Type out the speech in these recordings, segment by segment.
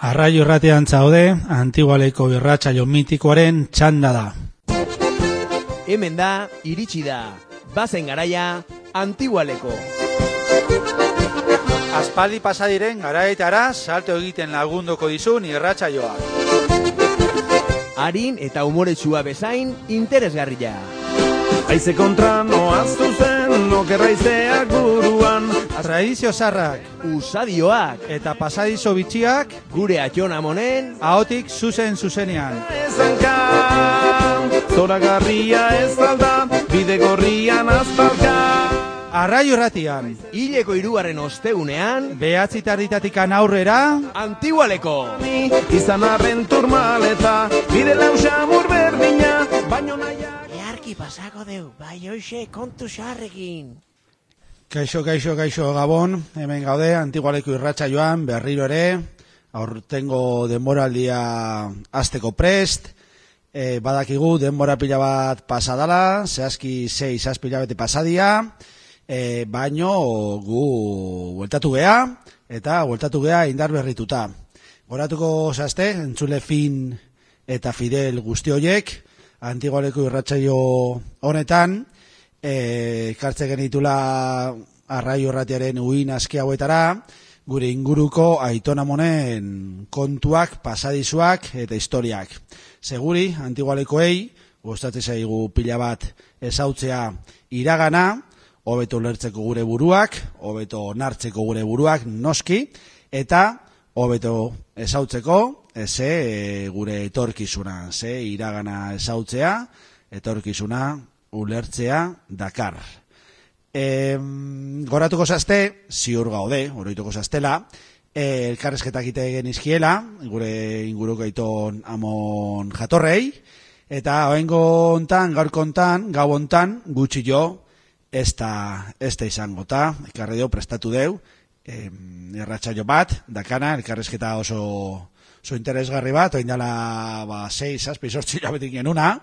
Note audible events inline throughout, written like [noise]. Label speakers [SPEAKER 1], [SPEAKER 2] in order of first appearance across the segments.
[SPEAKER 1] Arraio irratean zaude, antigualeko birratsaio mitikoaren txanda da.
[SPEAKER 2] Hemen da, iritsi da, bazen garaia, antigualeko.
[SPEAKER 3] Aspaldi pasadiren garaetara salto egiten lagunduko dizun irratsaioa.
[SPEAKER 2] Harin eta umoretsua bezain interesgarria.
[SPEAKER 4] Aize kontra noaz zuzen, okerra izea guruan.
[SPEAKER 3] Tradizio zarrak
[SPEAKER 2] Usadioak,
[SPEAKER 3] eta pasadizo bitxiak
[SPEAKER 2] gure atxon amonen,
[SPEAKER 3] ahotik zuzen zuzenean.
[SPEAKER 4] Ezanka, zora garria ez alda, bide gorrian azpalka.
[SPEAKER 3] Arraio irratian,
[SPEAKER 2] hileko hirugarren ostegunean,
[SPEAKER 3] behatzi tarditatikan aurrera,
[SPEAKER 2] antigualeko.
[SPEAKER 4] Ni Izan arren turmaleta, bide lausamur berdina, baino naia.
[SPEAKER 2] Earki pasako deu, bai hoxe kontu xarrekin.
[SPEAKER 1] Kaixo, kaixo, kaixo Gabon, hemen gaude, antigualeko irratsaioan berriro ere, aurtengo denboraldia azteko prest, e, badakigu denbora pila bat pasadala, zehazki 6 zazpila bete pasadia, e, baino gu bueltatu gea, eta bueltatu gea indar berrituta. Goratuko zazte, entzule fin eta fidel guzti hoiek, antigualeko irratsaio honetan, e, kartze genitula arraio irratiaren uin aski hauetara, gure inguruko aitonamonen kontuak, pasadizuak eta historiak. Seguri, antigualekoei, gustatzen zaigu pila bat ezautzea iragana, hobeto lertzeko gure buruak, hobeto onartzeko gure buruak noski, eta hobeto ezautzeko, ze e, gure etorkizuna, ze iragana ezautzea, etorkizuna ulertzea dakar. E, goratuko zazte, ziur gaude, oroituko zaztela, e, elkarrezketak ite genizkiela, gure inguruko aiton amon jatorrei, eta oengo hontan, gaurko hontan, gau hontan, gutxi jo, ez da, ez da izango, ta, ekarri deu, prestatu deu, e, erratxaio bat, dakana, elkarrezketa oso, oso interesgarri bat, oin dela, ba, 6, 7, 8 labetik genuna,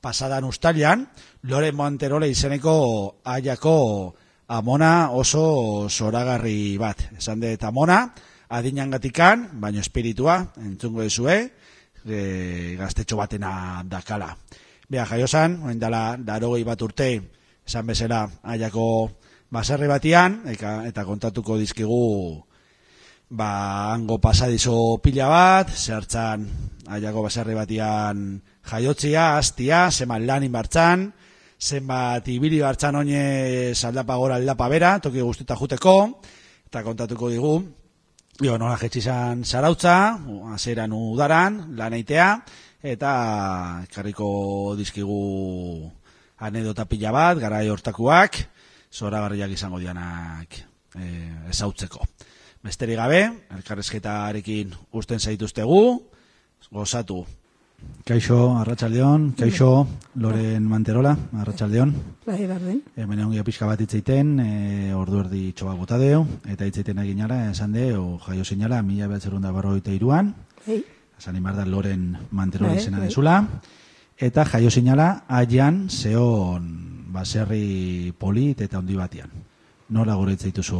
[SPEAKER 1] pasadan ustalian, Lore Monterole izeneko aiako amona oso zoragarri bat. Esan dut amona, adinangatikan, baino espiritua, entzungo dezue, e, gaztetxo batena dakala. Bea, jaiozan, oen dela, darogei bat urte, esan bezala, aiako baserri batian, eka, eta kontatuko dizkigu ba, hango pasadizo pila bat, zertzan aiako baserri batian jaiotzia, astia, zenbat lanin bartzan, zenbat ibili bartzan oine aldapa gora aldapa bera, toki guztita juteko, eta kontatuko digu, jo, nola jetxizan zarautza, azeran udaran, lan eitea, eta karriko dizkigu anedota pila bat, garai hortakuak, zoragarriak izango dianak e, ezautzeko. Besterik gabe, elkarrezketarekin usten zaituztegu, gozatu. Kaixo, Arratxaldeon, Kaixo, Loren Manterola, Arratxaldeon.
[SPEAKER 5] Bai, barden.
[SPEAKER 1] Hemen egon pixka bat itzeiten, e, ordu erdi txoba gota deu, eta itzeiten egin ara, esan deu, jaio sinala, mila behatzerun da barroita iruan,
[SPEAKER 5] Bai,
[SPEAKER 1] esan imar da Loren Manterola
[SPEAKER 5] Bai,
[SPEAKER 1] izena
[SPEAKER 5] bai.
[SPEAKER 1] dezula, eta jaio sinala, aian, zeon, baserri polit eta handi batian. Nola gure itzeituzu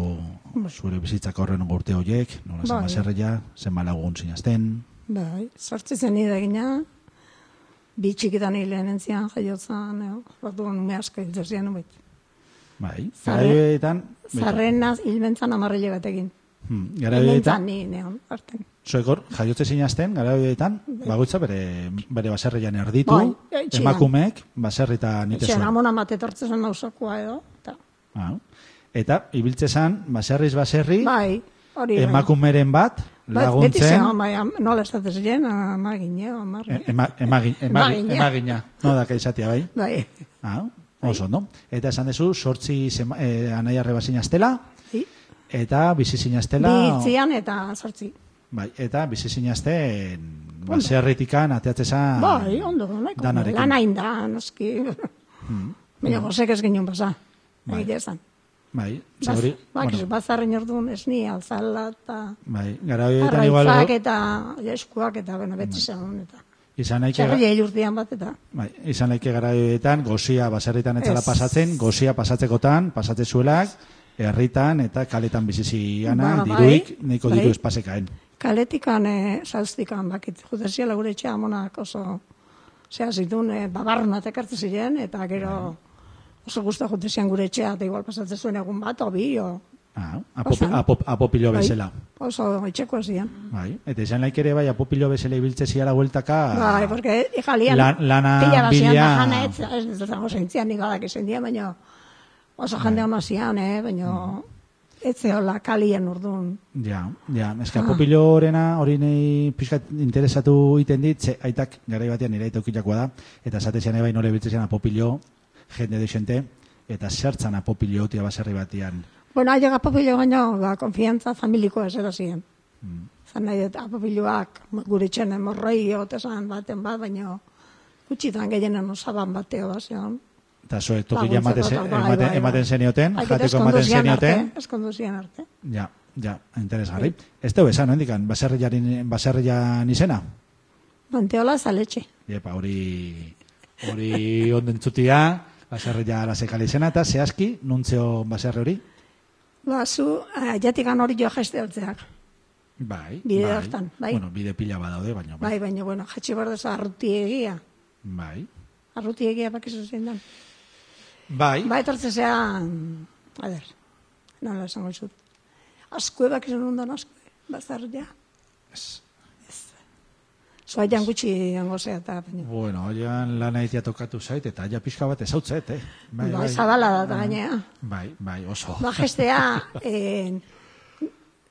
[SPEAKER 1] zure bizitzako horren urte horiek, nola zen
[SPEAKER 5] Bai.
[SPEAKER 1] baserria, zen malagun zinazten,
[SPEAKER 5] bai. Sortzi zen idegina, bi txikitan hilean entzian jaiotzan, eh, orduan ume asko hiltzerzian ubet.
[SPEAKER 1] bai,
[SPEAKER 5] Zarre-
[SPEAKER 1] garaioetan,
[SPEAKER 5] Zarrenaz hilbentzan amarrile batekin.
[SPEAKER 1] Hmm,
[SPEAKER 5] Hilbentzan
[SPEAKER 1] garaioetan,
[SPEAKER 5] ni neon, harten.
[SPEAKER 1] Zuek hor, jaiotze zinazten, gara horietan, bagoitza bere, bere baserrian erditu,
[SPEAKER 5] Bai, etxean.
[SPEAKER 1] emakumeek, baserritan ite
[SPEAKER 5] Etxean
[SPEAKER 1] zuen.
[SPEAKER 5] amona matetortzen zen nausakoa edo, eta,
[SPEAKER 1] Ah, eta, ibiltze zan, baserriz baserri,
[SPEAKER 5] bai, hori. bai.
[SPEAKER 1] emakumeren bat,
[SPEAKER 5] Bai, Beti
[SPEAKER 1] laguntzen,
[SPEAKER 5] zegoen, bai, am- nola estatez ziren, amagin, eh,
[SPEAKER 1] e-
[SPEAKER 5] amarri.
[SPEAKER 1] ema, emagin, emagin,
[SPEAKER 5] Emagina.
[SPEAKER 1] emagina, no da kaizatia bai.
[SPEAKER 5] Bai,
[SPEAKER 1] Ah, oso, no? Eta esan dezu, sortzi zema, eh, anai arreba zinaztela,
[SPEAKER 5] bi
[SPEAKER 1] eta bizi zinaztela...
[SPEAKER 5] hitzian eta sortzi.
[SPEAKER 1] Bai, eta bizi zinazten baserritikan ateatzezan
[SPEAKER 5] Bai, ondo, nahiko.
[SPEAKER 1] Ah, danarekin. Hmm.
[SPEAKER 5] Lan hain da, noski. Baina, gozek ez ginen basa.
[SPEAKER 1] Bai.
[SPEAKER 5] Egitea esan.
[SPEAKER 1] Bai,
[SPEAKER 5] Baz,
[SPEAKER 1] zauri,
[SPEAKER 5] bakizu,
[SPEAKER 1] bueno,
[SPEAKER 5] bazarren orduan ez ni alzala eta
[SPEAKER 1] bai, gara horietan igual
[SPEAKER 5] arraitzak eta eskuak eta, bueno,
[SPEAKER 1] Bai.
[SPEAKER 5] beti zegoen eta.
[SPEAKER 1] izan naike,
[SPEAKER 5] Txarri urtean bat eta.
[SPEAKER 1] bai, izan naike gara horietan, gozia baserritan etzala
[SPEAKER 5] Ez.
[SPEAKER 1] pasatzen, gozia pasatzekotan, pasatzezuelak, herritan eta kaletan biziziana,
[SPEAKER 5] Ba, bai,
[SPEAKER 1] diruik, nahiko
[SPEAKER 5] bai.
[SPEAKER 1] diru espasekaen.
[SPEAKER 5] kaletikan, e, sauztikan, bakit, judeziela gure etxe amonak oso, zea zitun, e, babarnat ekartu ziren, eta
[SPEAKER 1] Bai.
[SPEAKER 5] gero oso guztua judezian gure etxea, eta igual pasatzen zuen egun bat, o bi, o...
[SPEAKER 1] Ah, apop,
[SPEAKER 5] Oso.
[SPEAKER 1] apop, apopilo
[SPEAKER 5] bai,
[SPEAKER 1] bezala.
[SPEAKER 5] Oso etxekoa ziren.
[SPEAKER 1] Bai. Eta izan laik ere bai apopilo bezala ibiltze ziala gueltaka.
[SPEAKER 5] Bai, porque jalian,
[SPEAKER 1] Ah. Lan- lana,
[SPEAKER 5] pila bat zian,
[SPEAKER 1] bila-
[SPEAKER 5] da jana ez, ez dut zango zentzian, nik badak izen dien, baina oso
[SPEAKER 1] Bai.
[SPEAKER 5] jende hona zian, eh, baina
[SPEAKER 1] Mm.
[SPEAKER 5] ez zehola kalien urdun.
[SPEAKER 1] Ja, ja,
[SPEAKER 5] Ah.
[SPEAKER 1] eska apopilo horrena hori nei pixkat interesatu iten dit, ze aitak garai batean nire aitokilakoa da, eta esatezian ebai nore biltzean apopilo jende de xente, eta zertzan apopilo otia baserri batean.
[SPEAKER 5] Bueno, haiek apopilo baino, ba, konfiantza familikoa ez era ziren.
[SPEAKER 1] Mm.
[SPEAKER 5] Zan nahi dut, apopiloak gure txene morrei esan baten bat, baina gutxitan gehienen osaban bateo, zion.
[SPEAKER 1] Eta
[SPEAKER 5] Ba,
[SPEAKER 1] zo, toki
[SPEAKER 5] Laguntzak
[SPEAKER 1] ematen,
[SPEAKER 5] eta bai, bai,
[SPEAKER 1] ematen,
[SPEAKER 5] bai.
[SPEAKER 1] ematen zenioten,
[SPEAKER 5] Haiek eta
[SPEAKER 1] jateko
[SPEAKER 5] ezkondu
[SPEAKER 1] ematen
[SPEAKER 5] zian arte,
[SPEAKER 1] zenioten.
[SPEAKER 5] Ezkondu zian arte.
[SPEAKER 1] Ja, ja, interesgarri. Ez dugu esan, hendikan, baserriaren, baserrian izena?
[SPEAKER 5] Manteola zaletxe.
[SPEAKER 1] Iepa, hori hori ondentzutia, baserria arasekala izena, eta zehazki, nuntzeo baserri hori?
[SPEAKER 5] Ba, zu, eh, jatikan hori jo gesteltzeak.
[SPEAKER 1] Bai,
[SPEAKER 5] Bide hortan, bai.
[SPEAKER 1] Bueno, bide pila badaude, baina, bai.
[SPEAKER 5] Bai, baina, bueno, jatxi behar duzu arrutiegia.
[SPEAKER 1] Bai.
[SPEAKER 5] Arrutiegia bakizu zein den.
[SPEAKER 1] Bai.
[SPEAKER 5] Ba, etortzen zea, a ber, nola esango zut. Askue bakizu nondan askue, bazar ja. Ez. Zoa jan gutxi jango zea eta baina.
[SPEAKER 1] Bueno, oian lan aitia tokatu zait, eta ja pixka bat ezautzeet, eh?
[SPEAKER 5] Bai, zabala da eta gainea.
[SPEAKER 1] Bai, bai, oso.
[SPEAKER 5] Ba, gestea, [laughs] en,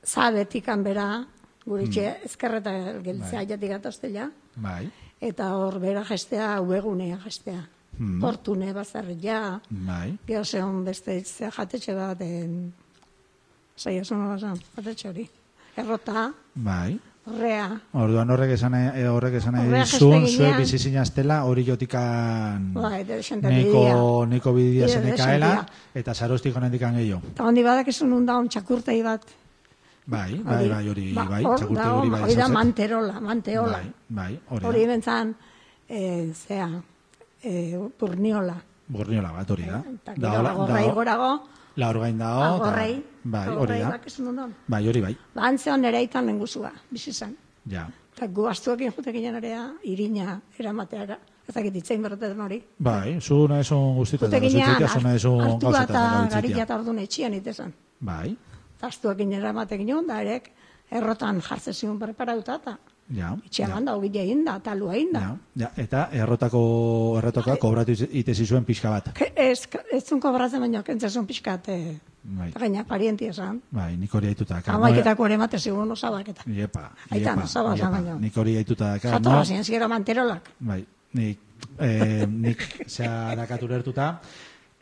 [SPEAKER 5] zabetik bera, gure itxe, ezkerreta geltzea jatik ataztela.
[SPEAKER 1] Bai,
[SPEAKER 5] Eta hor bera gestea, uegunea gestea. Hmm. Portune bazar ja.
[SPEAKER 1] bai.
[SPEAKER 5] Gero zehon beste ze jatetxe bat, en... Zaila zona bat zen, jatetxe hori. Errota,
[SPEAKER 1] Bai.
[SPEAKER 5] horrea,
[SPEAKER 1] Orduan horrek esan eh, horrek esan
[SPEAKER 5] Horrek
[SPEAKER 1] izun
[SPEAKER 5] jeste
[SPEAKER 1] zue
[SPEAKER 5] ginean.
[SPEAKER 1] bizi sinastela hori jotikan
[SPEAKER 5] bai, de xente bidea.
[SPEAKER 1] neko neko bidia
[SPEAKER 5] Bide
[SPEAKER 1] zenekaela
[SPEAKER 5] desentia.
[SPEAKER 1] eta sarostik honetikan gehiago.
[SPEAKER 5] Eta hondi badak izun unda hon txakurtei bat.
[SPEAKER 1] Bai, bai, bai, hori
[SPEAKER 5] Ba,
[SPEAKER 1] bai,
[SPEAKER 5] hor
[SPEAKER 1] txakurte
[SPEAKER 5] dago,
[SPEAKER 1] hori bai.
[SPEAKER 5] Hori da
[SPEAKER 1] ezagutzen.
[SPEAKER 5] manterola, manteola.
[SPEAKER 1] Bai, bai, hori.
[SPEAKER 5] hori
[SPEAKER 1] da.
[SPEAKER 5] bentzan, eh, zea, eh, burniola.
[SPEAKER 1] Borniola bat hori da.
[SPEAKER 5] Eta
[SPEAKER 1] Ah, Da,
[SPEAKER 5] gero
[SPEAKER 1] hola-
[SPEAKER 5] agorrei
[SPEAKER 1] da-
[SPEAKER 5] gorago,
[SPEAKER 1] La orgain dao. eta-
[SPEAKER 5] agorrei,
[SPEAKER 1] Bai, hori
[SPEAKER 5] agorrei
[SPEAKER 1] da.
[SPEAKER 5] Ah, bak izun unda.
[SPEAKER 1] Bai, hori bai.
[SPEAKER 5] Ba, antzeon ere itan lenguzua, bizizan.
[SPEAKER 1] Ja.
[SPEAKER 5] Eta gu astuekin jute ginen erea, irina, eramateara, ez dakit itzein berretetan hori.
[SPEAKER 1] Bai, zu nahi zuen guztita.
[SPEAKER 5] Jute ginen,
[SPEAKER 1] zu nahi zuen
[SPEAKER 5] hartu
[SPEAKER 1] gauzatan,
[SPEAKER 5] eta
[SPEAKER 1] gauzitzitia.
[SPEAKER 5] garilla eta orduan etxian itezan.
[SPEAKER 1] Bai,
[SPEAKER 5] Eta astuekin eramatek ginen, da erek, errotan jartzen zion preparauta, eta
[SPEAKER 1] ja.
[SPEAKER 5] etxean
[SPEAKER 1] ja,
[SPEAKER 5] handa, ogile egin da, talua egin da. Bai.
[SPEAKER 1] ja, ja. Eta errotako, errotakoa kobratu iz- itezi zuen pixka bat.
[SPEAKER 5] Ke- Ez, ez zuen kobratzen baino, kentzen zuen pixkat, eh,
[SPEAKER 1] Bai, eh,
[SPEAKER 5] eta gaina parienti esan.
[SPEAKER 1] bai nik hori aituta. dakar.
[SPEAKER 5] Hamaiketako ere emate zigun osabak eta.
[SPEAKER 1] Iepa,
[SPEAKER 5] Aitan,
[SPEAKER 1] iepa,
[SPEAKER 5] zabala baino.
[SPEAKER 1] iepa. Nik hori aituta. dakar,
[SPEAKER 5] Jatorra
[SPEAKER 1] no?
[SPEAKER 5] ziren zigera manterolak.
[SPEAKER 1] Bai, nik, eh, nik zea dakatu lertuta,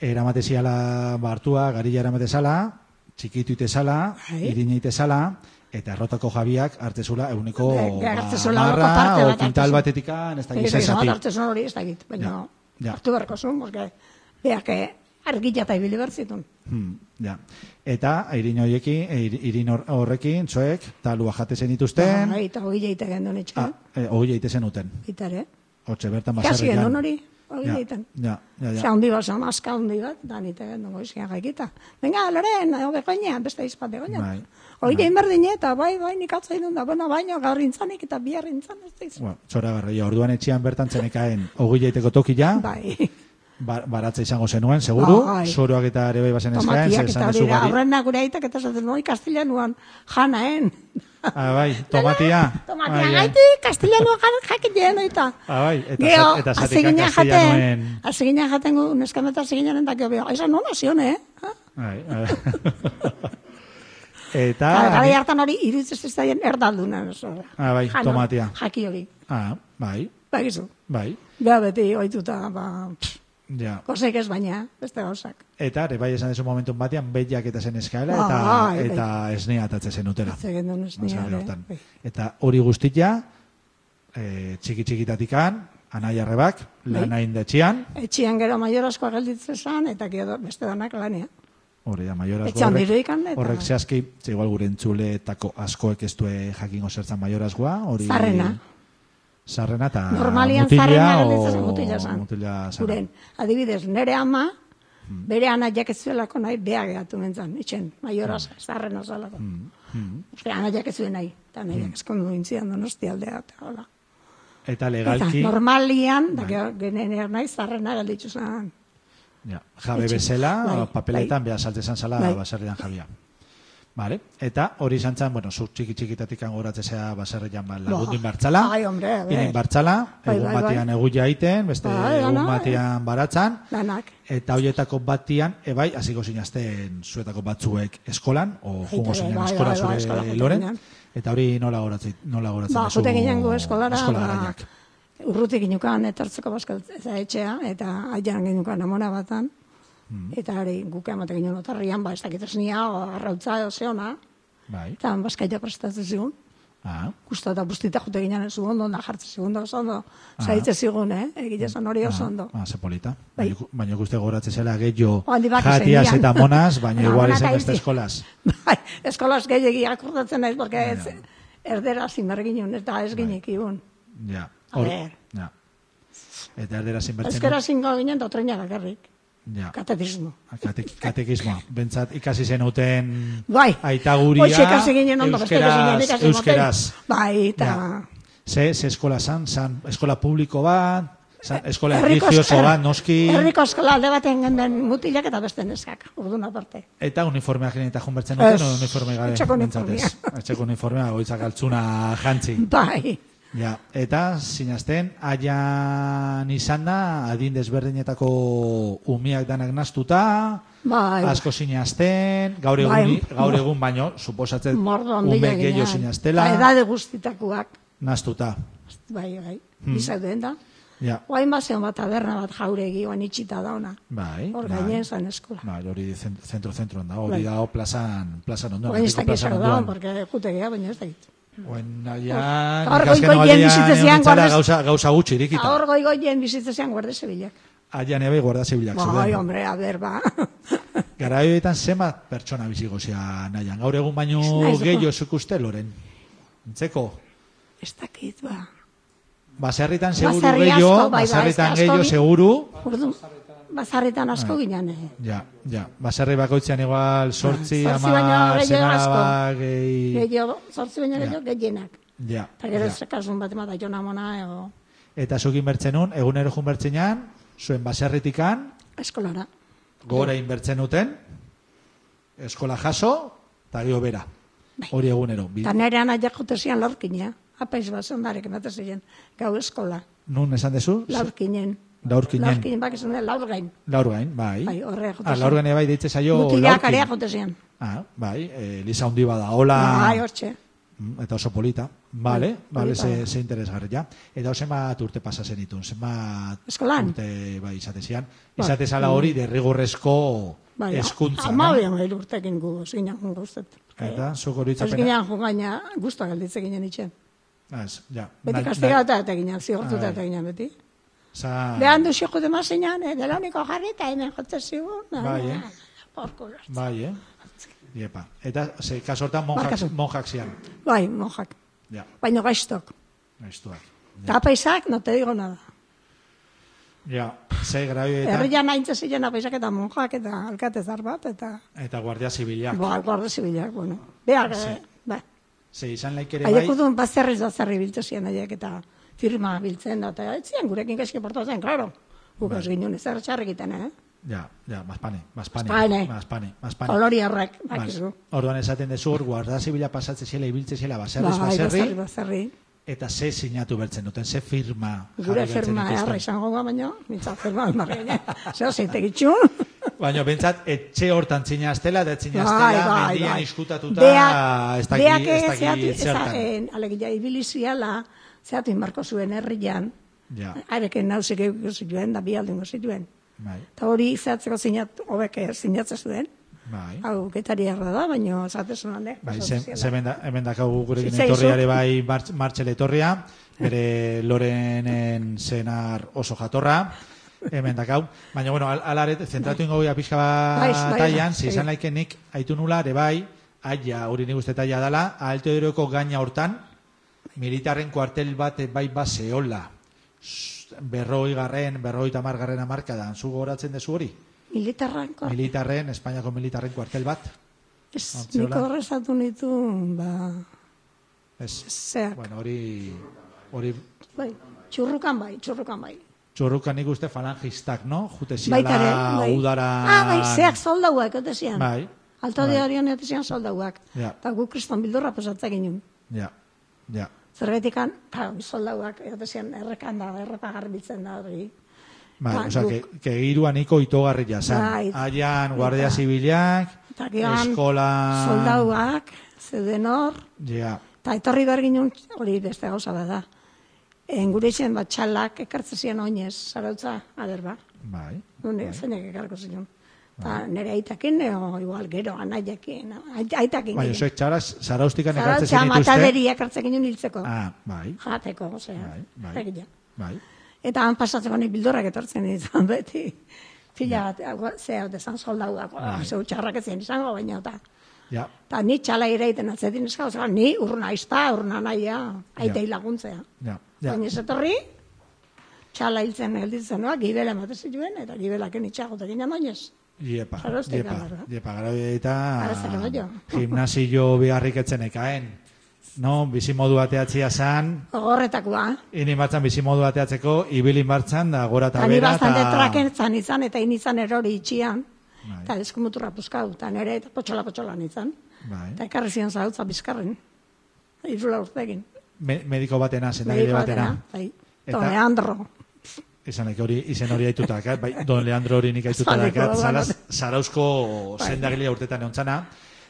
[SPEAKER 1] eramate ziala bartua, garila eramate zala, txikitu itezala,
[SPEAKER 5] Bai.
[SPEAKER 1] irina itezala, eta errotako jabiak hartezula euneko
[SPEAKER 5] Be- be- hartezula bai, horko
[SPEAKER 1] amarra,
[SPEAKER 5] parte
[SPEAKER 1] o
[SPEAKER 5] bat Bai,
[SPEAKER 1] kintal
[SPEAKER 5] hartezun.
[SPEAKER 1] batetikan, ez
[SPEAKER 5] Ez
[SPEAKER 1] dakiz
[SPEAKER 5] ez bat
[SPEAKER 1] esati.
[SPEAKER 5] hartzen zuen hori ez dakit, baina
[SPEAKER 1] Ja, ja.
[SPEAKER 5] hartu beharko zuen, porque beak eh, argila eta ibili behar zitun.
[SPEAKER 1] Hmm, ja. Eta irin horiekin, ir- irin hor- horrekin, txoek, talua jate zen dituzten,
[SPEAKER 5] Bai, eta hori jaite gendun etxe,
[SPEAKER 1] ah, eh, hori eite zenuten.
[SPEAKER 5] bitare.
[SPEAKER 1] Hortxe bertan
[SPEAKER 5] Kasi
[SPEAKER 1] baserrian.
[SPEAKER 5] gendun hori, hori
[SPEAKER 1] Ja,
[SPEAKER 5] jaiten.
[SPEAKER 1] Ja, ja,
[SPEAKER 5] Ze
[SPEAKER 1] ja.
[SPEAKER 5] handi bat, zan, aska handi bat, da nite gendun goizkian jaikita. Venga, Loren, hau begoina, beste izpa begoina.
[SPEAKER 1] Bai,
[SPEAKER 5] Hori
[SPEAKER 1] bai.
[SPEAKER 5] jain berdine, eta bai, bai, nik atzain dut, da, bueno, baino, gaur intzanik eta bihar intzan ez da izan.
[SPEAKER 1] Bueno, txoragarria, orduan etxean bertan zenekaen ogoi jaiteko tokila,
[SPEAKER 5] Bai,
[SPEAKER 1] Bar, baratza izango zenuen, seguru,
[SPEAKER 5] Bai.
[SPEAKER 1] zoroak eta ere bai bazen eskaen, zer
[SPEAKER 5] tomatiak eta
[SPEAKER 1] esan
[SPEAKER 5] hori
[SPEAKER 1] duzu
[SPEAKER 5] da,
[SPEAKER 1] gari.
[SPEAKER 5] horrena gure aitak eta zaten, noi, kastilanuan,
[SPEAKER 1] [laughs]
[SPEAKER 5] janaen.
[SPEAKER 1] Ah, bai, tomatia.
[SPEAKER 5] [laughs] Tomatia
[SPEAKER 1] Bai,
[SPEAKER 5] gaiti, kastilanoa jan- jakin jeno eta.
[SPEAKER 1] Ah, bai, eta
[SPEAKER 5] Gero,
[SPEAKER 1] za- eta
[SPEAKER 5] hasi
[SPEAKER 1] zatekan
[SPEAKER 5] ginen jaten,
[SPEAKER 1] castellanoen-
[SPEAKER 5] hasi ginen jaten gu, neskameta hasi ginen eta gero, esa non azion, eh? Ah,
[SPEAKER 1] Bai, bai. [laughs] Eta...
[SPEAKER 5] Gara, gara hartan hori, iruditzen ez zaien erdalduna. oso.
[SPEAKER 1] bai. Ah, bai,
[SPEAKER 5] Jano,
[SPEAKER 1] tomatia.
[SPEAKER 5] Jaki hori,
[SPEAKER 1] Ah, bai,
[SPEAKER 5] bakizu.
[SPEAKER 1] bai,
[SPEAKER 5] Bea beti oituta, ba, pff,
[SPEAKER 1] ja.
[SPEAKER 5] gozek ez baina, beste gauzak.
[SPEAKER 1] Eta ere bai esan duzu momentu batean behiak eta zen eskaela eta,
[SPEAKER 5] Bai, bai.
[SPEAKER 1] eta esnea atatze zen utera.
[SPEAKER 5] Zegin duen ez eh, bai.
[SPEAKER 1] Baserri
[SPEAKER 5] nire.
[SPEAKER 1] hortan. Eta hori guztia, eh, txiki txikitatikan, anaiarrebak,
[SPEAKER 5] Bai.
[SPEAKER 1] lanain detxian,
[SPEAKER 5] Etxian gero maiorazkoa gelditzen zan, eta gero beste danak lanea.
[SPEAKER 1] Hori da, maiorazgoa
[SPEAKER 5] Etxean
[SPEAKER 1] horrek,
[SPEAKER 5] diruikan eta-
[SPEAKER 1] horrek zehazki, ze igual gure entzuleetako askoek ez due jakingo zertzen maiorazgoa, hori...
[SPEAKER 5] Zarrena.
[SPEAKER 1] Sarrena eta
[SPEAKER 5] Normalian
[SPEAKER 1] mutila
[SPEAKER 5] zarrena
[SPEAKER 1] o-
[SPEAKER 5] galdetzen zen mutila zan.
[SPEAKER 1] Mutila Hmm. zana.
[SPEAKER 5] Guren, adibidez, nere ama, bere ana jakezuelako
[SPEAKER 1] Hmm.
[SPEAKER 5] nahi, bea gehatu nintzen, itxen, maioraz, zarrena zalako. Mm. Ana jakezuela nahi, eta eta
[SPEAKER 1] Hmm.
[SPEAKER 5] nire eskondu intzian donosti aldea, eta hola.
[SPEAKER 1] Eta
[SPEAKER 5] Eta
[SPEAKER 1] legalki,
[SPEAKER 5] normalian, da gero genen ernaiz, zarrena galditzu zen.
[SPEAKER 1] ja, jabe
[SPEAKER 5] Etxe.
[SPEAKER 1] bezala,
[SPEAKER 5] Bai,
[SPEAKER 1] papeletan
[SPEAKER 5] bai.
[SPEAKER 1] behar saltezen zala
[SPEAKER 5] Bai.
[SPEAKER 1] baserrian jabia. Vale. Eta hori izan zen, bueno, zu txiki txikitatik angoratzea baserrian ba, lagundu
[SPEAKER 5] Ba.
[SPEAKER 1] inbartzala.
[SPEAKER 5] Ai, hombre, a ver.
[SPEAKER 1] Inen bartzala,
[SPEAKER 5] Bai,
[SPEAKER 1] egun
[SPEAKER 5] bai, bai.
[SPEAKER 1] batean eguia egiten, beste
[SPEAKER 5] Bai,
[SPEAKER 1] egun
[SPEAKER 5] lana,
[SPEAKER 1] batean baratzan.
[SPEAKER 5] Lanak.
[SPEAKER 1] Eta hoietako batian, ebai, hasiko zinazten zuetako batzuek eskolan, o jungo
[SPEAKER 5] bai,
[SPEAKER 1] zinen
[SPEAKER 5] bai,
[SPEAKER 1] eskora
[SPEAKER 5] bai, bai, eskola
[SPEAKER 1] zure
[SPEAKER 5] joaten
[SPEAKER 1] loren.
[SPEAKER 5] ginen.
[SPEAKER 1] Eta hori nola goratzen, nola goratzen
[SPEAKER 5] Ba,
[SPEAKER 1] duzu
[SPEAKER 5] jute ginen gu eskolara, ba,
[SPEAKER 1] eskolagaiak.
[SPEAKER 5] urrutik ginukan etortzeko baskalt eta etxea, eta aian ginukan amona batan, eta hori guk ematen ginen otarrian, ba, ez dakit esnia, o arrautza, o zeona,
[SPEAKER 1] Bai,
[SPEAKER 5] eta han baskaita prestatzen zigun,
[SPEAKER 1] ah,
[SPEAKER 5] guztu eta bustita jute ginen ez ondo, da jartzen zigun, da oso ondo, zaitze zigun, eh? Egile zan hori oso ondo. [laughs]
[SPEAKER 1] ah, ze polita.
[SPEAKER 5] Bai.
[SPEAKER 1] Baina- Baina guzti gogoratzen zela gehiago
[SPEAKER 5] Handi bak
[SPEAKER 1] jatiaz
[SPEAKER 5] zenian.
[SPEAKER 1] eta monaz,
[SPEAKER 5] [laughs]
[SPEAKER 1] baina
[SPEAKER 5] Ba,
[SPEAKER 1] igual
[SPEAKER 5] monak
[SPEAKER 1] izan
[SPEAKER 5] aizi.
[SPEAKER 1] beste eskolaz.
[SPEAKER 5] Bai, eskolaz gehiagi akordatzen naiz, porque ez, erdera zimber ginen, eta ez ginek iun.
[SPEAKER 1] Ja,
[SPEAKER 5] A ber.
[SPEAKER 1] ja. Eta erdera zinbertzen.
[SPEAKER 5] Euskera zingo ginen, da trena bakarrik,
[SPEAKER 1] Ja.
[SPEAKER 5] katetismo.
[SPEAKER 1] Katek, katekismoa, bentsat ikasi zenuten
[SPEAKER 5] Bai.
[SPEAKER 1] aitaguria,
[SPEAKER 5] Hoxe ikasi ginen ondo, beste ikasi ginen,
[SPEAKER 1] euskeraz,
[SPEAKER 5] ikasi moten.
[SPEAKER 1] euskeraz.
[SPEAKER 5] Bai, eta...
[SPEAKER 1] Ja. Ze, ze eskola zan, zan, eskola publiko bat, zan,
[SPEAKER 5] Eh,
[SPEAKER 1] eskola
[SPEAKER 5] Herriko
[SPEAKER 1] religioso
[SPEAKER 5] eskola-
[SPEAKER 1] bat, noski,
[SPEAKER 5] Herriko eskola alde baten genuen mutilak eta beste neskak, orduan aparte.
[SPEAKER 1] eta uniformeak ginen eta junbertzen duten,
[SPEAKER 5] Ez,
[SPEAKER 1] no, uniforme gabe,
[SPEAKER 5] etxeko
[SPEAKER 1] bentsat ez.
[SPEAKER 5] uniformea. [laughs]
[SPEAKER 1] Etxeko uniformea, goitzak altzuna jantzi.
[SPEAKER 5] Bai,
[SPEAKER 1] Ja, eta sinazten, aian izan da, adin desberdinetako umiak danak nastuta,
[SPEAKER 5] bai.
[SPEAKER 1] asko sinazten, gaur egun,
[SPEAKER 5] Bai.
[SPEAKER 1] gaur egun baino, suposatzen
[SPEAKER 5] Mordo handia
[SPEAKER 1] umek gehiago
[SPEAKER 5] ginen.
[SPEAKER 1] sinaztela,
[SPEAKER 5] Ba, edade guztitakoak,
[SPEAKER 1] nastuta.
[SPEAKER 5] bai, bai,
[SPEAKER 1] Hmm.
[SPEAKER 5] bizauden da.
[SPEAKER 1] Ja,
[SPEAKER 5] Oain bazeon bat taberna bat jauregi, oain itxita dauna.
[SPEAKER 1] bai.
[SPEAKER 5] Hor
[SPEAKER 1] bai.
[SPEAKER 5] gainen zan eskola.
[SPEAKER 1] Bai, hori zen- zentro-zentroan da, hori
[SPEAKER 5] Bai.
[SPEAKER 1] dago plazan, plazan ondoan.
[SPEAKER 5] Oain ez
[SPEAKER 1] herriko
[SPEAKER 5] dakit
[SPEAKER 1] plazan
[SPEAKER 5] zer daun,
[SPEAKER 1] ondoan.
[SPEAKER 5] porque jute gehiago, baina ez dakit.
[SPEAKER 1] Oen aian,
[SPEAKER 5] Hor
[SPEAKER 1] ikasken
[SPEAKER 5] goiko hien
[SPEAKER 1] aldean,
[SPEAKER 5] bizitzezian
[SPEAKER 1] egon nintzala
[SPEAKER 5] guardas-
[SPEAKER 1] gauza, gauza gutxi irikita.
[SPEAKER 5] Ba, Hor goi goien bizitzean guarde zebilak.
[SPEAKER 1] Aian ebe guarda zibilak.
[SPEAKER 5] Bai,
[SPEAKER 1] zeuden.
[SPEAKER 5] hombre, a ber, ba. [laughs]
[SPEAKER 1] Gara horietan zenbat pertsona bizigozia nahian. Gaur egun baino
[SPEAKER 5] Ez naiz,
[SPEAKER 1] gehiago zuk uste, Loren. Entzeko,
[SPEAKER 5] ez dakit, ba.
[SPEAKER 1] baserritan seguru
[SPEAKER 5] Baserri asko,
[SPEAKER 1] gehiago,
[SPEAKER 5] bai, bai,
[SPEAKER 1] baserritan
[SPEAKER 5] ez da, asko
[SPEAKER 1] gehiago
[SPEAKER 5] bi-
[SPEAKER 1] seguru,
[SPEAKER 5] Ordu, bazarretan asko ginen, eh.
[SPEAKER 1] Ja, ja. Baserri bakoitzean igual sortzi,
[SPEAKER 5] Zortzi baino
[SPEAKER 1] amar,
[SPEAKER 5] gehiago
[SPEAKER 1] senaba,
[SPEAKER 5] asko.
[SPEAKER 1] gehi...
[SPEAKER 5] Gehiago, zortzi baino gehiago gehienak.
[SPEAKER 1] Ja,
[SPEAKER 5] Eta gero
[SPEAKER 1] ja.
[SPEAKER 5] ez kasun bat emata jona mona, ego,
[SPEAKER 1] Eta zuk inbertzen nun, egunero jun bertzenean, zuen baserritikan,
[SPEAKER 5] eskolara.
[SPEAKER 1] gora inbertzen duten, eskola jaso, eta gero bera.
[SPEAKER 5] Bai.
[SPEAKER 1] Hori egunero. Bi,
[SPEAKER 5] Eta nire anaia jutezian laurkina, apaiz bat zondarek emate ziren, gau eskola,
[SPEAKER 1] nun esan dezu?
[SPEAKER 5] laurkinen.
[SPEAKER 1] Laurkinen.
[SPEAKER 5] Laurkinen, bak esan da, laurgain.
[SPEAKER 1] Laurgain, bai.
[SPEAKER 5] Bai, horre jote
[SPEAKER 1] Ah,
[SPEAKER 5] zen.
[SPEAKER 1] laurgain bai deitze zaio
[SPEAKER 5] Mutilak
[SPEAKER 1] laurkin.
[SPEAKER 5] area jutezian.
[SPEAKER 1] Ah, bai, eh, Elisa hundi bada, hola.
[SPEAKER 5] Bai, hortxe.
[SPEAKER 1] Mm, Eta oso polita. Vale, vale,
[SPEAKER 5] polita
[SPEAKER 1] ze,
[SPEAKER 5] da.
[SPEAKER 1] ze interesgarria. Eta zenbat urte pasa zenitun, zenbat
[SPEAKER 5] Eskolan?
[SPEAKER 1] urte bai izatezian. Izatezala hori derrigorrezko
[SPEAKER 5] Bai,
[SPEAKER 1] eskuntza.
[SPEAKER 5] Ama
[SPEAKER 1] na?
[SPEAKER 5] bian bai urtekin gu, ez ginen jungo uste.
[SPEAKER 1] Eta, zuk hori
[SPEAKER 5] Bai. Ez
[SPEAKER 1] itzapena.
[SPEAKER 5] ginen jungo gaina, guztua galditze ginen itxen.
[SPEAKER 1] Ah, Ez, ja.
[SPEAKER 5] Beti
[SPEAKER 1] Na- na-
[SPEAKER 5] kastigauta eta ginen, zigortuta
[SPEAKER 1] Ai.
[SPEAKER 5] eta ginen beti.
[SPEAKER 1] Bai. Za-
[SPEAKER 5] Behan du xeko dema zeinan, eh, belauniko jarri eta hemen eh, jotzen zigun. na,
[SPEAKER 1] Bai, eh.
[SPEAKER 5] na, Porko gartza.
[SPEAKER 1] Bai, eh? Iepa. Eta, ze, kaso hortan monjak,
[SPEAKER 5] Barkatu.
[SPEAKER 1] monjak zian.
[SPEAKER 5] Bai, mojak.
[SPEAKER 1] Ja,
[SPEAKER 5] Baina gaiztok.
[SPEAKER 1] Bai. gaiztuak.
[SPEAKER 5] Eta apaisak, no te digo nada.
[SPEAKER 1] Ja, ze graduetan
[SPEAKER 5] Herrian haintze ziren apaisak eta monjak eta alkatezar bat, eta
[SPEAKER 1] eta guardia zibilak.
[SPEAKER 5] ba, guarda zibilak, bueno. Behar, eh, ba.
[SPEAKER 1] Ze izan laikere bai,
[SPEAKER 5] Haiek udun bazterrez bazterri biltu ziren haiek eta firma biltzen da, eta ez ziren gurekin gaizki portatzen, klaro. Guk
[SPEAKER 1] Bai.
[SPEAKER 5] ez ginen ez erretxarrekiten, eh?
[SPEAKER 1] Ja, ja, mazpane, mazpane,
[SPEAKER 5] Mazpane.
[SPEAKER 1] mazpane, mazpane.
[SPEAKER 5] Koloriarrak,
[SPEAKER 1] Vale.
[SPEAKER 5] bakizu.
[SPEAKER 1] Orduan esaten dezu hor, guarda zibila pasatze zela, ibiltze zela, baserriz,
[SPEAKER 5] Bai,
[SPEAKER 1] baserri,
[SPEAKER 5] bazterri, bazterri.
[SPEAKER 1] eta ze sinatu bertzen duten, ze firma.
[SPEAKER 5] Gure
[SPEAKER 1] jarri bertzen
[SPEAKER 5] firma
[SPEAKER 1] dituzten.
[SPEAKER 5] erra izango da, baina, nintzat firma almarreina. Zer, zeite gitxu?
[SPEAKER 1] Baina bentsat, etxe hortan txinaztela, eta
[SPEAKER 5] Bai,
[SPEAKER 1] txinaztela,
[SPEAKER 5] bai,
[SPEAKER 1] mendian
[SPEAKER 5] bai.
[SPEAKER 1] izkutatuta,
[SPEAKER 5] Beak-
[SPEAKER 1] ez daki,
[SPEAKER 5] beak
[SPEAKER 1] ez
[SPEAKER 5] zehatu-
[SPEAKER 1] daki
[SPEAKER 5] eza-
[SPEAKER 1] zertan.
[SPEAKER 5] en, Alegia, ibili ziala, zehatu inbarko zuen herrian,
[SPEAKER 1] Ja,
[SPEAKER 5] areken nauzik eukiko zituen, da bialdingo zituen.
[SPEAKER 1] bai,
[SPEAKER 5] Eta hori zehatzeko zinat, hobek zinatze zuen,
[SPEAKER 1] bai.
[SPEAKER 5] hau getari erra da, baina zatezun alde.
[SPEAKER 1] Bai,
[SPEAKER 5] oso
[SPEAKER 1] ze,
[SPEAKER 5] soziala.
[SPEAKER 1] ze menda- hemen dakagu gurekin
[SPEAKER 5] Zitzaizu.
[SPEAKER 1] etorriare bai Martx- Martxel etorria, bere Lorenen zenar oso jatorra, hemen dakau. Baina, bueno, al- alaret, zentratu ingo goia pixka
[SPEAKER 5] Bai,
[SPEAKER 1] bat
[SPEAKER 5] bai,
[SPEAKER 1] taian,
[SPEAKER 5] bai.
[SPEAKER 1] zizan laike nik aitu nula, ere bai, aia, hori nik uste taia dala, ahalto eroko gaina hortan, militarren kuartel bat bai baseola, berroi garren, berroi tamargarren amarkadan, zu goratzen dezu hori?
[SPEAKER 5] Militarranko,
[SPEAKER 1] Militarren, Espainiako militarren kuartel bat,
[SPEAKER 5] ez,
[SPEAKER 1] Antzeola.
[SPEAKER 5] niko horrezatu nitu, ba,
[SPEAKER 1] Ez.
[SPEAKER 5] Zeak.
[SPEAKER 1] Bueno, hori hori
[SPEAKER 5] Bai, txurrukan bai, txurrukan bai.
[SPEAKER 1] txurrukan nik uste falangistak, no? Jute
[SPEAKER 5] Baita ere,
[SPEAKER 1] ziala
[SPEAKER 5] bai.
[SPEAKER 1] udaran.
[SPEAKER 5] Ah, bai, zeak soldauak, eta zian.
[SPEAKER 1] Bai.
[SPEAKER 5] Alto
[SPEAKER 1] Bai.
[SPEAKER 5] de horian eta zian soldauak.
[SPEAKER 1] Ja.
[SPEAKER 5] Eta guk kriston bildurra pasatza ginen.
[SPEAKER 1] Ja, ja.
[SPEAKER 5] Zerbetikan, ka, soldauak, eta zian errekan da, errepa garbitzen da hori.
[SPEAKER 1] Bai,
[SPEAKER 5] Ba,
[SPEAKER 1] osea,
[SPEAKER 5] guk-
[SPEAKER 1] que, que hiruan niko itogarria zen.
[SPEAKER 5] Bai.
[SPEAKER 1] Haian, guardia
[SPEAKER 5] Eta-
[SPEAKER 1] zibilak,
[SPEAKER 5] Eta gehan,
[SPEAKER 1] eskolan...
[SPEAKER 5] soldauak, zeuden hor,
[SPEAKER 1] Ja,
[SPEAKER 5] eta etorri behar ginen, hori beste gauza bada. Engure izen bat txalak, ekartze ziren oinez, zarautza, ader ba.
[SPEAKER 1] bai.
[SPEAKER 5] Nune, zeinek ekarko zion. Eta nire aitakin, o, igual, gero, anaiakin, ait- aitakin.
[SPEAKER 1] Bai,
[SPEAKER 5] ginen.
[SPEAKER 1] osoek txaraz, zarauztikan ekartzen
[SPEAKER 5] Zarautza
[SPEAKER 1] zenituzte.
[SPEAKER 5] mataderia ekartzen ginen hiltzeko.
[SPEAKER 1] Ah, bai,
[SPEAKER 5] Jateko, osea,
[SPEAKER 1] Bai, bai.
[SPEAKER 5] jakina.
[SPEAKER 1] bai.
[SPEAKER 5] Eta han pasatzeko nik bildurrak etortzen ditzen beti. Pila bat, hau, ze hau desan soldauak,
[SPEAKER 1] Bai.
[SPEAKER 5] zeu txarrak ezin izango, baina eta.
[SPEAKER 1] Ja,
[SPEAKER 5] Eta ni txala ere iten atzetin eska, oza, ni urna izta, urna naia, aitei laguntzea.
[SPEAKER 1] ja, ja.
[SPEAKER 5] Baina ez etorri, txala hiltzen helditzen noa, gibela ematen zituen, eta gibelaken itxagotekin amainez.
[SPEAKER 1] Iepa,
[SPEAKER 5] Zarauztik
[SPEAKER 1] iepa,
[SPEAKER 5] gara.
[SPEAKER 1] iepa, gara hori eta
[SPEAKER 5] Ara zer baino.
[SPEAKER 1] gimnasio biharrik etzen ekaen. No, bizimodu ateatzia zan,
[SPEAKER 5] Ogorretakoa.
[SPEAKER 1] ini martzan bizimodu ateatzeko, ibilin martzan, da gora eta
[SPEAKER 5] Eta ni
[SPEAKER 1] bera,
[SPEAKER 5] bastante
[SPEAKER 1] ta-
[SPEAKER 5] trakentzan izan, eta inizan erori itxian.
[SPEAKER 1] Bai.
[SPEAKER 5] Eta eskumuturra puzkau, eta nere, eta potxola-potxola nintzen.
[SPEAKER 1] Bai.
[SPEAKER 5] Eta ekarri zion zautza bizkarren. Irula urtegin.
[SPEAKER 1] Me, mediko batena, zendagile
[SPEAKER 5] Mediko
[SPEAKER 1] batena.
[SPEAKER 5] Bai.
[SPEAKER 1] Eta-
[SPEAKER 5] Eta Leandro.
[SPEAKER 1] Esan daik hori, izen hori aituta dakat, bai, don Leandro hori nik aituta
[SPEAKER 5] Aspaldiko,
[SPEAKER 1] dakat,
[SPEAKER 5] bueno. Bai.
[SPEAKER 1] zaraz, zarauzko zendagilea urtetan egontzana,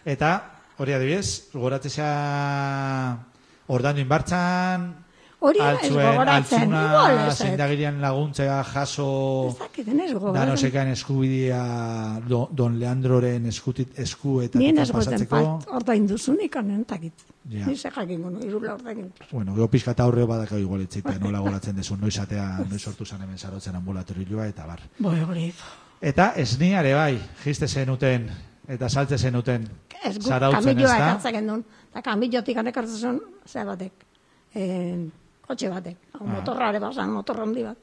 [SPEAKER 1] eta hori adibidez, goratzea ordando inbartzan,
[SPEAKER 5] Hori ez
[SPEAKER 1] altzuen,
[SPEAKER 5] gogoratzen, igual
[SPEAKER 1] altzuna
[SPEAKER 5] ez. ez.
[SPEAKER 1] zendagilian laguntzea jaso
[SPEAKER 5] Ez dakit, ez gogoratzen.
[SPEAKER 1] danosekan eskubidia do- don Leandroren eskutit, esku eta
[SPEAKER 5] Nien ez goten
[SPEAKER 1] pasatzeko.
[SPEAKER 5] pat, ordain duzunik, anentakit.
[SPEAKER 1] Ja.
[SPEAKER 5] Ni ze jakingo nu, irula urtegin.
[SPEAKER 1] Bueno, gero pixka eta aurreo badakau igual etzita, nola goratzen desun, noiz atea, noiz sortu zan hemen zarotzen ambulatorioa eta bar.
[SPEAKER 5] Boi, hori.
[SPEAKER 1] Eta esniare bai, jiste zenuten, eta saltze zenuten.
[SPEAKER 5] Ez guk
[SPEAKER 1] Zarautzen
[SPEAKER 5] kamilloa
[SPEAKER 1] ezta?
[SPEAKER 5] ekartzen gendun. Eta kamillotik anekartzen zuen, ze batek. Eh, kotxe batek. Hau
[SPEAKER 1] Ah.
[SPEAKER 5] motorrare basan, motorra handi bat.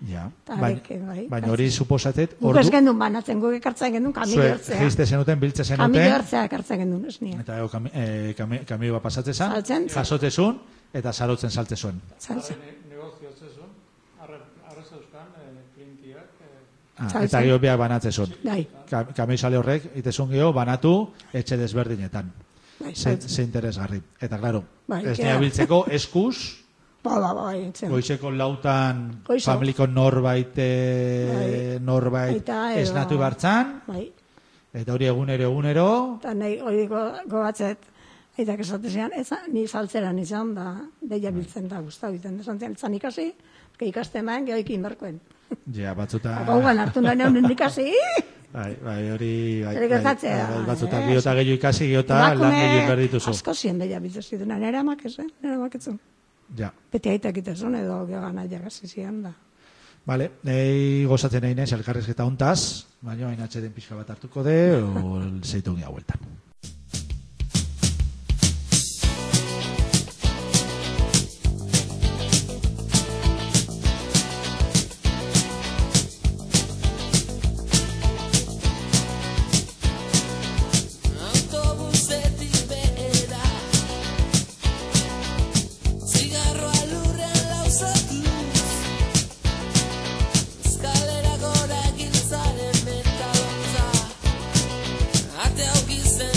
[SPEAKER 1] Ja.
[SPEAKER 5] Ta
[SPEAKER 1] Baina
[SPEAKER 5] deke, bai.
[SPEAKER 1] baina hori suposatet,
[SPEAKER 5] Guk ez gendun banatzen, guk ekartzen gendun kamillo
[SPEAKER 1] jiste
[SPEAKER 5] hartzea.
[SPEAKER 1] zenuten, biltze
[SPEAKER 5] Kamillo
[SPEAKER 1] zenuten,
[SPEAKER 5] hartzea ekartzen gendun, ez nia.
[SPEAKER 1] eta ego, kami, eh, kami, kamioa pasatzen zen,
[SPEAKER 5] Saltzen.
[SPEAKER 1] jasotzezun, eta zarotzen saltzezun.
[SPEAKER 5] Saltza.
[SPEAKER 1] Ah,
[SPEAKER 5] Saltzen.
[SPEAKER 1] Ah, eta gero biak banatzezun.
[SPEAKER 5] Bai,
[SPEAKER 1] Ka, kamioizale horrek, itezun geho, banatu, etxe desberdinetan.
[SPEAKER 5] bai,
[SPEAKER 1] Ze,
[SPEAKER 5] saltza.
[SPEAKER 1] ze interesgarri. Eta, claro,
[SPEAKER 5] Bai,
[SPEAKER 1] ez
[SPEAKER 5] ja.
[SPEAKER 1] nea biltzeko,
[SPEAKER 5] [laughs]
[SPEAKER 1] eskuz,
[SPEAKER 5] Ba, ba, ba, entzen.
[SPEAKER 1] Goizeko lautan
[SPEAKER 5] Goizo.
[SPEAKER 1] familiko norbait eh,
[SPEAKER 5] Bai.
[SPEAKER 1] norbait
[SPEAKER 5] Aita edo-
[SPEAKER 1] esnatu ibartzan
[SPEAKER 5] Bai,
[SPEAKER 1] eta hori egunero egunero
[SPEAKER 5] eta nahi hori go- gogatzet, eta esate zean, ez, ni saltzeran izan da, deia
[SPEAKER 1] Bai.
[SPEAKER 5] biltzen da, guztau egiten desan zean, izan ikasi, ke ikaste eman, geho ikin berkoen.
[SPEAKER 1] ja batzuta
[SPEAKER 5] Gauan hartu nahi neunen ikasi,
[SPEAKER 1] bai bai hori bai,
[SPEAKER 5] Zer gertatzea,
[SPEAKER 1] bai, batzuta
[SPEAKER 5] eh?
[SPEAKER 1] gehiota eta gehiu ikasi gehiota lan gehiu behar dituzu
[SPEAKER 5] asko zien deia biltzen zituen, nire amak ez, eh? nire amak etzun.
[SPEAKER 1] ja
[SPEAKER 5] Beti aitak itezun edo geho nahi hasi zian da.
[SPEAKER 1] Vale, nei gozatzen nahi nez elkarrezketa hontaz, baina hain atxeden pixka bat hartuko de, o zeitu gira bueltan.
[SPEAKER 6] Autobusetik behera Zigarroa lurrean lauzatuz Eskalera gora giltzaren metalotza Ate hau gizen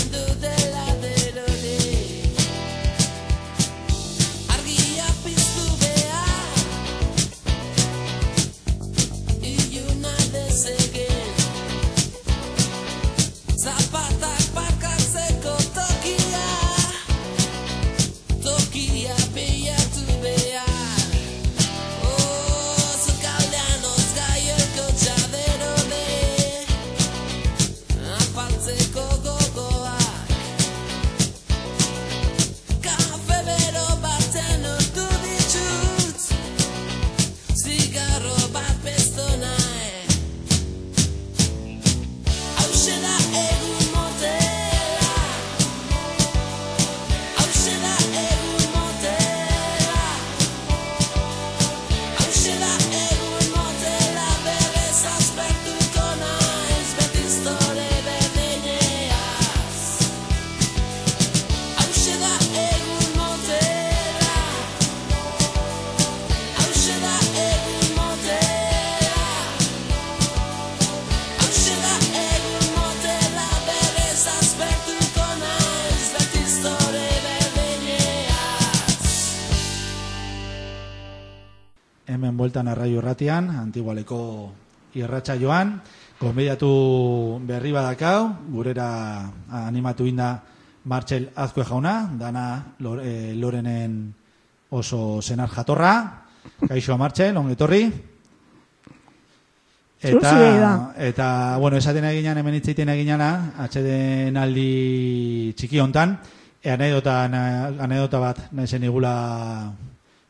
[SPEAKER 1] hemen bueltan arraio irratian, antigualeko irratxa joan, konbidatu berri badakau, gurera animatu inda Martxel Azkue jauna, dana lor, eh, Lorenen oso zenar jatorra, kaixoa Martxel, ongetorri.
[SPEAKER 5] Zuzei da.
[SPEAKER 1] eta, bueno, esaten eginan, hemen itzaiten eginana, atxeden aldi txiki hontan, e, anedota, na- anedota bat nahi zen igula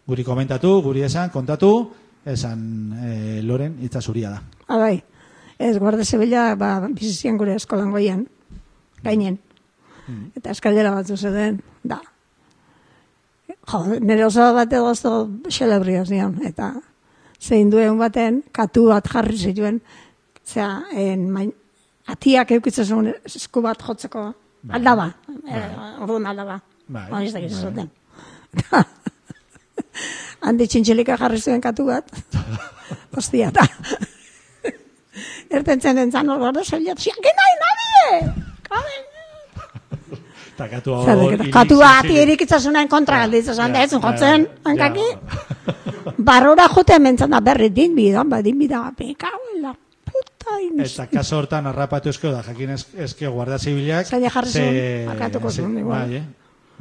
[SPEAKER 1] guri komentatu, guri esan, kontatu, esan e, Loren hitza zuria da.
[SPEAKER 5] Abai, Ah, bai. ez Guardia Zibila ba, bizizian gure eskolan goian, gainen.
[SPEAKER 1] Mm.
[SPEAKER 5] Eta eskailera batzu zeuden, da. Jo, nire oso bat egozo xelebriaz nion, eta zein duen baten, katu bat jarri zituen, zera, en, main, atiak eukitzen zuen esku bat jotzeko, aldaba, e, orduan aldaba,
[SPEAKER 1] Bai,
[SPEAKER 5] Ba, ez dakit
[SPEAKER 1] bai.
[SPEAKER 5] zuten. [laughs] Handi txintxelika jarri zuen katu bat,
[SPEAKER 1] [laughs]
[SPEAKER 5] ostia, eta Erten zen entzan hor gordo zebilat, zian, que no hay nadie! Kamen!
[SPEAKER 1] Eta katua hor...
[SPEAKER 5] Zerrek,
[SPEAKER 1] hilik-
[SPEAKER 5] Katua ati
[SPEAKER 1] hilik-
[SPEAKER 5] erik itzazunaen kontra galditzen zan,
[SPEAKER 1] Ja,
[SPEAKER 5] ez, jotzen,
[SPEAKER 1] ja,
[SPEAKER 5] hankaki.
[SPEAKER 1] ja.
[SPEAKER 5] Barrora joten mentzan da berri din bidan, ba, din bidan, pekagoela, puta
[SPEAKER 1] [laughs]
[SPEAKER 5] inus.
[SPEAKER 1] Eta kaso hortan arrapatu esko da, jakin ez- ezke guarda zibilak...
[SPEAKER 5] Zaila jarri zuen,
[SPEAKER 1] ze-
[SPEAKER 5] markatuko
[SPEAKER 1] ze-
[SPEAKER 5] zuen, igual.
[SPEAKER 1] Bai, eh?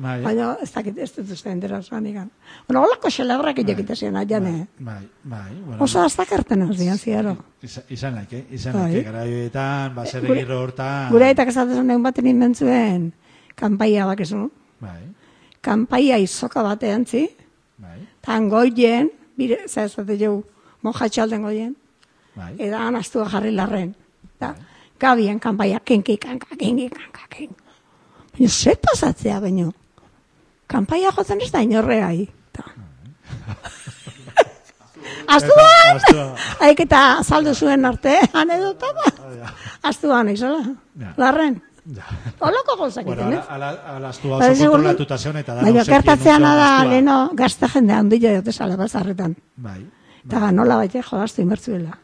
[SPEAKER 1] Bai, eh?
[SPEAKER 5] Baina, ez dakit, ez dut uste entera zuan ikan. Bueno, holako xelebrak egiten zian, jane.
[SPEAKER 1] Bai, bai, bueno,
[SPEAKER 5] eh? Oso aztak erten hau zian, ziaro.
[SPEAKER 1] Izan, izan laik, eh? Izan
[SPEAKER 5] Bai.
[SPEAKER 1] laik, gara joetan, baser
[SPEAKER 5] Gure-
[SPEAKER 1] egirro hortan...
[SPEAKER 5] Gure eta kesatzen egun baten inbentzuen, kanpaia bakizu.
[SPEAKER 1] Bai,
[SPEAKER 5] Kanpaia izoka batean, zi?
[SPEAKER 1] bai,
[SPEAKER 5] Tan goien, bire, zazate jau, mojatxalden goien,
[SPEAKER 1] bai,
[SPEAKER 5] eta anaztua jarri larren. Da, gabien kanpaia, kinki, kanka, kinki, kanka, kin. Baina, ze pasatzea, baino. Kanpaia jotzen ez da inorreai.
[SPEAKER 1] [laughs]
[SPEAKER 5] Da. Aztuan!
[SPEAKER 1] Aztua.
[SPEAKER 5] Haik eta azaldu zuen arte, anedota bat. Aztuan, izala.
[SPEAKER 1] Ja.
[SPEAKER 5] Larren. Oloko gauzak
[SPEAKER 1] Bueno,
[SPEAKER 5] egiten,
[SPEAKER 1] ala,
[SPEAKER 5] ez?
[SPEAKER 1] ala, ala aztua
[SPEAKER 5] Baina
[SPEAKER 1] oso
[SPEAKER 5] seguro-
[SPEAKER 1] kontrolatuta zeon eta da...
[SPEAKER 5] Baina gertatzea da
[SPEAKER 1] aztua.
[SPEAKER 5] leheno gazte jendea ondila dute sala bazarretan.
[SPEAKER 1] Bai,
[SPEAKER 5] Eta nola baita jolastu inbertzuela.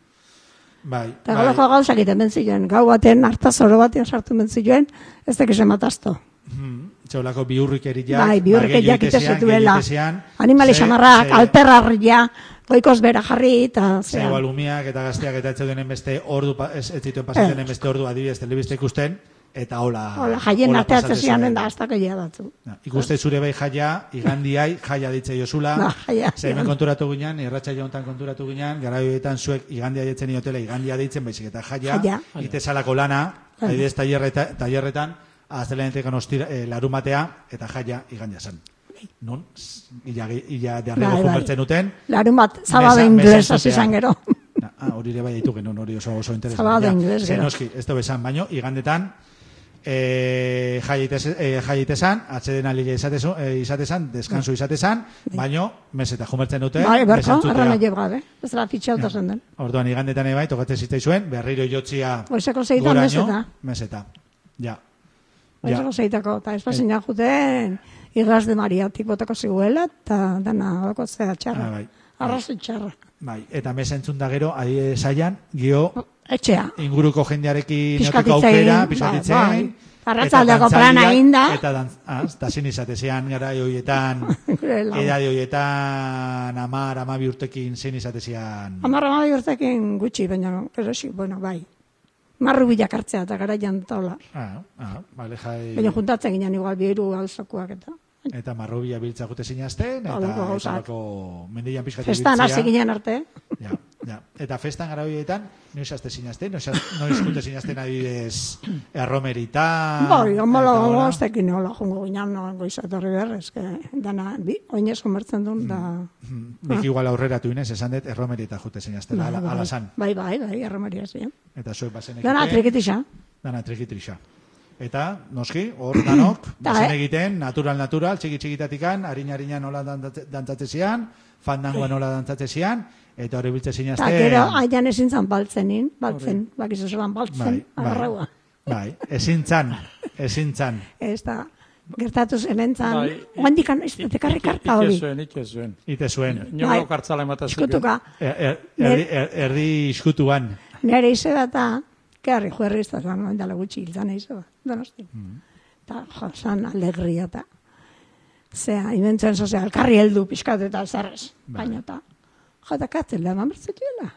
[SPEAKER 1] bai,
[SPEAKER 5] Eta golako gauzak egiten bentzioen, gau baten hartazoro batean sartu bentzioen, ez dakiz ematazto.
[SPEAKER 1] Hmm, Txolako biurrikeriak...
[SPEAKER 5] bai, biurrikeriak
[SPEAKER 1] gehiegitezian,
[SPEAKER 5] itesetuela.
[SPEAKER 1] gehiegitezian,
[SPEAKER 5] Animale
[SPEAKER 1] ze-
[SPEAKER 5] xamarrak,
[SPEAKER 1] ze-
[SPEAKER 5] alperrarria, goikoz bera jarri, eta
[SPEAKER 1] Ze
[SPEAKER 5] zera.
[SPEAKER 1] alumiak eta gazteak eta etxe denen beste ordu, pa- ez, ez zituen pasatzen beste ordu adibidez telebizte ikusten, eta hola...
[SPEAKER 5] Hola, jaien
[SPEAKER 1] pasatzen
[SPEAKER 5] arteatzen zian
[SPEAKER 1] zuen.
[SPEAKER 5] da, hasta koia batzu.
[SPEAKER 1] Ja, Ikuste zure bai jaia, igandiai, jaia ditze jozula.
[SPEAKER 5] [laughs] Ba, jaia.
[SPEAKER 1] Ze hemen konturatu ginen, irratxa jontan konturatu ginen, gara joetan zuek igandia jetzen iotela, igandia ditzen, baizik eta jaia,
[SPEAKER 5] Jaia. Bai.
[SPEAKER 1] itesalako lana, adibidez taierreta, taierretan, aztelenetekan ostira, eh, larumatea, eta jaia igandia zen. Non, ila, ila de
[SPEAKER 5] Bai,
[SPEAKER 1] arrego
[SPEAKER 5] bai.
[SPEAKER 1] konbertzen duten,
[SPEAKER 5] Larun bat,
[SPEAKER 1] Mesa-
[SPEAKER 5] zabada
[SPEAKER 1] mesa
[SPEAKER 5] inglesaz
[SPEAKER 1] entzutea.
[SPEAKER 5] izan gero.
[SPEAKER 1] Na, ah, hori ere bai ditu genuen, hori oso oso interesan.
[SPEAKER 5] Zabada ingeles,
[SPEAKER 1] Zer
[SPEAKER 5] gero.
[SPEAKER 1] noski, ez da bezan, baino, igandetan, e, jaitezan, atxeden alile izatezu, e, izatezan, deskansu izatezan, baino, meseta jumertzen dute,
[SPEAKER 5] Bai, berko,
[SPEAKER 1] mesentzutea.
[SPEAKER 5] arra nahi gabe. Ez da fitxa alta zen den.
[SPEAKER 1] Orduan, igandetan ebai, tokatzen zitzaizuen, berriro jotzia
[SPEAKER 5] Goizeko zeitan meseta.
[SPEAKER 1] meseta. Ja. Ja. Eh.
[SPEAKER 5] Baizako zeitako, eta ez pasina juten, igaz de mariatik botako ziguela, eta dana, bako zea
[SPEAKER 1] Ah,
[SPEAKER 5] txarra.
[SPEAKER 1] bai.
[SPEAKER 5] Arrazu txarra.
[SPEAKER 1] Bai, eta mesentzun da gero, ari saian, gio
[SPEAKER 5] Bai. Etxea.
[SPEAKER 1] inguruko jendearekin
[SPEAKER 5] Pixkat
[SPEAKER 1] notiko
[SPEAKER 5] hitz egin,
[SPEAKER 1] aukera,
[SPEAKER 5] bai,
[SPEAKER 1] pixkatitzen.
[SPEAKER 5] bai. Arratsaldeko plana eginda.
[SPEAKER 1] Eta dantz, ah, eta zin izatezean gara
[SPEAKER 5] [laughs]
[SPEAKER 1] hoietan,
[SPEAKER 5] Gure lagun.
[SPEAKER 1] edade hoietan, amar, amabi urtekin zin izatezean.
[SPEAKER 5] Amarra bai urtekin gutxi, baina erosi, bueno, bai. Marru bilak hartzea eta gara jantaula.
[SPEAKER 1] Ah, ah, bale, jai,
[SPEAKER 5] Baina juntatzen ginen igual biru gauzakoak eta.
[SPEAKER 1] eta marrobia biltza gute zinazten, eta,
[SPEAKER 5] Holako
[SPEAKER 1] eta
[SPEAKER 5] gauzak.
[SPEAKER 1] lako mendian pixkatik
[SPEAKER 5] Festan
[SPEAKER 1] biltzea.
[SPEAKER 5] hasi ginen arte.
[SPEAKER 1] Ja, ja. Eta festan gara horietan, noiz azte zinazten, noiz, az- noiz jute zinazten adibidez erromerita.
[SPEAKER 5] bai, amala
[SPEAKER 1] Ah, eta hola.
[SPEAKER 5] goztekin hola jungo ginen no, goizatorri berrez, que dana, bi, oinez komertzen duen
[SPEAKER 1] Mm.
[SPEAKER 5] da...
[SPEAKER 1] Nik igual aurreratu inez, esan dut erromerita jute zinaztela, ala, ala san.
[SPEAKER 5] Ah. Bai, bai, bai, erromeria ziren.
[SPEAKER 1] Eta zuek bazen egiten.
[SPEAKER 5] Dana, trikitixa.
[SPEAKER 1] Dana trikitrixa. Eta, noski, hor
[SPEAKER 5] [clears throat]
[SPEAKER 1] danok,
[SPEAKER 5] Ta,
[SPEAKER 1] bazen
[SPEAKER 5] eh?
[SPEAKER 1] egiten, natural, natural, txiki txikitatikan, harin harina nola dantzate- dantzatezian, fandangoa nola dantzatezian, eta hori biltze
[SPEAKER 5] Eta
[SPEAKER 1] zinazten.
[SPEAKER 5] gero, aian ezin zan baltzenin, baltzen, bakizu zelan baltzen, agarraua.
[SPEAKER 1] Bai, ezin txan, ezin txan.
[SPEAKER 5] Ez da, gertatuz hemen zan,
[SPEAKER 7] Bai.
[SPEAKER 5] oandikan, ez dut ekarri karta hori.
[SPEAKER 7] Ikezuen, ikezuen.
[SPEAKER 1] Ite zuen.
[SPEAKER 7] Nio
[SPEAKER 5] Bai.
[SPEAKER 7] gau kartzala emataz.
[SPEAKER 5] Eskutuka,
[SPEAKER 1] Er, er, erdi, er, erdi iskutuan.
[SPEAKER 5] Nere izeba eta, kerri juerri ez da, zan, oindala gutxi hiltan izeba, donosti. Eta, jo, zan alegria eta, zea, inentzen zozea, alkarri heldu pixkat eta zerrez, baina eta, jata katzela, eman bertzetuela.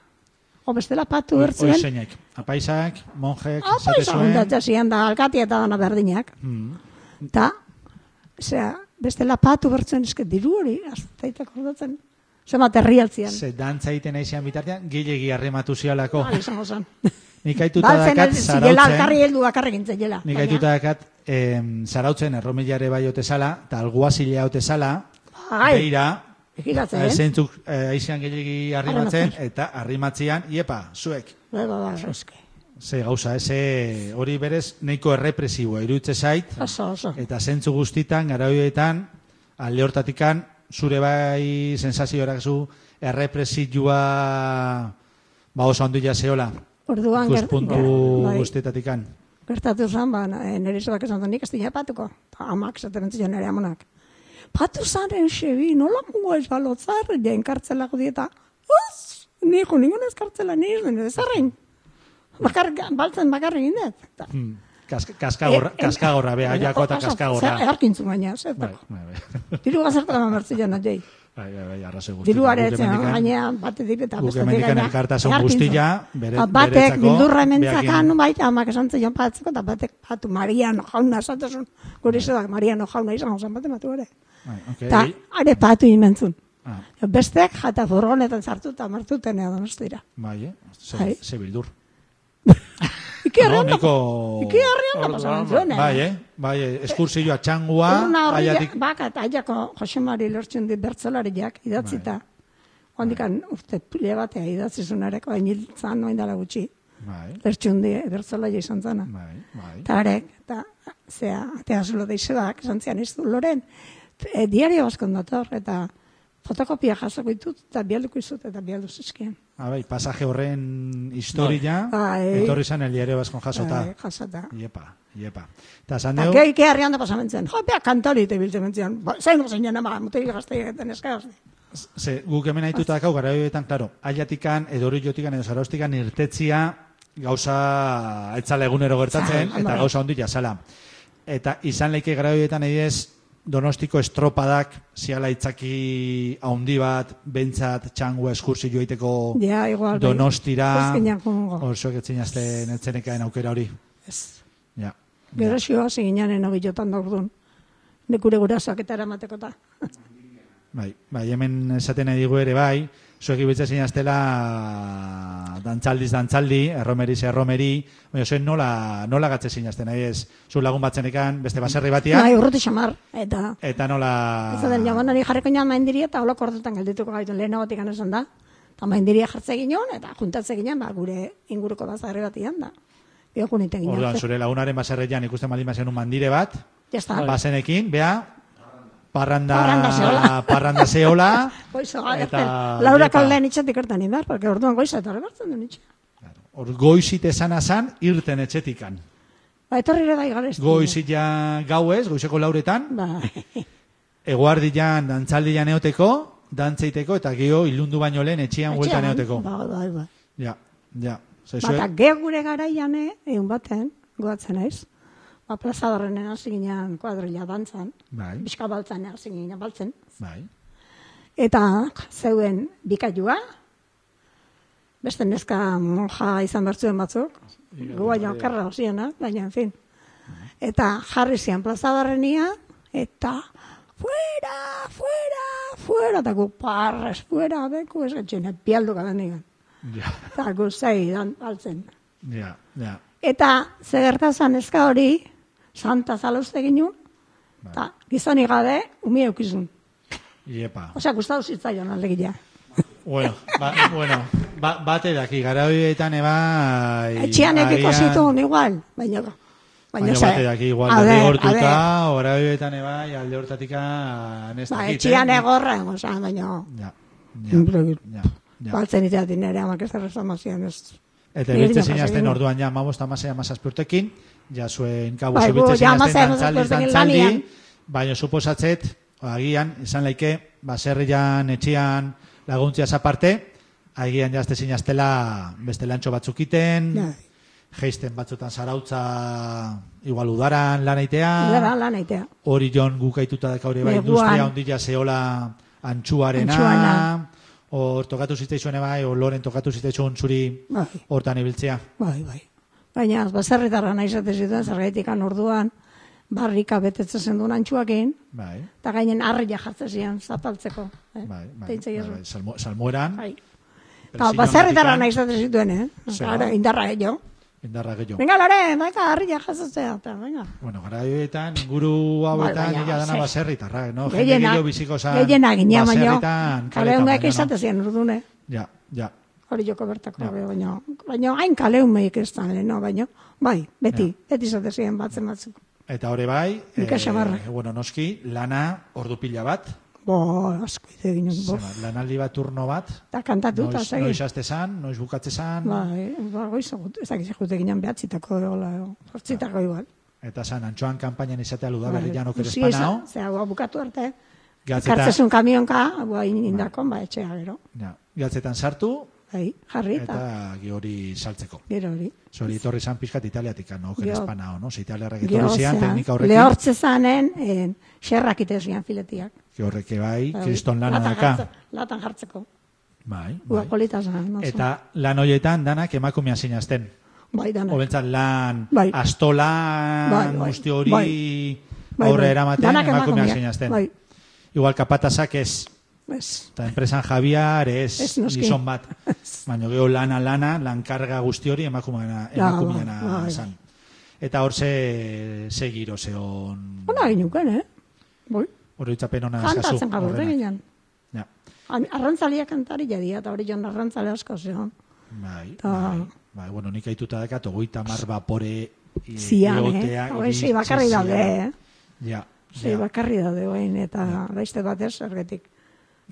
[SPEAKER 5] O bestela patu
[SPEAKER 1] Hoi
[SPEAKER 5] bertzen.
[SPEAKER 1] zeinak, apaisak, monjek,
[SPEAKER 5] Apa
[SPEAKER 1] zate
[SPEAKER 5] izan da,
[SPEAKER 1] zuen.
[SPEAKER 5] eta zian da, alkati eta dana berdinak.
[SPEAKER 1] Hmm.
[SPEAKER 5] Eta, zera, bestela patu bertzen eske diru hori, aztaitak ordatzen. Zemat herrialtzian.
[SPEAKER 1] Ze dantza egiten aizian bitartean, gilegi harrematu zialako.
[SPEAKER 5] Hala izango Bai, zen. Ba,
[SPEAKER 1] Nik aituta
[SPEAKER 5] Baltzen ez
[SPEAKER 1] dakat
[SPEAKER 5] zirela, alkarri
[SPEAKER 1] zarautzen,
[SPEAKER 5] heldu bakarrik intzen jela.
[SPEAKER 1] nik
[SPEAKER 5] Baina,
[SPEAKER 1] aituta dakat em, zarautzen erromilare bai otezala, eta alguazilea otezala,
[SPEAKER 5] Bai.
[SPEAKER 1] beira,
[SPEAKER 5] begiratzen, eh?
[SPEAKER 1] zeintzuk eh, aizian gilegi harrimatzen, eta harrimatzean, iepa, zuek.
[SPEAKER 5] Bai, bai, bai, eske.
[SPEAKER 1] Ze gauza, ez ze hori berez nahiko errepresiboa irutze zait,
[SPEAKER 5] Oso, oso.
[SPEAKER 1] eta zentzu guztitan, garaioetan, alde hortatikan, zure bai sensazio zu errepresioa ba oso handia zeola.
[SPEAKER 5] Orduan, ger-
[SPEAKER 1] Ikuspuntu
[SPEAKER 5] ger- bai.
[SPEAKER 1] guztietatikan.
[SPEAKER 5] Gertatu zen, ba, na- eh, nire zebak esan zuen, nik ez dira patuko. Ta amak esaten zion nire amonak. Patu zaren xebi, nola mungo ez balotzar, jain kartzela gudieta. Uz, niko, ningun ez kartzela, nire zen, ez zarrein. Bakar, baltzen bakarri gindet. Ta-
[SPEAKER 1] Hmm. Kask- Kaskagorra,
[SPEAKER 5] Eh, eh,
[SPEAKER 1] kaskagorra, beha,
[SPEAKER 5] baina,
[SPEAKER 1] jako eta
[SPEAKER 5] oso, zer-
[SPEAKER 1] kaskagorra.
[SPEAKER 5] Earkintzu baina,
[SPEAKER 1] Bai,
[SPEAKER 5] zertako.
[SPEAKER 1] bai, bai. [laughs]
[SPEAKER 5] Diru gazertan eman bertzen jai.
[SPEAKER 1] Bai, bai, bai, arrazoi guztietan.
[SPEAKER 5] Diru
[SPEAKER 1] Guk
[SPEAKER 5] aretzen,
[SPEAKER 1] hemendikan-
[SPEAKER 5] gainea, batetik eta
[SPEAKER 1] guk
[SPEAKER 5] bestetik
[SPEAKER 1] hemendikan
[SPEAKER 5] gainea,
[SPEAKER 1] elkartasun
[SPEAKER 5] earkintzu.
[SPEAKER 1] guztia, bere-
[SPEAKER 5] Ta Batek
[SPEAKER 1] beretzako,
[SPEAKER 5] bildurra
[SPEAKER 1] behakin-
[SPEAKER 5] ementzaka, nubait, amak esan zion patzeko, eta batek patu Mariano jauna esatezun. Gure izan, Mariano jauna izan, zan bate matu ere.
[SPEAKER 1] Bai, ok.
[SPEAKER 5] Eta are patu imentzun.
[SPEAKER 1] Ah,
[SPEAKER 5] Besteak jata furgonetan sartu eta martuten edo nostira.
[SPEAKER 1] bai, eh? Ze-
[SPEAKER 5] Bai.
[SPEAKER 1] Ze bildur.
[SPEAKER 5] Iki
[SPEAKER 1] No,
[SPEAKER 5] horrean da
[SPEAKER 1] niko...
[SPEAKER 5] Iki horrean da pasan zuen, eh?
[SPEAKER 1] Bai, eh? Ba, Bai, eh, eskursioa txangua,
[SPEAKER 5] Urna horri, Bai.
[SPEAKER 1] aiatik-
[SPEAKER 5] bakat, aiako Jose Mari lortzen dit bertzolariak idatzita.
[SPEAKER 1] Bai.
[SPEAKER 5] Hondikan urte pile batea idatzi zunareko, hain hiltzan noin dala gutxi.
[SPEAKER 1] Bai,
[SPEAKER 5] Lertxun di, bertzolaria izan zana.
[SPEAKER 1] bai, bai.
[SPEAKER 5] Eta arek, eta zea, atea zulo deizedak, zantzian ez du loren, e, diario askon dator, eta fotokopia jasako ditut, eta bialduko izut, eta bialdu zizkien.
[SPEAKER 1] Ah, bai, pasaje horren historia,
[SPEAKER 5] Bai.
[SPEAKER 1] etorri zan el diario baskon jasota.
[SPEAKER 5] Eh, Jasota.
[SPEAKER 1] Iepa, iepa. Eta zan
[SPEAKER 5] Eta
[SPEAKER 1] deu,
[SPEAKER 5] gehi, gehi harrian da pasamentzen. Jo, beha kantari eta ibiltzen mentzian. Ba, Zaino zeinen ama, mutegi gazte egiten eskagazte.
[SPEAKER 1] Oh. ze, guk hemen haituta dakau, gara joetan, klaro, aiatikan, edori jotikan, edo zaraustikan, irtetzia, gauza, etzala egunero gertatzen,
[SPEAKER 5] Zala,
[SPEAKER 1] eta
[SPEAKER 5] bai.
[SPEAKER 1] gauza ondi jazala. Eta izan leike gara joetan, edez, donostiko estropadak, ziala itzaki haundi bat, bentsat, txangua eskursi joiteko
[SPEAKER 5] Ja, igual. bai.
[SPEAKER 1] donostira,
[SPEAKER 5] Ezkinak jungo.
[SPEAKER 1] orsoak etzin azten etzenekaen aukera hori.
[SPEAKER 5] Ez.
[SPEAKER 1] Ja.
[SPEAKER 5] Gero xioa ziginanen hori jotan da orduan. Nekure gurasoak eta eramateko da.
[SPEAKER 1] Bai, bai, hemen esaten nahi digu ere bai, zuek ibiltzen zinaztela dantzaldiz dantzaldi, erromeriz erromeri, baina zuen nola, nola gatze zinazten nahi ez, zu lagun batzenekan, beste baserri
[SPEAKER 5] Bai,
[SPEAKER 1] batia,
[SPEAKER 5] urruti xamar. Eta...
[SPEAKER 1] eta nola...
[SPEAKER 5] Ez den, jaman hori jarriko nian maindiria eta holako ordutan geldituko gaitun lehenagotik esan da. Eta maindiria jartze ginen eta juntatze ginen, ba, gure inguruko bazarri bat ian da. Gero junite ginen.
[SPEAKER 1] Orduan, zure lagunaren baserrean ikusten baldin bazen un mandire bat,
[SPEAKER 5] Ja está.
[SPEAKER 1] Bai. bazenekin, bea, parranda,
[SPEAKER 5] Bai. Parranda zeola.
[SPEAKER 1] parranda zeola,
[SPEAKER 5] [laughs] Goizo,
[SPEAKER 1] eta...
[SPEAKER 5] eta... Laura
[SPEAKER 1] jepa.
[SPEAKER 5] kaldean itxatik ertan indar, porque orduan goiza eta rebartzen duen itxa.
[SPEAKER 1] Hor goizit esan azan, irten etxetikan.
[SPEAKER 5] Ba, etorri ere bai garezti.
[SPEAKER 1] Goizit ja gauez, goizeko lauretan,
[SPEAKER 5] Ba,
[SPEAKER 1] [laughs] eguardian dantzaldian eoteko, dantzeiteko eta gio ilundu baino lehen etxean
[SPEAKER 5] etxean,
[SPEAKER 1] bueltan eoteko.
[SPEAKER 5] Ba, ba, ba.
[SPEAKER 1] Ja, ja. Zaizue,
[SPEAKER 5] Bata, Ba, ge gure garaian, eh, egun baten, goatzen naiz. Ba, plaza barrenen hasi ginen kuadrilla dantzan.
[SPEAKER 1] Bai.
[SPEAKER 5] Bizka baltzan hasi ginen baltzen.
[SPEAKER 1] bai.
[SPEAKER 5] Eta zeuden bikailua, beste neska monja izan bertzuen batzuk, gua jokarra osiena, baina, en fin. Eta jarri zian plazadarrenia, eta fuera, fuera, fuera, eta gu parres, fuera, beku, ez gatxene, pialdu gaben egan.
[SPEAKER 1] Ja,
[SPEAKER 5] Eta gu zei, dan, altzen.
[SPEAKER 1] ja, ja.
[SPEAKER 5] Eta ze gertazan ezka hori, santa zaluzte ginen, eta gizoni gabe, umi eukizun.
[SPEAKER 1] Iepa.
[SPEAKER 5] Osea, gustatu zitzaion alegia.
[SPEAKER 1] Bueno, ba, bueno, ba, bate daki, gara horietan eba...
[SPEAKER 5] Etxean ekiko zituen igual, baina...
[SPEAKER 1] Bai, Baina
[SPEAKER 5] ze-
[SPEAKER 1] bate daki, igual,
[SPEAKER 5] A
[SPEAKER 1] derri
[SPEAKER 5] ber,
[SPEAKER 1] hortuta,
[SPEAKER 5] a
[SPEAKER 1] gara horietan eba, alde hortatika
[SPEAKER 5] ber, Ba,
[SPEAKER 1] nestakit,
[SPEAKER 5] etxean
[SPEAKER 1] eh?
[SPEAKER 5] egorra, oza, baina...
[SPEAKER 1] Ja, ja,
[SPEAKER 5] Inpro-
[SPEAKER 1] ja, ja.
[SPEAKER 5] Baltzen iteatin ere, amak ez errezamazioan ez.
[SPEAKER 1] Eta
[SPEAKER 5] Niri
[SPEAKER 1] ibiltzen
[SPEAKER 5] pasa
[SPEAKER 1] zinazten
[SPEAKER 5] zaigu.
[SPEAKER 1] orduan ja, amabost, amasei, amazazpurtekin, ja zuen kabuz
[SPEAKER 5] Bai, gu,
[SPEAKER 1] ibiltzen
[SPEAKER 5] ja,
[SPEAKER 1] zinazten
[SPEAKER 5] hamasei,
[SPEAKER 1] dantzaldiz
[SPEAKER 5] hamazazpi urtekin
[SPEAKER 1] dantzaldi,
[SPEAKER 5] lanean.
[SPEAKER 1] baina suposatzet, agian, izan laike, ba, baserrian, etxean, laguntziaz aparte, agian jazte zinaztela beste lantxo batzukiten,
[SPEAKER 5] Bai.
[SPEAKER 1] geisten batzutan zarautza, igual udaran lan
[SPEAKER 5] Gara,
[SPEAKER 1] eitea,
[SPEAKER 5] lan aitea.
[SPEAKER 1] hori jon gukaituta daka hori bai,
[SPEAKER 5] Neguan.
[SPEAKER 1] industria ondila zeola antxuarena,
[SPEAKER 5] Antxuana.
[SPEAKER 1] hor tokatu zitzaizuen bai, hor loren tokatu zitzaizun zuri
[SPEAKER 5] Bai.
[SPEAKER 1] hortan ibiltzea.
[SPEAKER 5] Bai, bai. Baina, bazerritarra nahi zate zituen, zergaitik orduan, barrika betetzen zen duen antxuakin,
[SPEAKER 1] Bai,
[SPEAKER 5] eta gainen harria jartzen zian, zataltzeko. Eh?
[SPEAKER 1] bai, bai,
[SPEAKER 5] Teitze
[SPEAKER 1] bai,
[SPEAKER 5] gezu.
[SPEAKER 1] bai, salmo, salmoeran,
[SPEAKER 5] Bai. Eta
[SPEAKER 1] presioan
[SPEAKER 5] bazerritarra
[SPEAKER 1] batikan,
[SPEAKER 5] nahi zate zituen, eh?
[SPEAKER 1] Zera.
[SPEAKER 5] Ara, indarra jo.
[SPEAKER 1] Indarra gehiago.
[SPEAKER 5] Venga, lore, baita harria jasotzea, eta, venga.
[SPEAKER 1] Bueno, gara joetan, inguru hauetan,
[SPEAKER 5] Bai, baina,
[SPEAKER 1] ia dana
[SPEAKER 5] ze-
[SPEAKER 1] bazerritarra, no? Jende
[SPEAKER 5] Gehiena,
[SPEAKER 1] gehiago biziko zan,
[SPEAKER 5] gehiena gina, baina,
[SPEAKER 1] bazerritan,
[SPEAKER 5] kale
[SPEAKER 1] kaletan,
[SPEAKER 5] hundak
[SPEAKER 1] baino, no?
[SPEAKER 5] izate zian urdune.
[SPEAKER 1] Ja, ja.
[SPEAKER 5] eh? Hori joko bertako,
[SPEAKER 1] Ja.
[SPEAKER 5] ja. baina, baina hain kale humeik ez da, leheno, baina, bai, beti, beti izate zian batzen batzuk.
[SPEAKER 1] Eta hori bai,
[SPEAKER 5] Mika Samarra.
[SPEAKER 1] bueno, noski, lana ordu pila bat,
[SPEAKER 5] Bo, asko ite ginen, bo.
[SPEAKER 1] zena, lanaldi bat turno bat,
[SPEAKER 5] Eta kantatu, eta
[SPEAKER 1] noiz, noiz azte zan, noiz bukatze zan,
[SPEAKER 5] Bai, ba, goiz, egut- ez dakit jute ginen behatzitako, hola, hortzitako igual.
[SPEAKER 1] eta zan, antxoan kampainan izatea luda
[SPEAKER 5] Bai,
[SPEAKER 1] berri janok
[SPEAKER 5] guzia
[SPEAKER 1] erespanao,
[SPEAKER 5] izan, Zera, ba, bukatu arte,
[SPEAKER 1] gatzetan,
[SPEAKER 5] kartzezun kamionka, ba, indakon, ba, etxea gero.
[SPEAKER 1] ja, gatzetan sartu,
[SPEAKER 5] Bai, jarri eta,
[SPEAKER 1] eta hori saltzeko.
[SPEAKER 5] gero hori.
[SPEAKER 1] Zori etorri zan pixkat italiatik, no,
[SPEAKER 5] Geo-
[SPEAKER 1] erespanao, no? Ze italiarrak
[SPEAKER 5] Gero,
[SPEAKER 1] etorri zian,
[SPEAKER 5] zera,
[SPEAKER 1] teknika horrekin,
[SPEAKER 5] Lehortze zanen, en, eh, xerrak itezgian filetiak.
[SPEAKER 1] que horreke bai,
[SPEAKER 5] Bai,
[SPEAKER 1] kriston lana
[SPEAKER 5] latan
[SPEAKER 1] daka.
[SPEAKER 5] jartze- Latan jartzeko.
[SPEAKER 1] Bai,
[SPEAKER 5] Ua,
[SPEAKER 1] bai.
[SPEAKER 5] polita zan. oso.
[SPEAKER 1] Eta lan hoietan danak emakumean sinazten.
[SPEAKER 5] bai, dana.
[SPEAKER 1] Hobentzat lan,
[SPEAKER 5] Bai.
[SPEAKER 1] astolan,
[SPEAKER 5] Bai, bai,
[SPEAKER 1] guzti hori
[SPEAKER 5] bai. Bai,
[SPEAKER 1] horre
[SPEAKER 5] bai.
[SPEAKER 1] eramaten,
[SPEAKER 5] Danak
[SPEAKER 1] emakumeak
[SPEAKER 5] emakumeak,
[SPEAKER 1] sinazten.
[SPEAKER 5] Bai,
[SPEAKER 1] Igual kapatazak ez,
[SPEAKER 5] ez.
[SPEAKER 1] eta enpresan jabiar ez,
[SPEAKER 5] Ez noski.
[SPEAKER 1] gizon
[SPEAKER 5] [laughs]
[SPEAKER 1] bat. Baina gero lana, lana, lan karga guzti hori emakumeana,
[SPEAKER 5] Ja,
[SPEAKER 1] emakumeana
[SPEAKER 5] bai, bai.
[SPEAKER 1] zan. Eta hor ze, ze giro zeon...
[SPEAKER 5] Ona ginuken, eh? Boi,
[SPEAKER 1] Hori itzapen ona eskazu,
[SPEAKER 5] kantatzen gaur,
[SPEAKER 1] Ah, horrena.
[SPEAKER 5] ginen.
[SPEAKER 1] Ja,
[SPEAKER 5] Arrantzalia kantari jadia, eta hori joan arrantzale asko zeon.
[SPEAKER 1] bai,
[SPEAKER 5] Ta-
[SPEAKER 1] bai, bai, bueno, nik aituta dakat, ogoita mar vapore i-
[SPEAKER 5] Zian, eh?
[SPEAKER 1] iotea,
[SPEAKER 5] Hori
[SPEAKER 1] iritsi
[SPEAKER 5] zei bakarri
[SPEAKER 1] zian.
[SPEAKER 5] daude, eh?
[SPEAKER 1] Ja,
[SPEAKER 5] Zei
[SPEAKER 1] ja.
[SPEAKER 5] bakarri daude, bain, eta beste batez, ergetik.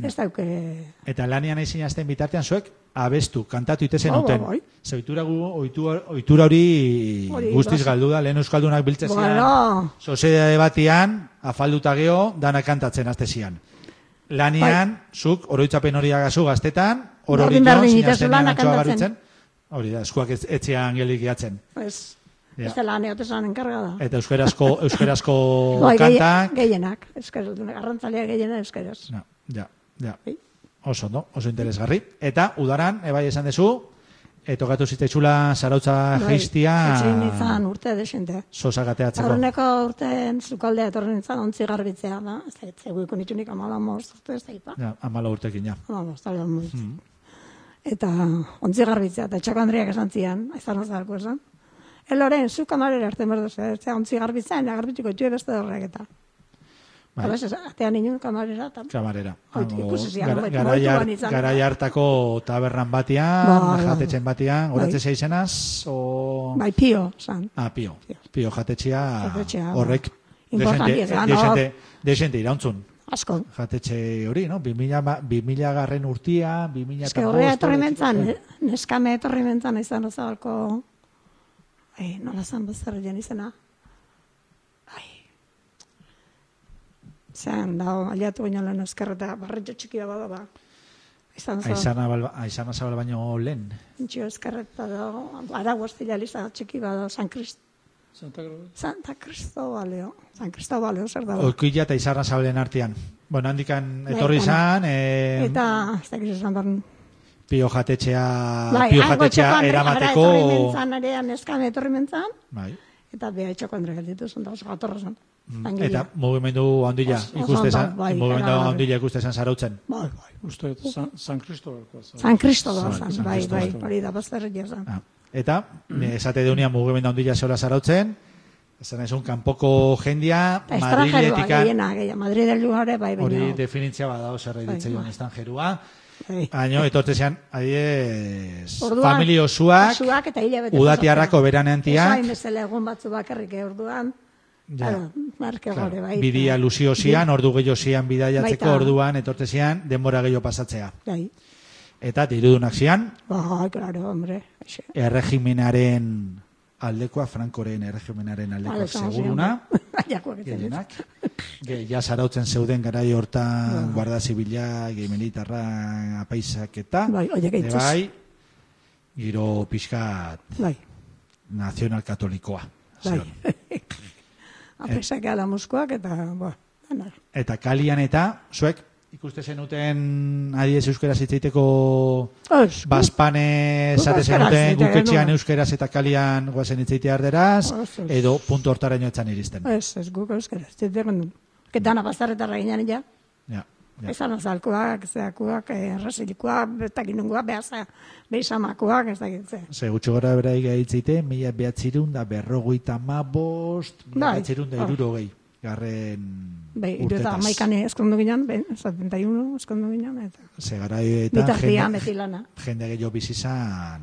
[SPEAKER 5] Ez dauke...
[SPEAKER 1] Eta lanean ezin azten bitartean zuek abestu, kantatu itezen
[SPEAKER 5] Bai,
[SPEAKER 1] duten.
[SPEAKER 5] bai, bai.
[SPEAKER 1] Ze ohitura gu, ohitua- ohitura hori
[SPEAKER 5] Hori,
[SPEAKER 1] guztiz
[SPEAKER 5] bai.
[SPEAKER 1] galdu da, lehen euskaldunak biltzen
[SPEAKER 5] Bueno.
[SPEAKER 1] Sozedade batian, afalduta geho, dana kantatzen azte zian. Lanean, zuk, oroitzapen hori agazu gaztetan, hor hori
[SPEAKER 5] Bai. Berdin,
[SPEAKER 1] joan,
[SPEAKER 5] berdin,
[SPEAKER 1] zinazten
[SPEAKER 5] itazu lana
[SPEAKER 1] antxoa
[SPEAKER 5] kantatzen.
[SPEAKER 1] garbitzen. Hori da, eskuak ez, etxean gelik gehatzen.
[SPEAKER 5] Ez,
[SPEAKER 1] Ja.
[SPEAKER 5] ez dela neotezan enkarga da.
[SPEAKER 1] Eta euskarazko, euskarazko
[SPEAKER 5] Bai, gehi-
[SPEAKER 1] kantak.
[SPEAKER 5] Gehienak, euskaraz, arrantzalea gehiena euskaraz.
[SPEAKER 1] Ja, ja, ja.
[SPEAKER 5] Bai.
[SPEAKER 1] Oso, ondo, Oso interesgarri. Eta, udaran, ebai esan dezu, etokatu zitzaizula zarautza
[SPEAKER 5] Bai,
[SPEAKER 1] jaistia
[SPEAKER 5] Etxein izan urte desente.
[SPEAKER 1] sosagateatzeko.
[SPEAKER 5] Aurreneko urteen zukaldea etorri nintzen ontzi garbitzean, da? Ez da, zegoiko nitunik amala moz, urte ez ba? da, ipa.
[SPEAKER 1] Ja, Mm. amala urtekin, ja.
[SPEAKER 5] Ba, bostalde moz. Eta ontzi garbitzea, eta txako Andriak esan zian, ezan ozalko esan. Eloren, zu kamarera arte merdu zer, ez da, ontzi garbitzea, ena garbituko txue beste horrek eta.
[SPEAKER 1] Bai.
[SPEAKER 5] Bai. atean inun kamarera, eta
[SPEAKER 1] Kamarera.
[SPEAKER 5] Hoi,
[SPEAKER 1] Hango
[SPEAKER 5] ikusi zian,
[SPEAKER 1] gara-
[SPEAKER 5] hobet-
[SPEAKER 1] garai
[SPEAKER 5] hobetuan
[SPEAKER 1] har-
[SPEAKER 5] izan.
[SPEAKER 1] garai hartako tabernan batean,
[SPEAKER 5] Ba, ba, ba.
[SPEAKER 1] jatetxen batean, goratzen
[SPEAKER 5] Bai.
[SPEAKER 1] zei izenaz, o...
[SPEAKER 5] bai pio, zan.
[SPEAKER 1] Ah, pio.
[SPEAKER 5] Pio.
[SPEAKER 1] Pio jatetxea
[SPEAKER 5] Jatetxea, ba.
[SPEAKER 1] horrek
[SPEAKER 5] Importante
[SPEAKER 1] desente-
[SPEAKER 5] izan,
[SPEAKER 1] desente- desente irauntzun.
[SPEAKER 5] Asko.
[SPEAKER 1] jatetxe hori, no? 2000, ma- 2000 garren urtia, 2000
[SPEAKER 5] Ez que horre etorri mentzan, eh, neskame etorri mentzan izan ozabalko, ai, nola zan bezarrian izena. Ai. Zan, da, aliatu baino lehen eskerreta, barretxo txiki da bada, ba. Izan ozabalko,
[SPEAKER 1] Aizana, Balba- Aizana Zabal baino lehen.
[SPEAKER 5] intxio eskerreta da, ara guaztila liza txiki bada, San Crist, Santa Cristobaleo, San Cristobaleo, zer da.
[SPEAKER 1] Oikuila eta Aizana Zabalen artean. Bueno, handikan etorri
[SPEAKER 5] Bai,
[SPEAKER 1] zan, eh,
[SPEAKER 5] Eta, ez dakiz esan barren.
[SPEAKER 1] pio jatetxea,
[SPEAKER 5] Bai,
[SPEAKER 1] Ah, pio
[SPEAKER 5] hango txoko
[SPEAKER 1] jatetxea
[SPEAKER 5] Andre-
[SPEAKER 1] eramateko...
[SPEAKER 5] Ara etorri mentzan, ere neskame etorri mentzan.
[SPEAKER 1] Bai.
[SPEAKER 5] Eta beha etxoko andre galditu zen, da oso gatorra zen.
[SPEAKER 1] Mm. Eta mugimendu handila
[SPEAKER 5] Oso- oso
[SPEAKER 1] ikustezan,
[SPEAKER 5] ondo, bai,
[SPEAKER 1] mugimendu
[SPEAKER 5] ikaragarri.
[SPEAKER 1] handila ikustezan zarautzen.
[SPEAKER 5] Bai, bai.
[SPEAKER 7] Uste, dut San, San Cristobal.
[SPEAKER 5] San Kristo da
[SPEAKER 1] San- San
[SPEAKER 5] zen, bai, bai,
[SPEAKER 1] Cristobal.
[SPEAKER 5] hori da bazterri zen.
[SPEAKER 1] Ah, Eta, eh, esate deunia mugimendu handila zeola zarautzen, esan ezun kanpoko jendia,
[SPEAKER 5] Eta estrajerua,
[SPEAKER 1] Madriletikan,
[SPEAKER 5] gehiena, gehiena, Madriden luare, bai,
[SPEAKER 1] Hori
[SPEAKER 5] baina,
[SPEAKER 1] definitzia bada oso erra
[SPEAKER 5] Bai,
[SPEAKER 1] iritze joan
[SPEAKER 5] bai.
[SPEAKER 1] estan jerua.
[SPEAKER 5] bai.
[SPEAKER 1] Haino, etorte zean, adiez,
[SPEAKER 5] Orduan,
[SPEAKER 1] familia osoak,
[SPEAKER 5] osoak eta hilabete
[SPEAKER 1] udatiarrako
[SPEAKER 5] pasatzen. Oso hain
[SPEAKER 1] beraneantiak,
[SPEAKER 5] bezala egun batzu bakarrik eh, orduan,
[SPEAKER 1] Ja.
[SPEAKER 5] claro, marke
[SPEAKER 1] claro,
[SPEAKER 5] gore, bai.
[SPEAKER 1] bidia
[SPEAKER 5] eta-
[SPEAKER 1] luzio zian, ordu gehiago zian bidaiatzeko
[SPEAKER 5] Baita.
[SPEAKER 1] orduan, etorte zean, denbora gehiago pasatzea.
[SPEAKER 5] Bai,
[SPEAKER 1] Eta dirudunak zian,
[SPEAKER 5] bai, claro, hombre, aixe.
[SPEAKER 1] erregimenaren aldekoa, Frankoren erregimenaren aldekoa
[SPEAKER 5] Alezan zion,
[SPEAKER 1] seguruna,
[SPEAKER 5] [laughs] bai. Jakoak etzen ditu.
[SPEAKER 1] gehienak, Ge- ja zarautzen zeuden garai hortan, guarda zibila, gehi militarra, apaisak eta,
[SPEAKER 5] Bai, horiek
[SPEAKER 1] ere
[SPEAKER 5] eitzaz.
[SPEAKER 1] bai, giro pixkat
[SPEAKER 5] Bai,
[SPEAKER 1] nazional katolikoa.
[SPEAKER 5] bai.
[SPEAKER 1] zion. Eh.
[SPEAKER 5] Apesak ala muskoak eta, ba, dana.
[SPEAKER 1] Eta kalian eta, zuek, Ikuste zenuten, ari ez euskera zitzeiteko
[SPEAKER 5] Ez,
[SPEAKER 1] bazpane
[SPEAKER 5] Guk
[SPEAKER 1] esate
[SPEAKER 5] euskaraz
[SPEAKER 1] zenuten,
[SPEAKER 5] hitz
[SPEAKER 1] guk
[SPEAKER 5] egiten
[SPEAKER 1] etxean
[SPEAKER 5] genuen. Oh,
[SPEAKER 1] euskeraz eta kalian guazen itzeite arderaz,
[SPEAKER 5] Ez, ez.
[SPEAKER 1] edo puntu hortaraino etzan iristen.
[SPEAKER 5] Ez, ez guk euskaraz, ez degen du. Ketana bazarretarra ginen, ja.
[SPEAKER 1] Ja, ja.
[SPEAKER 5] Ezan azalkoak, zeakoak, errasilikoak, eh, ez dakit nungoak, behaza, behizamakoak, ez dakit ze.
[SPEAKER 1] Ze gutxi gora beraik gaitzeite, mila behatzirun da berrogeita mabost, mila
[SPEAKER 5] Bai.
[SPEAKER 1] behatzirun da
[SPEAKER 5] Ah. Bai,
[SPEAKER 1] irurogei. Garren
[SPEAKER 5] Be, iru eta
[SPEAKER 1] urtetaz.
[SPEAKER 5] maikane eskondu ginen, be, 71 eskondu ginen, eta
[SPEAKER 1] Ze garaietan
[SPEAKER 5] bitartia beti lana.
[SPEAKER 1] jende gehiago bizizan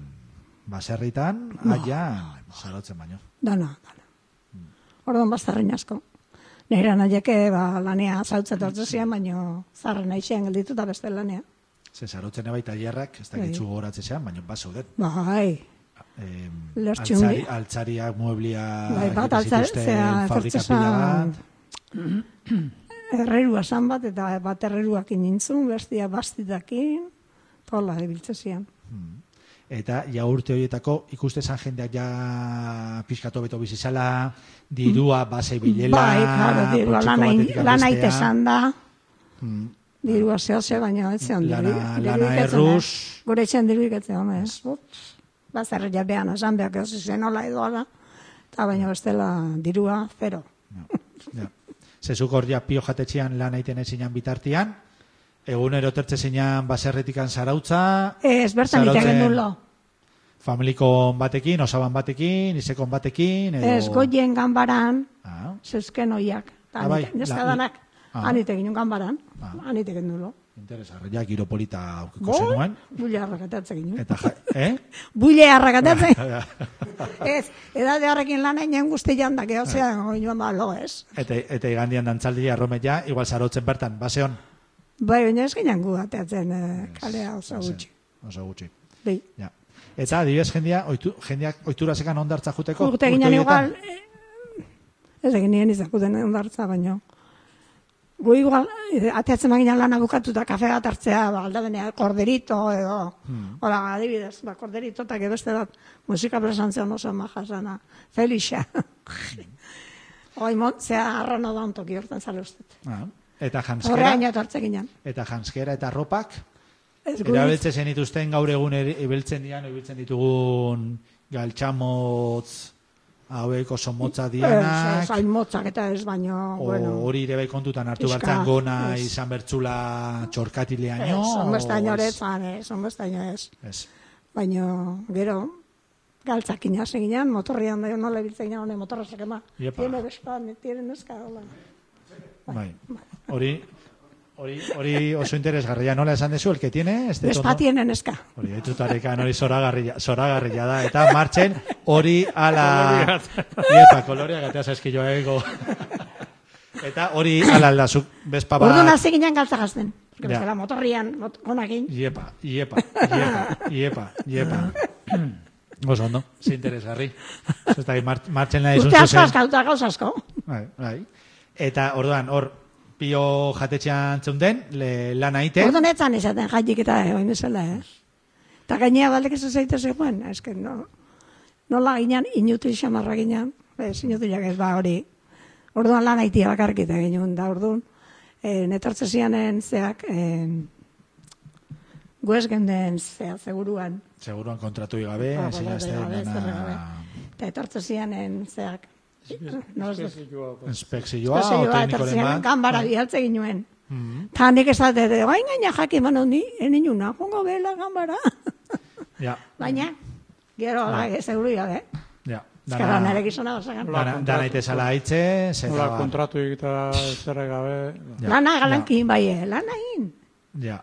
[SPEAKER 1] baserritan, aian, zarotzen baino.
[SPEAKER 5] Dana, dana. Orduan bazarren asko. Nire nahiak eh, ba, lanea zautzen tortzen zian, baino zarren aixean gelditu eta beste lanea.
[SPEAKER 1] Ze zarotzen ebai tailerrak, ez
[SPEAKER 5] Bai.
[SPEAKER 1] dakitzu gogoratzen zean, baino bat zeuden.
[SPEAKER 5] Bai,
[SPEAKER 1] Em,
[SPEAKER 5] Lertxun
[SPEAKER 1] altzari,
[SPEAKER 5] dira.
[SPEAKER 1] altzariak, muebliak,
[SPEAKER 5] Bai, bat
[SPEAKER 1] egiten
[SPEAKER 5] altzar-
[SPEAKER 1] zituzten
[SPEAKER 5] zea,
[SPEAKER 1] fabrika
[SPEAKER 5] zertzesan-
[SPEAKER 1] pila bat.
[SPEAKER 5] errerua san bat, eta bat erreruak inintzun, bestia bastitakin, tola ibiltzen zian.
[SPEAKER 1] Eta ja urte horietako ikuste zan jendeak ja pixkatu beto bizizala, dirua base bilela,
[SPEAKER 5] bai, claro,
[SPEAKER 1] poltsiko
[SPEAKER 5] dirua lana,
[SPEAKER 1] batetik
[SPEAKER 5] lana
[SPEAKER 1] bestea,
[SPEAKER 5] itezan da. Dirua zehose, baina ez zean
[SPEAKER 1] Lana-
[SPEAKER 5] diru- diru
[SPEAKER 1] lana
[SPEAKER 5] ikatzen da.
[SPEAKER 1] erruz. Bai.
[SPEAKER 5] Gure etxean diru ikatzen hona, ez? Bazarra jabean, esan behak ez zen hola edo ala. Eta baina bestela dirua, zero.
[SPEAKER 1] Ja. Zezuk hor ja pio jatetxean lan aiten ezinan bitartian, egunero tertze zinan baserretikan zarautza,
[SPEAKER 5] Ez, bertan
[SPEAKER 1] Zarautzen-
[SPEAKER 5] iten genuen lo.
[SPEAKER 1] familikon batekin, osaban batekin, izekon batekin, edo...
[SPEAKER 5] Ez, goien ganbaran,
[SPEAKER 1] Ah,
[SPEAKER 5] zeuzken oiak.
[SPEAKER 1] Ah, bai,
[SPEAKER 5] Neska
[SPEAKER 1] la-
[SPEAKER 5] danak,
[SPEAKER 1] Ah.
[SPEAKER 5] han ite ginen ganbaran,
[SPEAKER 1] Ah.
[SPEAKER 5] han ite genuen lo.
[SPEAKER 1] interesarra, ja, giropolita
[SPEAKER 5] Bai.
[SPEAKER 1] aukiko zenuen.
[SPEAKER 5] Bule arrakatatzen ginen.
[SPEAKER 1] Eta, ja, eh?
[SPEAKER 5] Bule arrakatatzen. ez, edade horrekin lan egin guzti jandak, eo zean, oinoan ba, lo ez.
[SPEAKER 1] Eta, eta igandian dantzaldi arrometia, igual zarotzen bertan, baseon.
[SPEAKER 5] Bai, baina ez ginen gu ateatzen eh, kalea oso
[SPEAKER 1] Bazen,
[SPEAKER 5] gutxi.
[SPEAKER 1] Oso gutxi.
[SPEAKER 5] Bai.
[SPEAKER 1] Ja. Eta, adibidez, jendea, oitu, jendeak oitura zekan ondartza juteko.
[SPEAKER 5] Urte ginen
[SPEAKER 1] horietan.
[SPEAKER 5] igual, eh, ez egin nien izakuten ondartza, baino. Gu igual, eh, ateatzen baginen lana bukatu eta kafe bat hartzea, ba, aldabenea, korderito edo,
[SPEAKER 1] Hmm.
[SPEAKER 5] hola, adibidez, ba, korderito eta beste bat, musika presantzion oso majasana, ah,
[SPEAKER 1] [laughs]
[SPEAKER 5] Felixa. Hoi, mon, zea, arrano da ontoki hortan zale uste.
[SPEAKER 1] Ah, eta janskera,
[SPEAKER 5] Horreaino etortzen ginen.
[SPEAKER 1] eta janskera eta ropak,
[SPEAKER 5] Ez gu
[SPEAKER 1] erabiltzen zenituzten gaur egun eri- ibiltzen dian, ibiltzen ditugun galtxamotz, hauek oso
[SPEAKER 5] Eh,
[SPEAKER 1] motza
[SPEAKER 5] Ez, ez,
[SPEAKER 1] dianak,
[SPEAKER 5] hain motzak eta ez baino,
[SPEAKER 1] o-
[SPEAKER 5] Ah, bueno.
[SPEAKER 1] hori ere bai kontutan hartu
[SPEAKER 5] Pixka,
[SPEAKER 1] bertzan gona
[SPEAKER 5] ez.
[SPEAKER 1] izan bertzula txorkatileaino.
[SPEAKER 5] Ez,
[SPEAKER 1] o-
[SPEAKER 5] onbestaino ere
[SPEAKER 1] ez.
[SPEAKER 5] ezan, ez, onbestaino ez.
[SPEAKER 1] Ez.
[SPEAKER 5] Baina, gero, galtzak inaz eginean, motorrian da, nola ibiltzen ginen, honen motorra sekema.
[SPEAKER 1] Iepa.
[SPEAKER 5] Tiene beskoa, tiene neska, hola.
[SPEAKER 1] Bai. Hori, hori, hori oso interesgarria. Nola esan dezu, el que tiene, este
[SPEAKER 5] Bespa
[SPEAKER 1] tono.
[SPEAKER 5] tiene neska.
[SPEAKER 1] Hori, ditutareka, hori zoragarria, zoragarria da. Eta martxen, hori ala... Iepa, koloreak atea zaizkioego. Eta hori ala alda, zuk bezpa bat...
[SPEAKER 5] Orduan hasi ginen galtzak azten.
[SPEAKER 1] Ba. Ja.
[SPEAKER 5] Bestela, motorrian, mot honakin.
[SPEAKER 1] Iepa, iepa, iepa, iepa, iepa. Oso ondo, ze interesgarri. Zerta, martxen nahi
[SPEAKER 5] Urte asko
[SPEAKER 1] zuzen-
[SPEAKER 5] askauta gauz asko.
[SPEAKER 1] Bai, bai. Eta orduan, hor, pio jatetxean zeunden, le, lan aite.
[SPEAKER 5] Orduan etzan izaten jaitik eta eh, oin bezala, eh? Eta gainea baldek ez zaite zegoen, eske no, nola ginen, inutu xamarra ginen, ez inutiak ez ba hori. Orduan lan haitia bakarrik eta ginen, da orduan, eh, netortze zianen zeak, eh, guez geunden zea, seguruan,
[SPEAKER 1] Seguruan kontratu gabe,
[SPEAKER 5] Ah,
[SPEAKER 1] ezin
[SPEAKER 5] kontratu
[SPEAKER 1] azten
[SPEAKER 5] gabe, zer gabe.
[SPEAKER 1] dana
[SPEAKER 5] eta etortze zianen zeak. No, ez dut.
[SPEAKER 1] inspekzioa, o
[SPEAKER 5] Paseioa eta
[SPEAKER 1] Ba, teknikoren
[SPEAKER 5] ziren
[SPEAKER 1] bat.
[SPEAKER 5] kanbara bialtze ginen. Ta nik esate, de, oain gaina jakin manu ni, eninuna, jongo bela kanbara.
[SPEAKER 1] Ja,
[SPEAKER 5] Baina, gero, ah. ez euru gabe.
[SPEAKER 1] ja.
[SPEAKER 5] Ezkara
[SPEAKER 1] Dana,
[SPEAKER 5] nire gizona bazagan.
[SPEAKER 7] Nola
[SPEAKER 1] dana,
[SPEAKER 7] kontratu.
[SPEAKER 1] dana itezala haitze, zeta
[SPEAKER 7] Nola
[SPEAKER 1] ba.
[SPEAKER 7] kontratu egitara zerre gabe.
[SPEAKER 1] Ja,
[SPEAKER 5] Lana galankin bai, eh, lana egin.
[SPEAKER 1] Ja,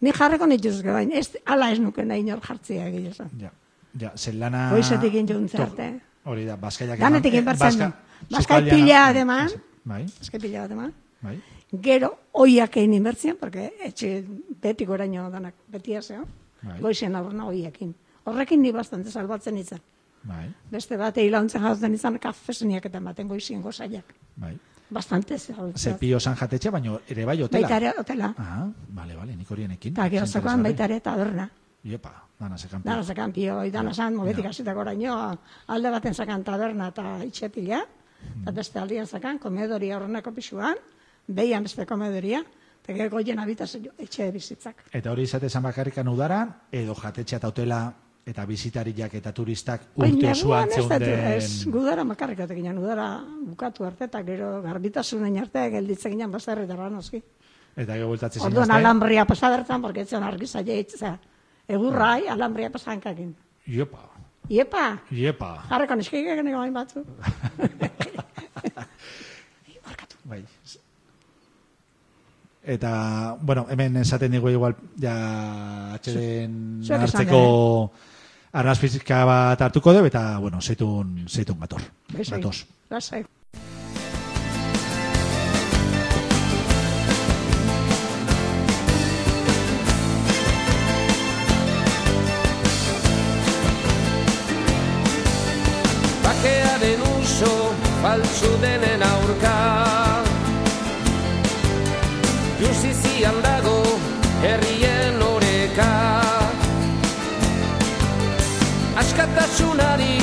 [SPEAKER 5] Ni jarreko nituzke bain, ez, ala ez nuke nahi inor jartzea gizona.
[SPEAKER 1] ja. Ja, zen lana...
[SPEAKER 5] Goizetik injuntze
[SPEAKER 1] Tor-
[SPEAKER 5] arte.
[SPEAKER 1] Hori da, bazkaiak...
[SPEAKER 5] Danetik
[SPEAKER 1] eman- eh,
[SPEAKER 5] inbartzen.
[SPEAKER 1] bazka-
[SPEAKER 5] Bazkai
[SPEAKER 1] sukaldean-
[SPEAKER 5] pila eman.
[SPEAKER 1] Bai,
[SPEAKER 5] Ez que pila bat eman.
[SPEAKER 1] bai.
[SPEAKER 5] Gero, oiak egin inbertzian, porque etxe beti goraino danak, beti azeo.
[SPEAKER 1] Bai.
[SPEAKER 5] Goizien aurna oiakin. Horrekin ni bastante salbatzen izan.
[SPEAKER 1] Bai,
[SPEAKER 5] Beste bat eilauntzen jauzten izan kafeseniak eta ematen goizien gozaiak.
[SPEAKER 1] bai.
[SPEAKER 5] Bastante
[SPEAKER 1] Ze
[SPEAKER 5] salbatzen.
[SPEAKER 1] pio san jatetxe, baino ere bai hotela.
[SPEAKER 5] Bai. Baita ere hotela.
[SPEAKER 1] Ah, vale, vale, nik horienekin.
[SPEAKER 5] Eta gero
[SPEAKER 1] Ze
[SPEAKER 5] zegoen
[SPEAKER 1] interesgarri.
[SPEAKER 5] baita ere taberna.
[SPEAKER 1] Iepa, dana zekan
[SPEAKER 5] Dana zekan pio, dana zan, mogetik hasitako oraino, alde baten zekan taberna eta itxepila, eta beste aldian zekan, komedoria horrenako pixuan, behian beste komedoria, Tegeko hien habitazio etxe bizitzak.
[SPEAKER 1] Eta hori izate zen bakarrikan udaran, edo jatetxea eta hotela eta bizitariak eta turistak urte
[SPEAKER 5] Baina
[SPEAKER 1] zuan
[SPEAKER 5] guan ez dut, ez,
[SPEAKER 1] zeunden.
[SPEAKER 5] gudara makarrik ginen, udara bukatu arte, eta gero garbitasunen arte gelditzen ginen basterretara noski.
[SPEAKER 1] Eta gero bultatzen
[SPEAKER 5] Orduan
[SPEAKER 1] zinazten.
[SPEAKER 5] alambria pasadertan, porque etzion argi zaila hitza. Egurrai, alambria pasankakin.
[SPEAKER 1] Iepa,
[SPEAKER 5] Iepa,
[SPEAKER 1] iepa.
[SPEAKER 5] jarreko neskigek niko hain batzu.
[SPEAKER 1] Bai. Eta, bueno, hemen esaten digu igual, ja, atxeden
[SPEAKER 5] Zuek esan
[SPEAKER 1] hartzeko arnaz fizika bat hartuko dugu, eta, bueno, zeitun, zeitun gator.
[SPEAKER 5] Lasai,
[SPEAKER 1] Gatoz.
[SPEAKER 5] Lasai.
[SPEAKER 4] Bakearen uso faltsu denen aurka Justizian dago herrien oreka Askatasunari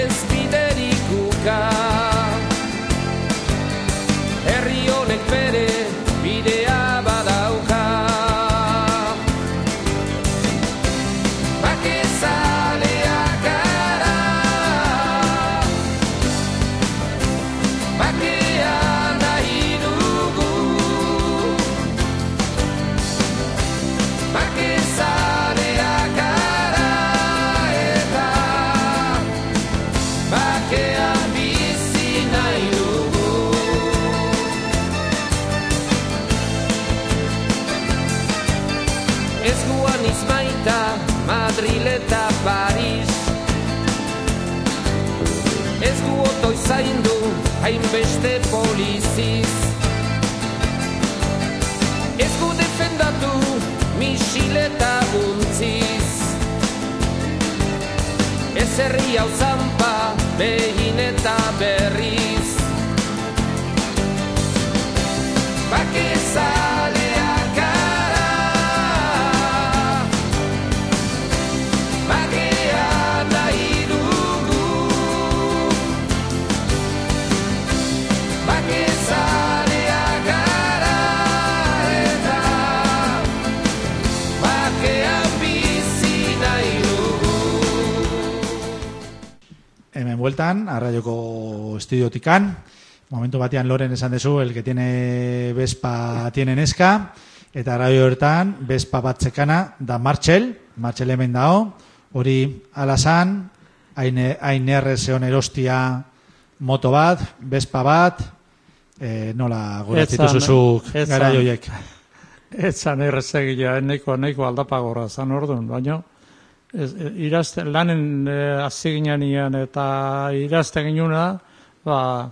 [SPEAKER 4] ez biderik uka Herri honek bere bidea badauka Bakezaleak gara Bakea nahi dugu Bakezaleak gara eta Bakean bizi nahi dugu Ez guan izmaita, Madril eta Paris Ez gu otoi zaindu, hainbeste poliziz Ez gu defendatu, misil eta guntziz Ez herri hau zanpa, behin eta berriz Bakezaleak gara Bakea nahi dugu Bakezaleak gara eta Bakea bizi nahi dugu
[SPEAKER 1] Hemen bueltan, arraioko estudiotikan. Momentu batean loren esan dezu, el que tiene Vespa tiene neska. Eta arraio hortan, Vespa bat zekana, da Martxel. Martxel hemen dao. Hori alasan, hain, hain errezeon erostia moto bat, Vespa bat, eh, nola goratzen
[SPEAKER 7] Etzan, eh?
[SPEAKER 1] zuzuk
[SPEAKER 7] etzan.
[SPEAKER 1] gara joiek.
[SPEAKER 7] Ez zan errezegila, nahiko, nahiko aldapagorra zan orduan, baino ez, e, irazte, lanen e, hasi ginen ian eta irazte ginuna, ba,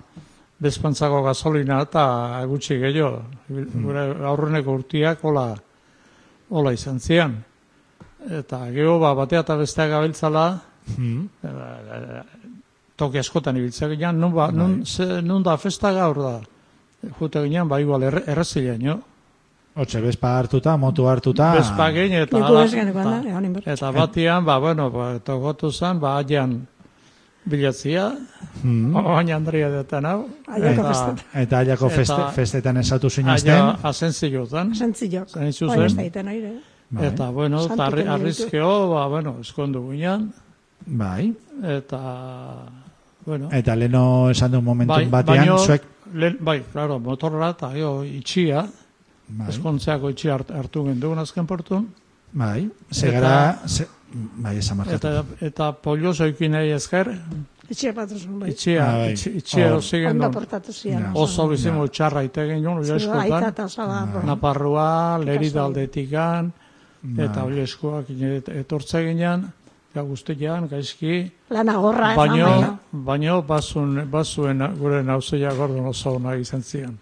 [SPEAKER 7] bezpantzako gasolina eta gutxi gehiago. Ibil- Gure aurreneko urtiak hola, hola izan zian. Eta gero ba, batea eta besteak abiltzala, e, e, toki askotan ibiltzak ginen, nun, ba, nun, ze, nun da festa gaur da. Jute ginen, ba, igual erre, errezilean, jo?
[SPEAKER 1] Hortxe, Vespa hartuta, moto hartuta.
[SPEAKER 7] Bezpa gein eta
[SPEAKER 5] Niku
[SPEAKER 7] ala-
[SPEAKER 5] ez genuen, eh,
[SPEAKER 7] eta-
[SPEAKER 5] da, egon inber.
[SPEAKER 7] Eta batian, ba, bueno, ba, togotu zen, ba, aian bilatzia,
[SPEAKER 1] Hmm.
[SPEAKER 7] mm. oain Andrea detan hau,
[SPEAKER 5] Aiako
[SPEAKER 7] eta
[SPEAKER 5] festetan.
[SPEAKER 1] Eta aiako
[SPEAKER 7] Eta-
[SPEAKER 1] feste, festetan esatu
[SPEAKER 7] aia
[SPEAKER 1] zinazten.
[SPEAKER 7] asentzio zen,
[SPEAKER 5] Sentziok.
[SPEAKER 7] Zain zuzen.
[SPEAKER 5] Hori ez da egiten, hori, eh?
[SPEAKER 1] Bai,
[SPEAKER 7] eta, bueno,
[SPEAKER 5] Santu
[SPEAKER 7] eta arri-
[SPEAKER 5] kendu ditu.
[SPEAKER 7] arrizkeo, ba, bueno, eskondu guinan,
[SPEAKER 1] bai.
[SPEAKER 7] eta, bueno,
[SPEAKER 1] Eta leno esan du momentu batean,
[SPEAKER 7] Bai, baino,
[SPEAKER 1] zuek...
[SPEAKER 7] lehen- bai, claro, motorra eta jo, itxia,
[SPEAKER 1] Bai,
[SPEAKER 7] eskontzeako itxia hart- hartu genduen azken portun,
[SPEAKER 1] bai, segara... Ze, bai, esan markatu.
[SPEAKER 7] eta, eta poliozo ikinei ezker,
[SPEAKER 5] Etxe bat osun, bai.
[SPEAKER 7] itxia,
[SPEAKER 1] Ah, bai.
[SPEAKER 7] itxi- itxia
[SPEAKER 1] Hor.
[SPEAKER 7] erosi
[SPEAKER 5] Ondo
[SPEAKER 7] genduen.
[SPEAKER 5] portatu zian.
[SPEAKER 1] Ja.
[SPEAKER 7] Oso bizimo txarra ite genuen,
[SPEAKER 5] Zure Aita
[SPEAKER 7] oilaskotan,
[SPEAKER 5] eta osaba, bo.
[SPEAKER 7] Naparroa,
[SPEAKER 5] Kasu.
[SPEAKER 7] lerida aldetikan,
[SPEAKER 1] Ba.
[SPEAKER 7] eta oilaskoak etortze ginen, eta guztian, gaizki,
[SPEAKER 5] Lana gorra, ez
[SPEAKER 7] baino,
[SPEAKER 5] baina.
[SPEAKER 7] baino bazun, bazuen gure nauzea gordon oso ona izan zian.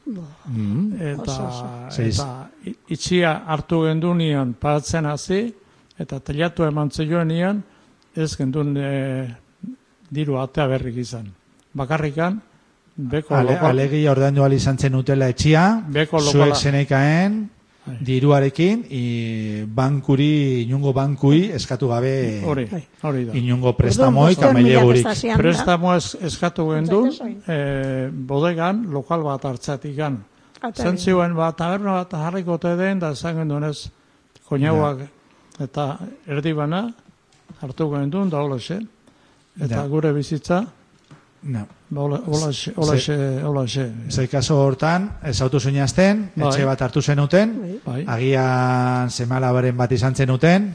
[SPEAKER 1] Mm.
[SPEAKER 7] Eta,
[SPEAKER 5] Oso, oso.
[SPEAKER 1] Zeiz.
[SPEAKER 7] eta i- itxia hartu gendu nian paratzen hasi, eta telatu eman zioen nian, ez gendun e, diru atea berrik izan. Bakarrikan, beko
[SPEAKER 1] Ale,
[SPEAKER 7] lokal-
[SPEAKER 1] alegi ordaindu ahal izan zen utela etxia,
[SPEAKER 7] Beko
[SPEAKER 1] zuek
[SPEAKER 7] lokala. Bai.
[SPEAKER 1] zenekaen, diruarekin, i, bankuri, inungo bankui, eskatu gabe
[SPEAKER 7] Hori, hori da.
[SPEAKER 1] inungo prestamoik,
[SPEAKER 5] Orduan,
[SPEAKER 1] amailegurik.
[SPEAKER 5] bostean mila prestazian,
[SPEAKER 7] Prestamoa es, eskatu eh, gendun,
[SPEAKER 5] Zaitez orain.
[SPEAKER 7] e, bodegan, lokal bat hartzatik gan.
[SPEAKER 5] Atari.
[SPEAKER 7] zen ziuen, ba, taberna bat jarriko ote den, da esan genuen ez, koñauak, eta erdi bana, hartu genduen, da hola xe. Eta
[SPEAKER 1] Da.
[SPEAKER 7] gure bizitza,
[SPEAKER 1] No.
[SPEAKER 7] ba, hola hola xe, hola xe, hola xe.
[SPEAKER 1] Zei kaso hortan, ezautu zuinazten,
[SPEAKER 7] Bai.
[SPEAKER 1] etxe bat hartu zenuten,
[SPEAKER 7] Bai.
[SPEAKER 1] agian seme alabaren bat izan zenuten,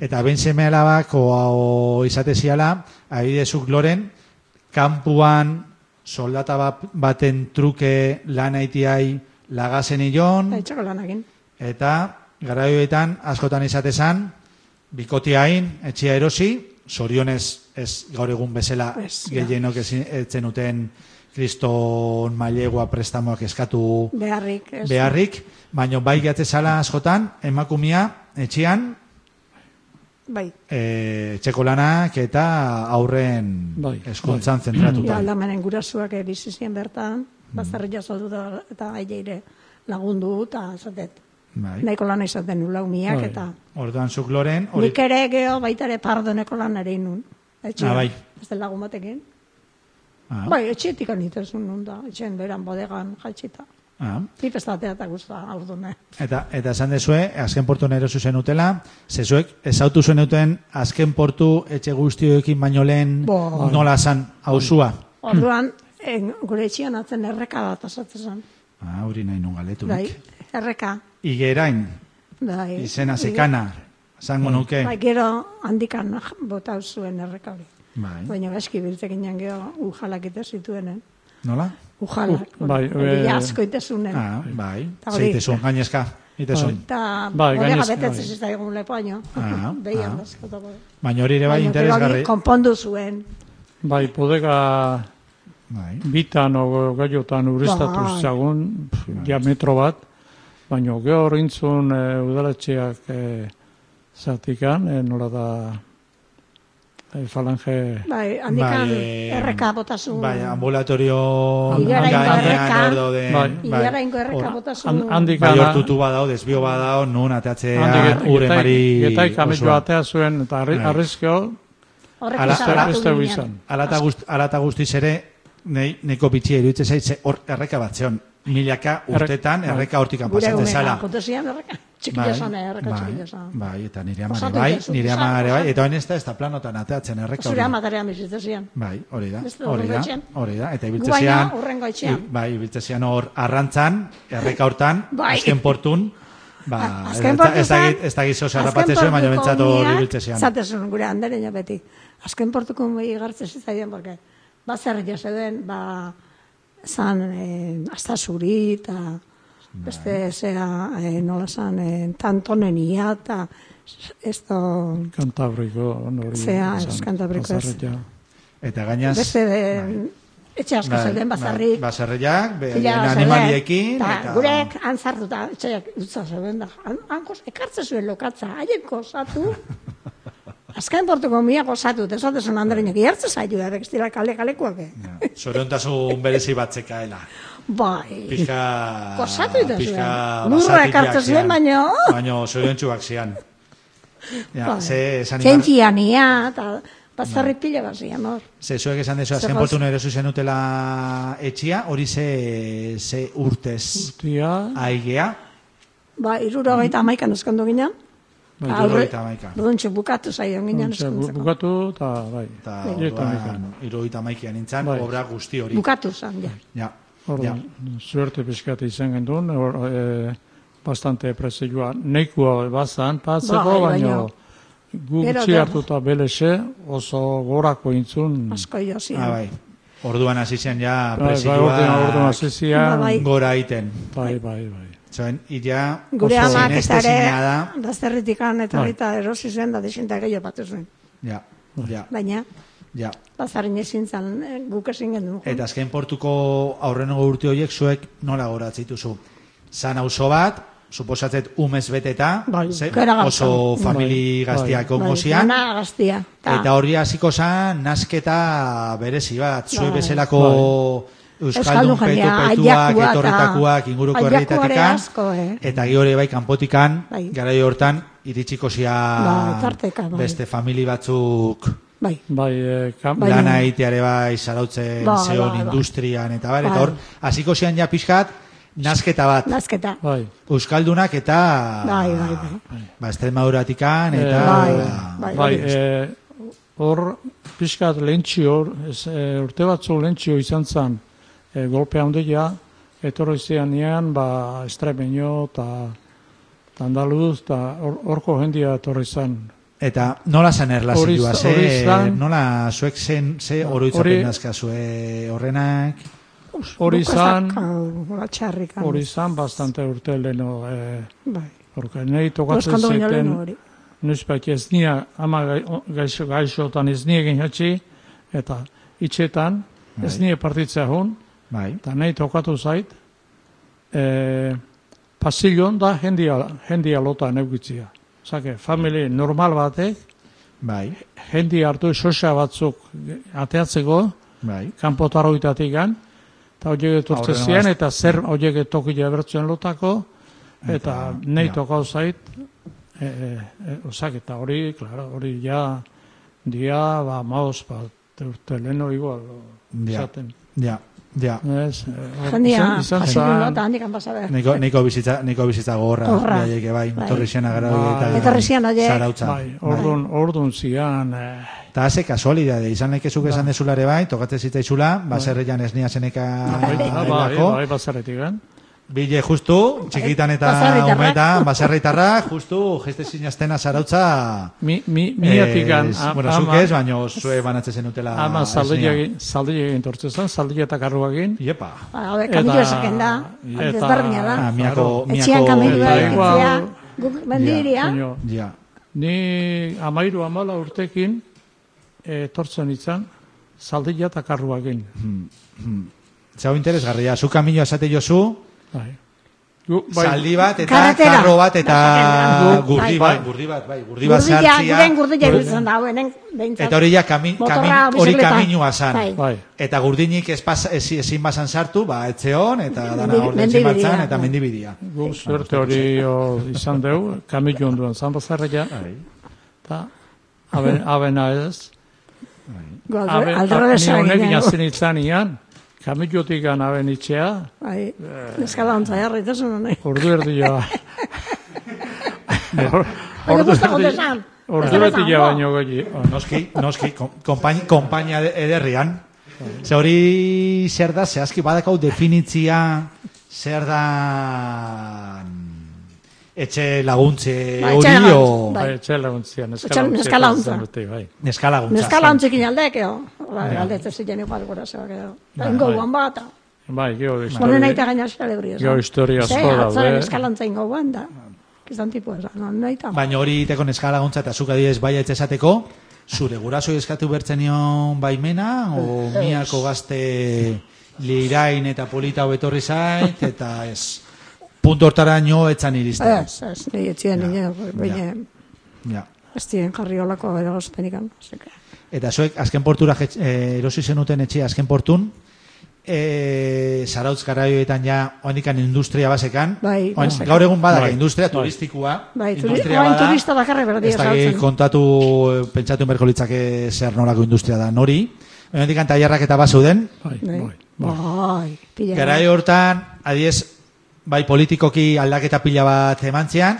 [SPEAKER 1] eta behin seme alabak o, o izate ziala, adibidezuk loren, kanpuan soldata bat, baten truke lan aitiai lagazen ilon,
[SPEAKER 5] Eta itxako lanakin.
[SPEAKER 1] eta gara bietan askotan izatezan, bikotiain, etxia erosi, sorionez ez gaur egun bezala
[SPEAKER 5] Ez, ja.
[SPEAKER 1] gehienok ezin- etzen duten kriston mailegua prestamoak eskatu
[SPEAKER 5] Beharrik. Ez.
[SPEAKER 1] beharrik, baino bai gatzezala askotan, emakumia etxean,
[SPEAKER 5] Bai.
[SPEAKER 1] e, etxeko lanak eta aurren
[SPEAKER 7] Bai,
[SPEAKER 1] eskuntzan zentratuta.
[SPEAKER 5] Ja, aldamenen gurasuak eh, bizi ziren bertan, bazarri jasotu da eta aileire lagundu eta zatet.
[SPEAKER 1] Bai.
[SPEAKER 5] Nahiko lana izaten nu lau miak
[SPEAKER 7] Bai.
[SPEAKER 5] eta
[SPEAKER 1] Orduan zuk loren, hori
[SPEAKER 5] nik ere geho baita ere pardoneko lan ere inun. Etxean,
[SPEAKER 1] Ah, bai.
[SPEAKER 5] Ez den lagun batekin.
[SPEAKER 1] Ah,
[SPEAKER 5] Bai, etxetik anitezun nun da, etxen beran bodegan jaitsita.
[SPEAKER 1] ah.
[SPEAKER 5] Ni pestatea eta eh. guztua, aurdune.
[SPEAKER 1] Eta, eta esan dezue, azken portu nero zuzen utela, zezuek ezautu zuen duten azken portu etxe guztioekin baino lehen
[SPEAKER 5] Bo. Bai.
[SPEAKER 1] nola zan, hausua.
[SPEAKER 5] Orduan, en, gure etxian atzen erreka bat asatzen zen.
[SPEAKER 1] Ah, hori nahi nun
[SPEAKER 5] Bai,
[SPEAKER 1] galeturik.
[SPEAKER 5] erreka.
[SPEAKER 1] Igerain,
[SPEAKER 5] Bai.
[SPEAKER 1] izena eh. zekana, zango nuke.
[SPEAKER 5] Bai, gero handikan botau zuen erreka hori.
[SPEAKER 1] Bai.
[SPEAKER 5] Baina gaizki biltzek ginen gero ujalak ite zituenen.
[SPEAKER 1] Nola?
[SPEAKER 5] Ujalak,
[SPEAKER 7] Uh, bai,
[SPEAKER 5] hori, hori
[SPEAKER 7] eh,
[SPEAKER 5] asko itezunen.
[SPEAKER 1] Ah, bai.
[SPEAKER 5] Eta hori-
[SPEAKER 1] Zeitezun, gainezka. Itezun.
[SPEAKER 5] Eta
[SPEAKER 7] Bai,
[SPEAKER 5] bodega
[SPEAKER 7] gainez-
[SPEAKER 5] betetz
[SPEAKER 7] bai.
[SPEAKER 5] ez daigun lepoaino. [laughs]
[SPEAKER 1] Ah,
[SPEAKER 5] Behian
[SPEAKER 1] ah.
[SPEAKER 5] askotako.
[SPEAKER 1] Baina hori ere bai
[SPEAKER 5] Baina gero hori
[SPEAKER 1] interesgarri.
[SPEAKER 5] Konpondu zuen.
[SPEAKER 7] Bai, podega
[SPEAKER 1] Bai.
[SPEAKER 7] bitan o gaiotan ureztatu
[SPEAKER 5] Bai.
[SPEAKER 7] zagun, ja metro bat, baino geho horintzun e, udaletxeak e, zatikan, e, nola da e, falange...
[SPEAKER 5] Bai, handikan
[SPEAKER 1] Bai, eh,
[SPEAKER 5] erreka botazun.
[SPEAKER 1] Bai, ambulatorio
[SPEAKER 5] Igaraingo
[SPEAKER 1] gainean
[SPEAKER 5] erreka.
[SPEAKER 1] hor daude.
[SPEAKER 7] Bai.
[SPEAKER 5] Ilara ingo
[SPEAKER 1] Hor-
[SPEAKER 5] erreka botazun.
[SPEAKER 7] Han- handik
[SPEAKER 1] Bai,
[SPEAKER 7] ana-
[SPEAKER 1] hor tutu badao, desbio badao, nun
[SPEAKER 7] handik
[SPEAKER 1] ateatzean
[SPEAKER 7] get-
[SPEAKER 1] ure
[SPEAKER 7] getai-
[SPEAKER 1] mari...
[SPEAKER 7] getaik ametxo
[SPEAKER 1] osoa.
[SPEAKER 7] batea zuen, eta arri,
[SPEAKER 1] Bai.
[SPEAKER 7] arrizkeo,
[SPEAKER 5] Horrek
[SPEAKER 1] Ala-
[SPEAKER 7] beste,
[SPEAKER 1] ala-
[SPEAKER 5] izabatu
[SPEAKER 7] beste
[SPEAKER 5] ginen.
[SPEAKER 7] guizan.
[SPEAKER 1] Alata, guzti, alata guztiz ere, nei, neko bitxia iruditzen zait, ze hor erreka bat zeon. Milaka urtetan
[SPEAKER 7] Errek- bai.
[SPEAKER 1] erreka hortikan
[SPEAKER 5] Gure
[SPEAKER 1] pasatzen zala.
[SPEAKER 5] umean, kontuzian erreka.
[SPEAKER 1] Bai,
[SPEAKER 5] Txikilla zan, erreka
[SPEAKER 1] bai,
[SPEAKER 5] txikilla zan.
[SPEAKER 1] bai, eta nire amare
[SPEAKER 5] Osatu
[SPEAKER 1] bai,
[SPEAKER 5] itezu,
[SPEAKER 1] nire
[SPEAKER 5] osatu,
[SPEAKER 1] amare bai,
[SPEAKER 5] osatu.
[SPEAKER 1] eta honez da ez da planotan ateatzen erreka
[SPEAKER 5] Zure
[SPEAKER 1] hori.
[SPEAKER 5] amatarean bizitzezian.
[SPEAKER 1] Bai, hori da,
[SPEAKER 5] Beste
[SPEAKER 1] hori da,
[SPEAKER 5] hurrengo etxean.
[SPEAKER 1] hori da, eta
[SPEAKER 5] Gu baino,
[SPEAKER 1] ibiltzean,
[SPEAKER 5] hurrengo etxean.
[SPEAKER 1] bai, ibiltzean hor arrantzan, erreka hortan,
[SPEAKER 5] [laughs] Bai.
[SPEAKER 1] azken portun, ba,
[SPEAKER 5] Ah,
[SPEAKER 1] ez, da- ez, da, ez da gizo zarrapatzen zuen, baina bentsat hor ibiltzean.
[SPEAKER 5] Zatezun, gure andereño beti. Azken portuko mei gartzen zitzaien, porque bazer jaseden, ba, zan, eh, azta
[SPEAKER 1] Bai.
[SPEAKER 5] zuri, eta beste zea, eh, nola zan, eh, tantonenia, eta esto,
[SPEAKER 7] kantabriko, hori...
[SPEAKER 5] Zea, ez, Kantabriko ez.
[SPEAKER 7] Azarretia.
[SPEAKER 1] Eta gainaz,
[SPEAKER 5] beste, eh, etxe
[SPEAKER 1] Bai,
[SPEAKER 5] asko zeuden bazarrik,
[SPEAKER 1] bazarriak, be-
[SPEAKER 5] Pila bat
[SPEAKER 1] animaliekin,
[SPEAKER 5] zeuden, eta... Gurek antzartuta, etxeak utza zeuden da. Han- Hankoz, ekartze zuen lokatza, haien gozatu.
[SPEAKER 1] [laughs]
[SPEAKER 5] Azken portuko mia gozatu, tesatezen
[SPEAKER 1] Bai.
[SPEAKER 5] andreinek, jertze zaitu, errek estila kale kalekuak. eh?
[SPEAKER 1] Ja, Zoriontasun berezi bat zekaela.
[SPEAKER 5] Bai,
[SPEAKER 1] Pizka...
[SPEAKER 5] Gozatu dituzue.
[SPEAKER 1] Pizka...
[SPEAKER 5] Lurra
[SPEAKER 1] basatiak
[SPEAKER 5] ekartzen
[SPEAKER 1] zian.
[SPEAKER 5] zuen, baino-
[SPEAKER 1] Baino, zoriontsuak zian. Ja,
[SPEAKER 5] Bai.
[SPEAKER 1] ze, Bai. esan ibar-
[SPEAKER 5] txentxian ia, eta bazarri pila bat zian hor.
[SPEAKER 1] Ze zuek esan dezu, azken
[SPEAKER 5] Zer
[SPEAKER 1] portu nero zuzen utela etxia, hori ze, ze urtez
[SPEAKER 7] Tia,
[SPEAKER 1] aigea,
[SPEAKER 5] Ba, iruro gaita amaikan eskondu ginen.
[SPEAKER 1] Bai,
[SPEAKER 5] Ta
[SPEAKER 1] hirurogeita hamaika.
[SPEAKER 5] Orduantxe bukatu zaion ginen
[SPEAKER 7] ontsa bu-
[SPEAKER 5] eskontzeko.
[SPEAKER 7] bukatu, eta bai.
[SPEAKER 1] eta ba,
[SPEAKER 7] Iretan ikan.
[SPEAKER 1] orduan irudita maikian nintzen,
[SPEAKER 7] Bai.
[SPEAKER 1] obra guzti hori.
[SPEAKER 5] Bukatu zan, ja.
[SPEAKER 1] Ja, ja.
[SPEAKER 7] Orduan, suerte pixkat izan gendun, hor, e, bastante presioa neikua bazan,
[SPEAKER 5] Bai,
[SPEAKER 7] patzeko, baino
[SPEAKER 5] baino. Gero
[SPEAKER 7] gutxi
[SPEAKER 5] da.
[SPEAKER 7] hartuta belexe oso gorako intzun.
[SPEAKER 5] Asko jo zian.
[SPEAKER 1] Ah, bai. Orduan hasi zen ja
[SPEAKER 7] Bai, bai, orduan, orduan
[SPEAKER 1] presidioak
[SPEAKER 7] hasi zian,
[SPEAKER 5] Ba, bai.
[SPEAKER 1] gora egiten.
[SPEAKER 7] bai, bai, bai.
[SPEAKER 1] Zoen, illa
[SPEAKER 5] Gure
[SPEAKER 1] oso
[SPEAKER 5] amak eta
[SPEAKER 1] sinestezina da.
[SPEAKER 5] ere bazterritik
[SPEAKER 7] Bai.
[SPEAKER 5] etorrita erosi zuen da desinta gehiago batu zuen.
[SPEAKER 1] Ja, ja,
[SPEAKER 5] Baina,
[SPEAKER 1] ja.
[SPEAKER 5] bazarin ezin zan, eh, guk ezin Bai, gendu.
[SPEAKER 1] Eta azken portuko aurrenengo urte horiek zuek nola goratzituzu. Zan auzo bat, suposatzet umez beteta,
[SPEAKER 5] Bai,
[SPEAKER 1] ze,
[SPEAKER 5] gara gauza.
[SPEAKER 1] oso famili
[SPEAKER 7] Bai, bai.
[SPEAKER 1] gaztiak ongo zian,
[SPEAKER 5] Ona gaztia. Ta,
[SPEAKER 1] eta horri hasiko zan nasketa berezi bat, zue
[SPEAKER 5] Bai.
[SPEAKER 1] bezalako Euskaldun
[SPEAKER 5] Euskaldun
[SPEAKER 1] petu
[SPEAKER 5] jendea,
[SPEAKER 1] petuak,
[SPEAKER 5] aiakua eta-
[SPEAKER 1] etorritakoak, inguruko
[SPEAKER 5] aiakua ere
[SPEAKER 1] herrietatikan,
[SPEAKER 5] asko, eh.
[SPEAKER 1] eta gehi hori bai kanpotikan,
[SPEAKER 5] Bai.
[SPEAKER 1] garai hortan, iritsiko zia
[SPEAKER 5] Bai, tarteka, bai.
[SPEAKER 1] beste famili batzuk
[SPEAKER 5] bai.
[SPEAKER 7] Bai, e, kam,
[SPEAKER 5] Bai. Baina-
[SPEAKER 1] lana egiteare bai zarautzen
[SPEAKER 5] Ba,
[SPEAKER 1] zeon
[SPEAKER 5] ba, ba.
[SPEAKER 1] industrian eta bar, eta
[SPEAKER 5] Bai.
[SPEAKER 1] hor, hasiko zian ja pixkat, Nasketa bat.
[SPEAKER 5] Nazketa.
[SPEAKER 7] bai.
[SPEAKER 1] Euskaldunak eta...
[SPEAKER 5] Bai, bai, bai.
[SPEAKER 1] Ba, Extremaduratikan eta... ba,
[SPEAKER 5] Bai, bai.
[SPEAKER 7] Bai, e, hor pixkat lentsio, hor, ez, e, urte batzu lentsio izan zen e, golpe handia, etorri zianean, ba, estremeño eta eta andaluz, eta hor- horko jendia etorri zen.
[SPEAKER 5] Bai.
[SPEAKER 1] Eta nola zen
[SPEAKER 7] Hori
[SPEAKER 1] erlazioa,
[SPEAKER 7] za-
[SPEAKER 1] ze,
[SPEAKER 7] hori zan-
[SPEAKER 1] nola zuek zen, ze
[SPEAKER 7] Hori-
[SPEAKER 1] oroitzapen nazkazue horrenak,
[SPEAKER 7] Hori izan,
[SPEAKER 5] Txarrik.
[SPEAKER 7] hori izan, bastante urte leheno, e,
[SPEAKER 5] Bai.
[SPEAKER 7] orka, nahi tokatzen
[SPEAKER 5] Euskaldu baino
[SPEAKER 7] ziten,
[SPEAKER 5] lehenu hori.
[SPEAKER 7] nuzpaki ez nia, ama gai- o- gaixo, gaixotan ez nia egin hatxi, eta itxetan, ez nia partitzea hun,
[SPEAKER 1] bai,
[SPEAKER 7] eta nahi tokatu zait, e, pasillon da jendia, jendia lota neukitzia. Zake, familie normal batek,
[SPEAKER 1] bai,
[SPEAKER 7] jendia hartu sosa batzuk ateatzeko,
[SPEAKER 1] bai,
[SPEAKER 7] kanpotaroitatik gan, eta horiek etortzen
[SPEAKER 1] Aurrena
[SPEAKER 7] ziren,
[SPEAKER 1] bast-
[SPEAKER 7] eta zer horiek etokila bertzen lotako, eta, nahi
[SPEAKER 1] ja.
[SPEAKER 7] tokau zait, e, e, e, osak, eta hori, klaro, hori ja, dia, ba, maoz, bat, urte leheno igual,
[SPEAKER 1] Ja.
[SPEAKER 7] esaten.
[SPEAKER 1] ja, ja.
[SPEAKER 7] Ez, e, hor-
[SPEAKER 5] Jendia,
[SPEAKER 7] izan- izan
[SPEAKER 5] pasillo
[SPEAKER 7] zan-
[SPEAKER 5] nota, handik pasabe.
[SPEAKER 1] Niko, niko bizitza, niko bizitza gogorra,
[SPEAKER 5] Gogorra.
[SPEAKER 1] beraiek, bai,
[SPEAKER 5] Bai.
[SPEAKER 1] etorri zen agara horiek
[SPEAKER 7] Bai.
[SPEAKER 1] eta
[SPEAKER 5] Etorri zian horiek.
[SPEAKER 1] Zarautza.
[SPEAKER 7] Bai, orduan, orduan zian, eh,
[SPEAKER 1] Eta haze kasualidade, izan lekezuk esan dezulare bai, tokatzen zitzaizula, baserrian ez nia zeneka
[SPEAKER 7] bai, bai,
[SPEAKER 1] delako.
[SPEAKER 7] bai, bazaretik, gan.
[SPEAKER 1] Bile justu, txikitan eta
[SPEAKER 5] Baserritarrak.
[SPEAKER 1] umeta, baserritarra, justu, jeste zinaztena zarautza...
[SPEAKER 7] Mi, mi, miatik gan,
[SPEAKER 1] ez,
[SPEAKER 7] am-
[SPEAKER 1] bueno, zuk
[SPEAKER 7] ama,
[SPEAKER 1] ez, baino zue banatzen zenutela...
[SPEAKER 7] ama
[SPEAKER 1] ez nia.
[SPEAKER 7] zaldilegin, zaldilegin tortzezan, zaldilegin eta karruagin,
[SPEAKER 1] Iepa.
[SPEAKER 5] Ba, hobe, kamillo
[SPEAKER 7] Eta-
[SPEAKER 5] esaken da,
[SPEAKER 7] Eta-
[SPEAKER 5] desberdina da.
[SPEAKER 1] Ah, miako,
[SPEAKER 7] Claro.
[SPEAKER 5] Etxean kamilloa
[SPEAKER 7] Eta
[SPEAKER 1] miako...
[SPEAKER 7] igual-
[SPEAKER 5] ekitzea, guk mendiria,
[SPEAKER 7] Baino,
[SPEAKER 1] Ja,
[SPEAKER 7] Ni amairu amala urtekin e, tortzen itzan, zaldila eta karruagin.
[SPEAKER 1] zau interesgarria, zu kamino esate jozu,
[SPEAKER 7] Bai. Gu, bai,
[SPEAKER 1] zaldi bat eta
[SPEAKER 5] Karretera.
[SPEAKER 1] karro bat eta
[SPEAKER 5] Bai.
[SPEAKER 1] gurdi
[SPEAKER 5] Bai.
[SPEAKER 1] bat, gurdi bat, bai, gurdi bat
[SPEAKER 5] gurdila,
[SPEAKER 1] zahartzia.
[SPEAKER 5] guden gurdila ibiltzen da, hauenen, behintzat.
[SPEAKER 1] Eta hori ja kami,
[SPEAKER 5] Motorra,
[SPEAKER 1] kami, hori
[SPEAKER 5] bizikleta.
[SPEAKER 1] kaminua zan.
[SPEAKER 5] Bai.
[SPEAKER 7] bai.
[SPEAKER 1] Eta gurdinik ez pas, ez, ezin bazan sartu, ba, etzeon, eta dana
[SPEAKER 5] Mendi-
[SPEAKER 1] orden zimartzan,
[SPEAKER 5] mendibidia.
[SPEAKER 1] eta mendibidia.
[SPEAKER 7] Gu zuerte hori o, izan deu, kamillo onduan zan bazarria,
[SPEAKER 1] Bai.
[SPEAKER 7] eta aben, abena ez.
[SPEAKER 5] Gu alde-
[SPEAKER 7] Abe,
[SPEAKER 5] alderra
[SPEAKER 7] ni
[SPEAKER 5] desan
[SPEAKER 7] honek
[SPEAKER 5] ginen,
[SPEAKER 7] inazten itzan ian, kamillotik an aben itxea,
[SPEAKER 5] Bai, eskala ontza jarraitasun honi.
[SPEAKER 7] Eh. ordu erdi joa. Or-
[SPEAKER 5] Baina gusta
[SPEAKER 7] erdi-
[SPEAKER 5] gotesan.
[SPEAKER 7] Ordu erdi Bai. joa baino gehi.
[SPEAKER 1] Noski, noski, kon- konpain- konpainia de- ederrian. Ze hori zer da, zehazki badakau definitzia zer da mm, etxe laguntze
[SPEAKER 5] Ba, etxe
[SPEAKER 1] hori
[SPEAKER 5] laguntz,
[SPEAKER 1] o
[SPEAKER 5] bai.
[SPEAKER 7] Bai, etxela untzian,
[SPEAKER 5] Etxela-
[SPEAKER 7] eskala
[SPEAKER 5] neskala
[SPEAKER 7] untzian.
[SPEAKER 5] untza.
[SPEAKER 7] dute, Bai.
[SPEAKER 1] neska laguntza.
[SPEAKER 5] Neskala ontzikin aldek, eo. Ba, Galdetzen ziren igual gura zeak, eo. Da, ingo guan bat,
[SPEAKER 7] Ba, Bai, gero historia.
[SPEAKER 5] honen aita gaina celebri. esan.
[SPEAKER 7] Gero historia asko
[SPEAKER 5] Ze, atzaren
[SPEAKER 7] daude.
[SPEAKER 5] eskala ontza ingo guan, da. Kizan tipu esan, honen aita.
[SPEAKER 7] Bai.
[SPEAKER 1] Baina hori iteko neska laguntza eta zuk adibidez bai etxe esateko, zure guraso eskatu bertzenion baimena o miako gazte lirain eta polita betorri zait eta ez punto hortaraino etzan iristen.
[SPEAKER 5] Ez, ez, nahi etzien nire, baina
[SPEAKER 1] Ja.
[SPEAKER 5] ez dien jarri olako eragozpenik.
[SPEAKER 1] Eta zuek azken portura jetx- eh, erosi zenuten etxe azken portun, e, Zarautz garaioetan ja oanikan industria basekan,
[SPEAKER 5] Bai,
[SPEAKER 1] Oain-
[SPEAKER 5] bazekan.
[SPEAKER 1] gaur egun badaka
[SPEAKER 7] Bai.
[SPEAKER 1] industria
[SPEAKER 7] Bai.
[SPEAKER 1] turistikoa,
[SPEAKER 5] Bai, turi-
[SPEAKER 1] industria
[SPEAKER 5] oain
[SPEAKER 1] bada,
[SPEAKER 5] turista bakarrik berdin
[SPEAKER 1] ez dakit
[SPEAKER 5] Zarautzen.
[SPEAKER 1] kontatu, eh, pentsatu berko litzake zer nolako industria da nori, oanikan tailerrak eta bazeuden,
[SPEAKER 7] Bai, bai.
[SPEAKER 5] Bai, pila.
[SPEAKER 1] Garai hortan, adiez, bai politikoki aldaketa pila bat eman zian,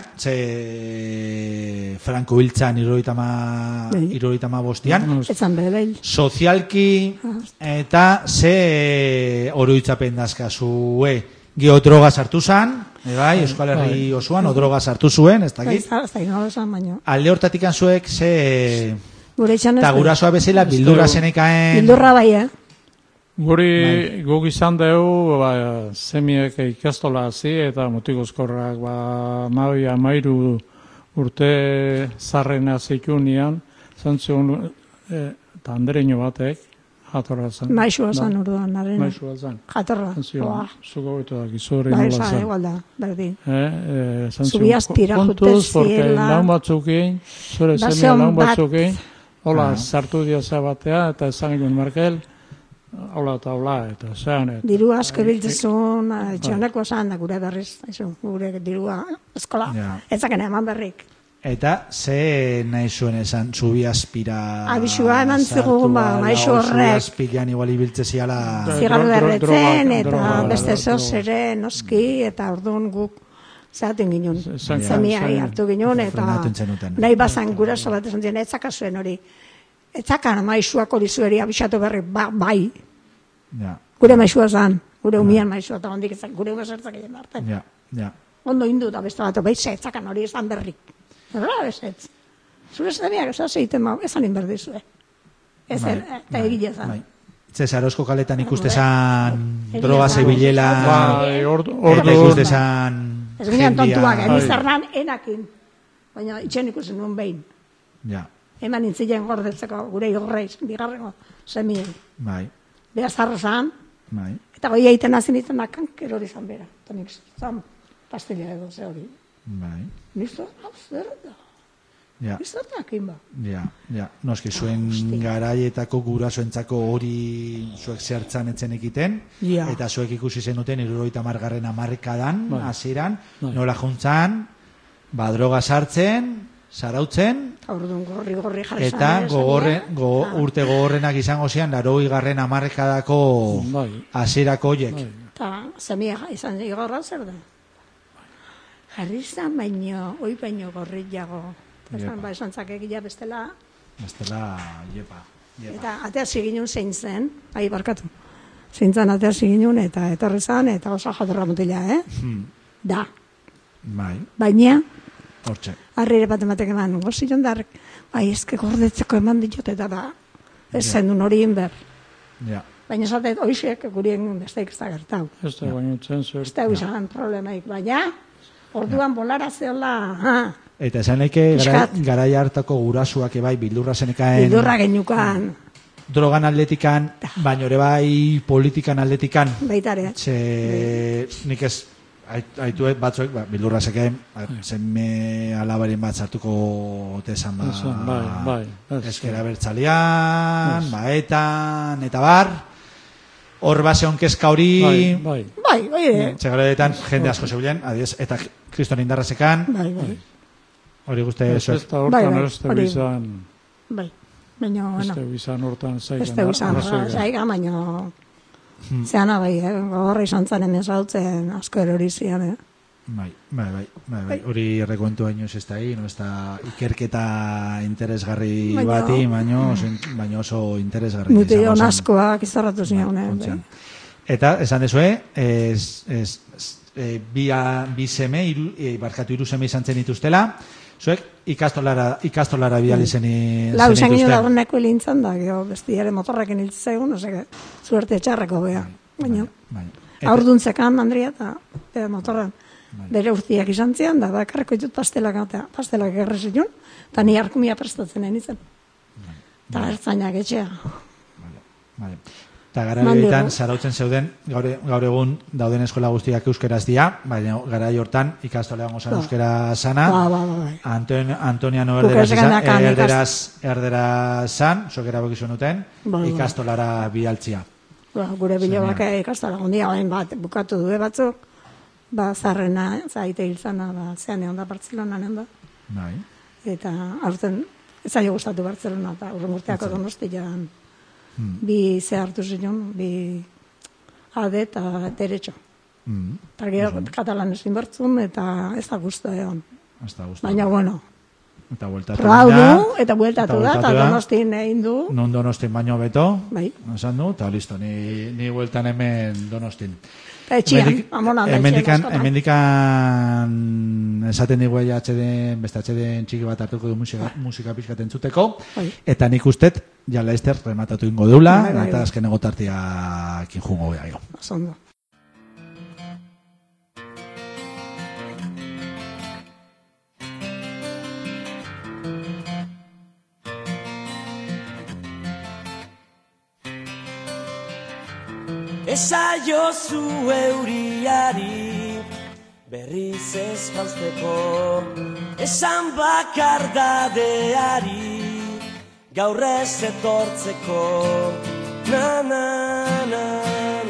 [SPEAKER 1] ze Franco hiltzan iroritama,
[SPEAKER 5] Bai.
[SPEAKER 1] iroritama
[SPEAKER 7] Mm-hmm.
[SPEAKER 1] bostian,
[SPEAKER 5] Etzan bere behin.
[SPEAKER 1] sozialki eta ze eh, oroitzapen dazkazue. Gio droga sartu zan, e bai, Euskal Herri osoan, o droga sartu zuen, ez
[SPEAKER 5] Bai,
[SPEAKER 1] dakit.
[SPEAKER 5] ez da- ez da inola esan, baina.
[SPEAKER 1] Alde hortatik zuek ze...
[SPEAKER 5] Gure etxan ez
[SPEAKER 1] Eta
[SPEAKER 5] da.
[SPEAKER 1] gurasoa bezala bildura zenekaen...
[SPEAKER 5] Bildurra bai, eh?
[SPEAKER 7] Guri guk izan dugu ba, semiek ikastola hasi eta mutikozkorrak ba, amabi, amairu urte zarrena zitunean, zantzion e, eta andereño batek, jatorra zen.
[SPEAKER 5] Maixua zan orduan, naren.
[SPEAKER 7] Maixua zen.
[SPEAKER 5] Jatorra.
[SPEAKER 7] Zantzion,
[SPEAKER 5] Ba,
[SPEAKER 7] zuko goitu dakizu hori
[SPEAKER 5] Bai,
[SPEAKER 7] nola
[SPEAKER 5] esan,
[SPEAKER 7] zen.
[SPEAKER 5] igual da, berdin.
[SPEAKER 7] Eh, eh, zan
[SPEAKER 5] Zubi
[SPEAKER 7] zion,
[SPEAKER 5] azpira
[SPEAKER 7] kontuz,
[SPEAKER 5] joaten
[SPEAKER 7] porque
[SPEAKER 5] ziela.
[SPEAKER 7] laun batzukin, zure
[SPEAKER 5] Ba,
[SPEAKER 7] zemia laun
[SPEAKER 5] zeon bat.
[SPEAKER 7] batzukin, hola, sartu dioza batea, eta esan ginen Markel, hola eta hola, eta zean, eta
[SPEAKER 5] Diru asko
[SPEAKER 7] eh,
[SPEAKER 5] biltzezun, etxoneko esan da gure berriz, aizu, gure dirua eskola,
[SPEAKER 1] Ja.
[SPEAKER 5] ez zaken eman berrik.
[SPEAKER 1] Eta ze nahi zuen esan, zubi aspira...
[SPEAKER 5] Abisua eman zigun, ba, maixo horrek.
[SPEAKER 1] aspilan igual ibiltze ziala...
[SPEAKER 7] Bai.
[SPEAKER 5] zigarro
[SPEAKER 7] dro- dro-
[SPEAKER 5] derretzen,
[SPEAKER 7] drogak,
[SPEAKER 5] eta
[SPEAKER 7] drogak,
[SPEAKER 5] beste
[SPEAKER 7] drogak.
[SPEAKER 5] zoz ere noski, eta orduan guk zaten ginen,
[SPEAKER 7] zen-
[SPEAKER 5] zemiai
[SPEAKER 7] zen-
[SPEAKER 5] hartu ginen, eta
[SPEAKER 1] Frenatu zenuten.
[SPEAKER 5] nahi bazan guraso bat esan ziren, etzakazuen hori, etzakan maisuako dizueri abisatu berri, ba, bai,
[SPEAKER 1] Ja,
[SPEAKER 5] gure maisua zan, gure umian
[SPEAKER 7] Ba.
[SPEAKER 5] maisua, eta ondik ezak, gure umezertzak egin arte.
[SPEAKER 1] ja, ja.
[SPEAKER 5] Ondo hindu da beste bat, bai, ze, etzakan hori ezan berrik. Horrela bezetz. Zure zemiak ez egiten ma, ezan inberdizue. Ez, er,
[SPEAKER 1] Bai,
[SPEAKER 5] eta egile zan.
[SPEAKER 1] Bai. Cesarozko kaletan
[SPEAKER 5] Bai.
[SPEAKER 1] ikustezan droga zebilela...
[SPEAKER 7] Bai, ordu,
[SPEAKER 1] Eta
[SPEAKER 7] ordu,
[SPEAKER 1] ikustezan...
[SPEAKER 5] Ez ginen
[SPEAKER 1] jendia-
[SPEAKER 5] tontuak, eh,
[SPEAKER 7] Bai.
[SPEAKER 5] emizarnan enakin. Baina itxen ikusi nuen behin.
[SPEAKER 1] Ja,
[SPEAKER 5] Eman intzilen gordetzeko gure irreiz, bigarrengo semien.
[SPEAKER 1] bai,
[SPEAKER 5] Beha zarra zan,
[SPEAKER 1] bai.
[SPEAKER 5] eta goi egiten hazin izan da kanker hori zan bera. Eta nik zan pastilla edo ze hori.
[SPEAKER 1] Bai,
[SPEAKER 5] Nisto, hau zer da,
[SPEAKER 1] ja,
[SPEAKER 5] zer da hakin ba.
[SPEAKER 1] ja, ja. Noski, zuen garaietako gurasoentzako hori zuek zertzan etzen ekiten,
[SPEAKER 5] Ja.
[SPEAKER 1] eta zuek ikusi zenuten iruroita margarren amarkadan,
[SPEAKER 7] Bai.
[SPEAKER 1] hasieran,
[SPEAKER 7] Bai.
[SPEAKER 1] nola juntzan, ba, droga sartzen, sarautzen,
[SPEAKER 5] Eta orduan gorri gorri jarri
[SPEAKER 1] eta
[SPEAKER 5] zan, eh,
[SPEAKER 1] gogorren,
[SPEAKER 5] esan
[SPEAKER 1] go,
[SPEAKER 5] dira.
[SPEAKER 1] urte gogorrenak izango zian, laro garren amarkadako
[SPEAKER 7] Bai.
[SPEAKER 1] hasierako horiek.
[SPEAKER 5] Eta semia ja- izan igorra zer da. Jarri zan baino, oi baino gorri jago. Eta
[SPEAKER 1] Iepa.
[SPEAKER 5] ba, esan zak egia bestela,
[SPEAKER 1] Bestela, jepa. jepa.
[SPEAKER 5] Eta atea ziginun zein zen, ahi barkatu. Zein zen atea ziginun eta etorri zen, eta oso jatorra mutila, eh? Da,
[SPEAKER 1] Bai,
[SPEAKER 5] baina,
[SPEAKER 1] hortxe.
[SPEAKER 5] harrire bat ematek eman, gozi jondarrek, bai, ezke gordetzeko eman ditut, eta da, ez zen dun hori inber.
[SPEAKER 1] Ja,
[SPEAKER 5] Baina esatet, oizek gurien besteik ez da gertau.
[SPEAKER 7] ez da baino txentzur.
[SPEAKER 5] Ez da izan problemaik, baina, orduan bolara zeola, ha,
[SPEAKER 1] Eta esan leike gara,
[SPEAKER 5] Pixkat.
[SPEAKER 1] garai hartako gurasuak ebai bildurra zenekaen
[SPEAKER 5] bildurra genukan,
[SPEAKER 1] drogan atletikan, baino ere bai politikan atletikan.
[SPEAKER 5] baitare.
[SPEAKER 1] Ze nik ez ait- aitu batzuek ba, bildurra zekaen
[SPEAKER 7] Bai.
[SPEAKER 1] zenme alabaren bat sartuko tesan ba,
[SPEAKER 7] Esan, bai, bai, ez.
[SPEAKER 1] ezkera bertzalean, baetan, eta bar, hor baseon kezka hori,
[SPEAKER 7] Bai, bai.
[SPEAKER 5] Bai, oire,
[SPEAKER 1] Txegaletan jende asko zebilen, adiez, eta kriston indarrazekan,
[SPEAKER 5] bai, bai,
[SPEAKER 1] hori guzti
[SPEAKER 7] Ez ez
[SPEAKER 1] zuek.
[SPEAKER 7] da
[SPEAKER 5] Bai,
[SPEAKER 7] hortan,
[SPEAKER 5] bai,
[SPEAKER 7] ez da
[SPEAKER 5] hori.
[SPEAKER 7] bizan,
[SPEAKER 5] bai. Baina,
[SPEAKER 7] ez
[SPEAKER 5] bueno. ah,
[SPEAKER 7] da bizan hortan zaigan.
[SPEAKER 5] Ez da izan,
[SPEAKER 7] arrazoigan.
[SPEAKER 5] zaiga, baina zeana bai, eh? horre izan zaren ezautzen asko erori zian, eh?
[SPEAKER 1] Bai, bai, bai, bai, bai. Hori rekontu baino ez da egin, no ez da ikerketa interesgarri
[SPEAKER 5] Baino-
[SPEAKER 1] bati, baino, oso- baino oso interesgarri.
[SPEAKER 5] Mution
[SPEAKER 1] izango zen.
[SPEAKER 5] askoak izarratu zian, eh?
[SPEAKER 1] Kontzean.
[SPEAKER 5] bai.
[SPEAKER 1] Eta, esan dezue, ez, ez, ez, e, bi, a- bi seme, iru, e, barkatu iru seme izan zen dituztela, zuek ikastolara, ikastolara bidali zen
[SPEAKER 5] Bai. Lau izan ginen laguneko hilintzan da, gero bestiare motorrekin hiltze zegoen, osea, zuerte etxarreko bea.
[SPEAKER 1] bai.
[SPEAKER 5] Baina, aurdunzekan, Andrea, eta e, motorren bere urtiak izan zian, da, bakarreko ditut pastelak, eta pastelak erre zituen, eta ni harkumia prestatzen nintzen. Eta ertzainak etxea.
[SPEAKER 1] Vale. Eta gara
[SPEAKER 5] Mande,
[SPEAKER 1] horietan
[SPEAKER 5] no?
[SPEAKER 1] zarautzen zeuden, gaur, e-, gaur egun dauden eskola guztiak euskaraz dira, baina gara hortan ikastolean gozan
[SPEAKER 5] Ba.
[SPEAKER 1] euskera sana,
[SPEAKER 5] Ba, ba, ba, bai.
[SPEAKER 1] Anton, Antoniano
[SPEAKER 5] Guk
[SPEAKER 1] erderaz,
[SPEAKER 5] ez
[SPEAKER 1] izan,
[SPEAKER 5] genekan ikas-
[SPEAKER 1] erderaz, erderaz zan, zok erabaki zuen duten,
[SPEAKER 5] Ba, ba.
[SPEAKER 1] ikastolara bialtzia.
[SPEAKER 5] Ba, gure bilobak ikastola gondia orain bat bukatu du batzuk, ba, zarrena, zaite hiltzana, ba, zean egon da Bartzelonan da.
[SPEAKER 1] Bai.
[SPEAKER 5] Eta aurten, ez zailo gustatu Bartzelona, eta urren urteako donostian, bi ze hartu zinun, bi ade eta derecho.
[SPEAKER 1] Mm,
[SPEAKER 5] Eta gero katalan ezin bertzun, eta ez da guztu egon.
[SPEAKER 1] hasta gustu.
[SPEAKER 5] Baina, bueno,
[SPEAKER 1] Eta bueltatu
[SPEAKER 5] probau
[SPEAKER 1] dira,
[SPEAKER 5] eta bueltatu da, eta donostin egin du,
[SPEAKER 1] Non donostin baino beto,
[SPEAKER 5] Bai.
[SPEAKER 1] esan du, eta listo, ni, ni bueltan hemen donostin.
[SPEAKER 5] eta etxian,
[SPEAKER 1] Hemendik-
[SPEAKER 5] amonan da
[SPEAKER 1] hemendikan-
[SPEAKER 5] etxian askotan.
[SPEAKER 1] hemendikan eh, esaten digu ja atxeden, beste atxeden txiki bat hartuko du musika, musika pixkat entzuteko,
[SPEAKER 5] Bai.
[SPEAKER 1] eta nik ustet, ja laizter rematatu ingo deula,
[SPEAKER 5] Bai, bai,
[SPEAKER 1] eta
[SPEAKER 5] bai.
[SPEAKER 1] azkenengo tartiak injungo geha jo.
[SPEAKER 5] Oso ondo.
[SPEAKER 2] Esaiozu euriari berriz ez jantzeko Esan bakar dadeari gaur ez etortzeko Na na na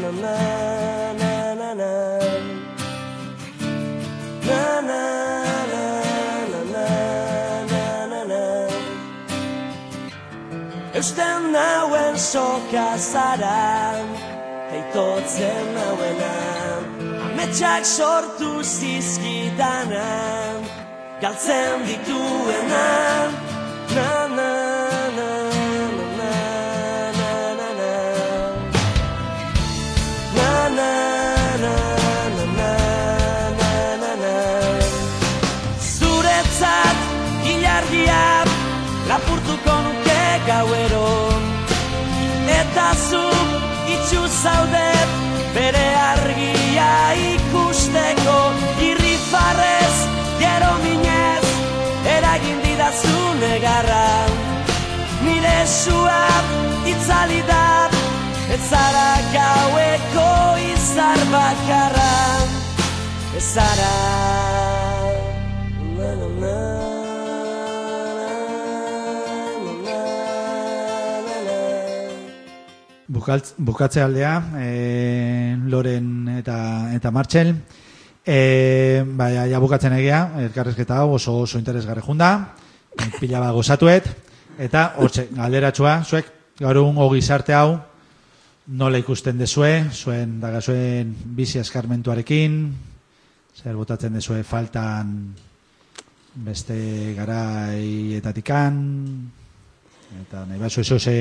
[SPEAKER 2] na na na na na Na na na na na na
[SPEAKER 6] Eusten nauen soka zara Heitotzen nauena Ametsak sortu zizkidana Galtzen dituena Na na na na na na na na Na na na na na na na na Zuretzat ilargia lapurtuko nuke gauero Eta zu itxu zaudet bere argia ikusteko Irrifarrez, gero minez, eragin didazun egarra Nire suat itzali da, ez zara gaueko izar bakarra Ez zara Na, na, na, na, na, na, na.
[SPEAKER 1] Bukaltz, bukatze aldea, e, Loren eta, eta Martxel. E, baina, ja bukatzen egia, elkarrezketa hau oso, oso interesgarri junda, pila bat gozatuet, eta hortxe, galderatxua, zuek, gaur egun gizarte hau, nola ikusten dezue, zuen, daga zuen bizi eskarmentuarekin, zer botatzen dezue faltan beste garaietatikan, eta nahi bat zuen zoze,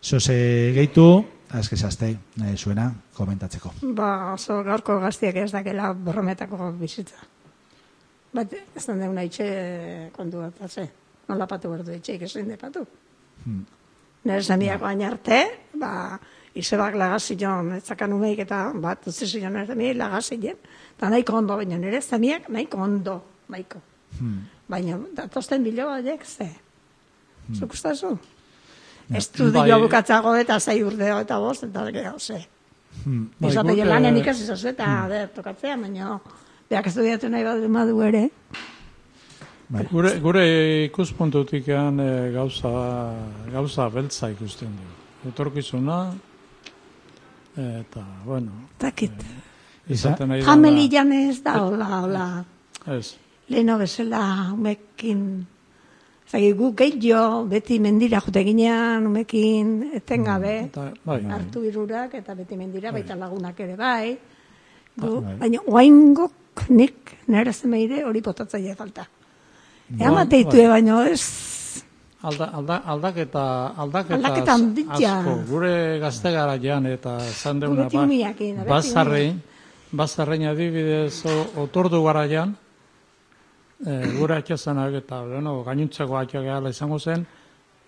[SPEAKER 1] zoze gehitu, azke zazte, nahi zuena, komentatzeko.
[SPEAKER 5] Ba, oso gaurko gaztiak ez dakela borrometako bizitza. Bat, ez den deuna itxe kontu bat, ze, nola patu behar du itxeik ezin de patu. Nire zamiak baina arte, ba, izebak lagazion, etzakan umeik eta bat, utzi zion nire zamiak lagazion, eta nahiko ondo baina nire zamiak nahiko ondo, nahiko. Baina, datosten bilo horiek, ze, zuk ustazu? Estudio
[SPEAKER 7] Bai.
[SPEAKER 5] bukatzago eta zei urte eta bost, eta gero, ze.
[SPEAKER 7] Bai,
[SPEAKER 5] Izate
[SPEAKER 7] guk,
[SPEAKER 5] jo lanen
[SPEAKER 7] eh,
[SPEAKER 5] ikasi zazu eta ber, tokatzea, baina beak estudiatu nahi badu madu ere.
[SPEAKER 7] Bai. Gure, gure ikuspuntutik e, gauza, gauza beltza ikusten dugu. Etorkizuna, eta, bueno, Eh,
[SPEAKER 5] Takit.
[SPEAKER 7] izaten nahi dana-
[SPEAKER 5] Family jan ez da, hola, hola.
[SPEAKER 7] Ez,
[SPEAKER 5] Leheno bezala umekin, zagi gu gehiago, beti mendira jute ginean, umekin, etengabe,
[SPEAKER 7] eta, bai,
[SPEAKER 5] hartu irurak eta beti mendira, baita lagunak ere bai. Gu,
[SPEAKER 1] Bai.
[SPEAKER 5] baina oaingok nik nire zemeire hori potatzaile falta.
[SPEAKER 7] Bai,
[SPEAKER 5] Ea mateitue baino ez,
[SPEAKER 7] Alda, alda, aldaketa, aldaketa,
[SPEAKER 5] Aldaketa handia.
[SPEAKER 7] asko. Gure gazte garaian eta zan deuna
[SPEAKER 5] Beti umiakin, beti
[SPEAKER 7] bazarrein, bazarrein adibidez o, otordu garaian, e, gure atxazanak eta bueno, gainuntzeko atxakeala izango zen,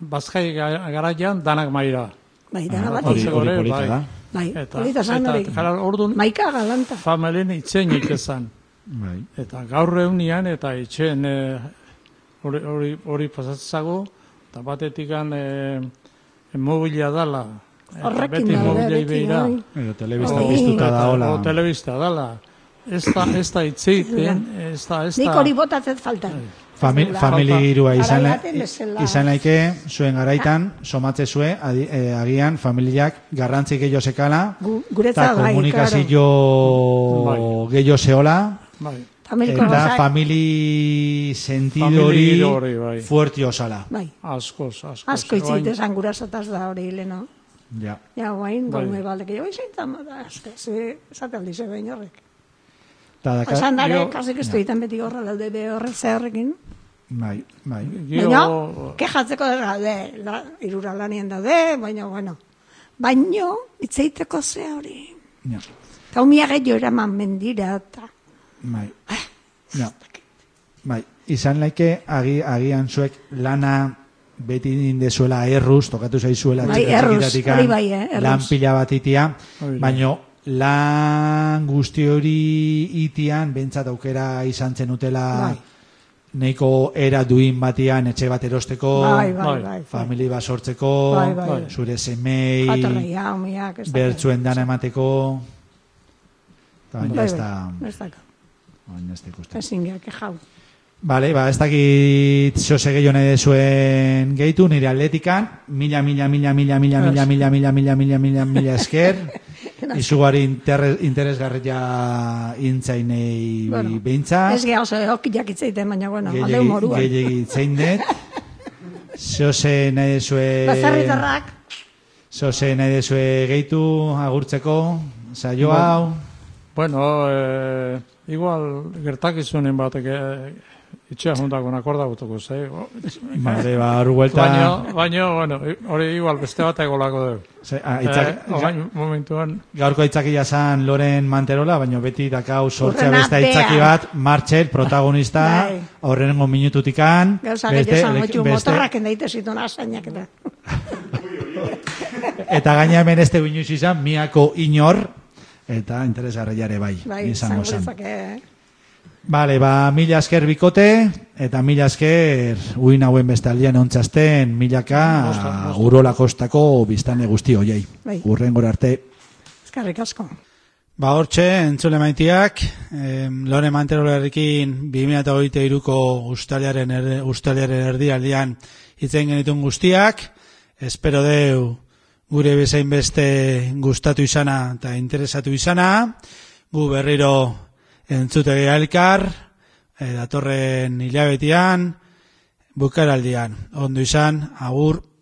[SPEAKER 7] bazkai ga- garaian danak maira.
[SPEAKER 5] bai, dara
[SPEAKER 1] Hori,
[SPEAKER 5] bat,
[SPEAKER 1] hori polita
[SPEAKER 7] Bai.
[SPEAKER 1] da.
[SPEAKER 5] bai,
[SPEAKER 7] Ah, Eta,
[SPEAKER 5] hori da zan
[SPEAKER 7] eta,
[SPEAKER 5] hori.
[SPEAKER 7] jara, orduan,
[SPEAKER 5] Maika galanta.
[SPEAKER 7] familin itzenik ezan.
[SPEAKER 1] Bai.
[SPEAKER 7] Eta gaur reunian eta etxeen eh, hori hori hori pasatzago eta batetikan eh mobila dala. Eta
[SPEAKER 5] Horrekin
[SPEAKER 7] Eh, beti
[SPEAKER 5] daude,
[SPEAKER 7] mobilei
[SPEAKER 5] beti,
[SPEAKER 7] beira.
[SPEAKER 5] bai.
[SPEAKER 1] Edo telebista
[SPEAKER 5] Bai.
[SPEAKER 1] piztuta da hola.
[SPEAKER 7] O telebista dala. Ez da ez da itzeiten, ez da ez da.
[SPEAKER 5] Nik hori botatzen falta.
[SPEAKER 7] Bai.
[SPEAKER 1] Fami, famili girua izan,
[SPEAKER 5] Ara baten bezala.
[SPEAKER 1] izan laike, zuen garaitan, somatze zue, adi- eh, agian, familiak garrantzi gehiago sekala,
[SPEAKER 5] Gu- guretza
[SPEAKER 1] eta
[SPEAKER 5] bai,
[SPEAKER 1] komunikazio
[SPEAKER 7] Bai.
[SPEAKER 1] gehiago zeola,
[SPEAKER 7] Bai.
[SPEAKER 5] Familiko
[SPEAKER 1] eta
[SPEAKER 5] gauzak,
[SPEAKER 1] famili sentido
[SPEAKER 7] Famili
[SPEAKER 1] hori
[SPEAKER 7] giro hori, bai.
[SPEAKER 1] fuerti osala.
[SPEAKER 5] Bai,
[SPEAKER 7] Askoz, askoz.
[SPEAKER 5] asko
[SPEAKER 7] Orain-
[SPEAKER 5] itzit esan gurasotaz da hori leno.
[SPEAKER 1] Ja.
[SPEAKER 5] Ja, guain,
[SPEAKER 7] Bai.
[SPEAKER 5] gaume baldek, jo, izan tamo da, asko, ze, esaten dize behin horrek.
[SPEAKER 1] Ta daka-
[SPEAKER 5] Esan dara,
[SPEAKER 7] jo-
[SPEAKER 5] kasik ez duetan beti horra daude be horrek zehorrekin.
[SPEAKER 1] Bai, bai.
[SPEAKER 7] Gero-
[SPEAKER 5] Baina, kejatzeko da daude, la, irura lanien daude, baina, bueno. Baina, itzeiteko ze hori.
[SPEAKER 1] Ja.
[SPEAKER 5] Eta umia gehiago eraman mendira, eta
[SPEAKER 1] Bai.
[SPEAKER 5] Ah,
[SPEAKER 1] Ja. Bai. Izan laike, agi, agian zuek lana beti indezuela erruz, tokatu zaizuela
[SPEAKER 5] Bai,
[SPEAKER 1] txiki-
[SPEAKER 5] erruz,
[SPEAKER 1] txikitatikan,
[SPEAKER 5] hori bai, eh, erruz.
[SPEAKER 1] lan pila bat itia, baino lan guzti hori itian, bentsat aukera izan zenutela
[SPEAKER 5] Bai.
[SPEAKER 1] neiko era duin batian etxe bat erosteko,
[SPEAKER 5] bai, bai,
[SPEAKER 7] bai,
[SPEAKER 5] bai. bai.
[SPEAKER 1] famili bat sortzeko,
[SPEAKER 5] Bai, bai.
[SPEAKER 1] zure semei,
[SPEAKER 5] Jatorria, umiak, ez dakit.
[SPEAKER 1] bertsuen dana emateko, eta baina
[SPEAKER 5] Bai,
[SPEAKER 1] ez da,
[SPEAKER 5] bai, ez dakit.
[SPEAKER 1] baina ez da ikusten.
[SPEAKER 5] Ezin geak jau.
[SPEAKER 1] Bale, ba, ez dakit xose gehiago nahi zuen gehitu, nire atletikan, mila, mila, mila, mila, mila, mila, mila, mila, mila, mila, mila, mila esker,
[SPEAKER 5] [laughs]
[SPEAKER 1] izugarri interre- interesgarria intzainei
[SPEAKER 5] Bueno,
[SPEAKER 1] behintza,
[SPEAKER 5] Ez geha oso okilak itzeiten, baina, bueno, alde
[SPEAKER 1] gehiagi
[SPEAKER 5] humorua.
[SPEAKER 1] gehiagi itzein dut, Zehose nahi dezue...
[SPEAKER 5] Bazarritarrak,
[SPEAKER 1] Zehose nahi dezue gehitu, agurtzeko, saio hau...
[SPEAKER 7] Bueno, eh, igual gertakizunen batek eh, itxea juntakon akordautuko, zei? O,
[SPEAKER 1] Bale, ba, hor buelta...
[SPEAKER 7] Baina, baina, bueno, hori igual beste bateko lako dugu.
[SPEAKER 1] Ze, ah,
[SPEAKER 7] Eh,
[SPEAKER 1] hitzak-
[SPEAKER 7] orain momentuan,
[SPEAKER 1] Gaurko itzakila zan Loren Manterola, baina beti dakau sortzea
[SPEAKER 5] Hurrena
[SPEAKER 1] beste itzaki
[SPEAKER 5] bean.
[SPEAKER 1] bat, Martxel, protagonista,
[SPEAKER 5] Bai.
[SPEAKER 1] aurrenengo minututikan,
[SPEAKER 5] gauza gehiago
[SPEAKER 1] ele-
[SPEAKER 5] zango txu,
[SPEAKER 1] beste-
[SPEAKER 5] motorrak endaite zituen azainak eta.
[SPEAKER 1] eta gaina hemen ez tegun izan, miako inor, eta interesgarriare bai,
[SPEAKER 5] Bai,
[SPEAKER 1] izango
[SPEAKER 5] zango
[SPEAKER 1] zan.
[SPEAKER 5] ditzake, eh.
[SPEAKER 1] Bale, ba, mila esker bikote, eta mila esker uin hauen bestaldian ontzazten, milaka urola kostako biztane guzti hoiei.
[SPEAKER 5] Bai.
[SPEAKER 1] Urrengor arte.
[SPEAKER 5] eskerrik asko.
[SPEAKER 8] Ba hortxe, entzule maitiak, em, Lore Manterolerrekin 2023ko ustaliaren, er, ustaliaren erdialdian itzen genitun guztiak, espero deu gure bezain beste gustatu izana eta interesatu izana, gu berriro entzutegi elkar, eh, e, datorren hilabetean, bukaraldian, ondo izan, agur,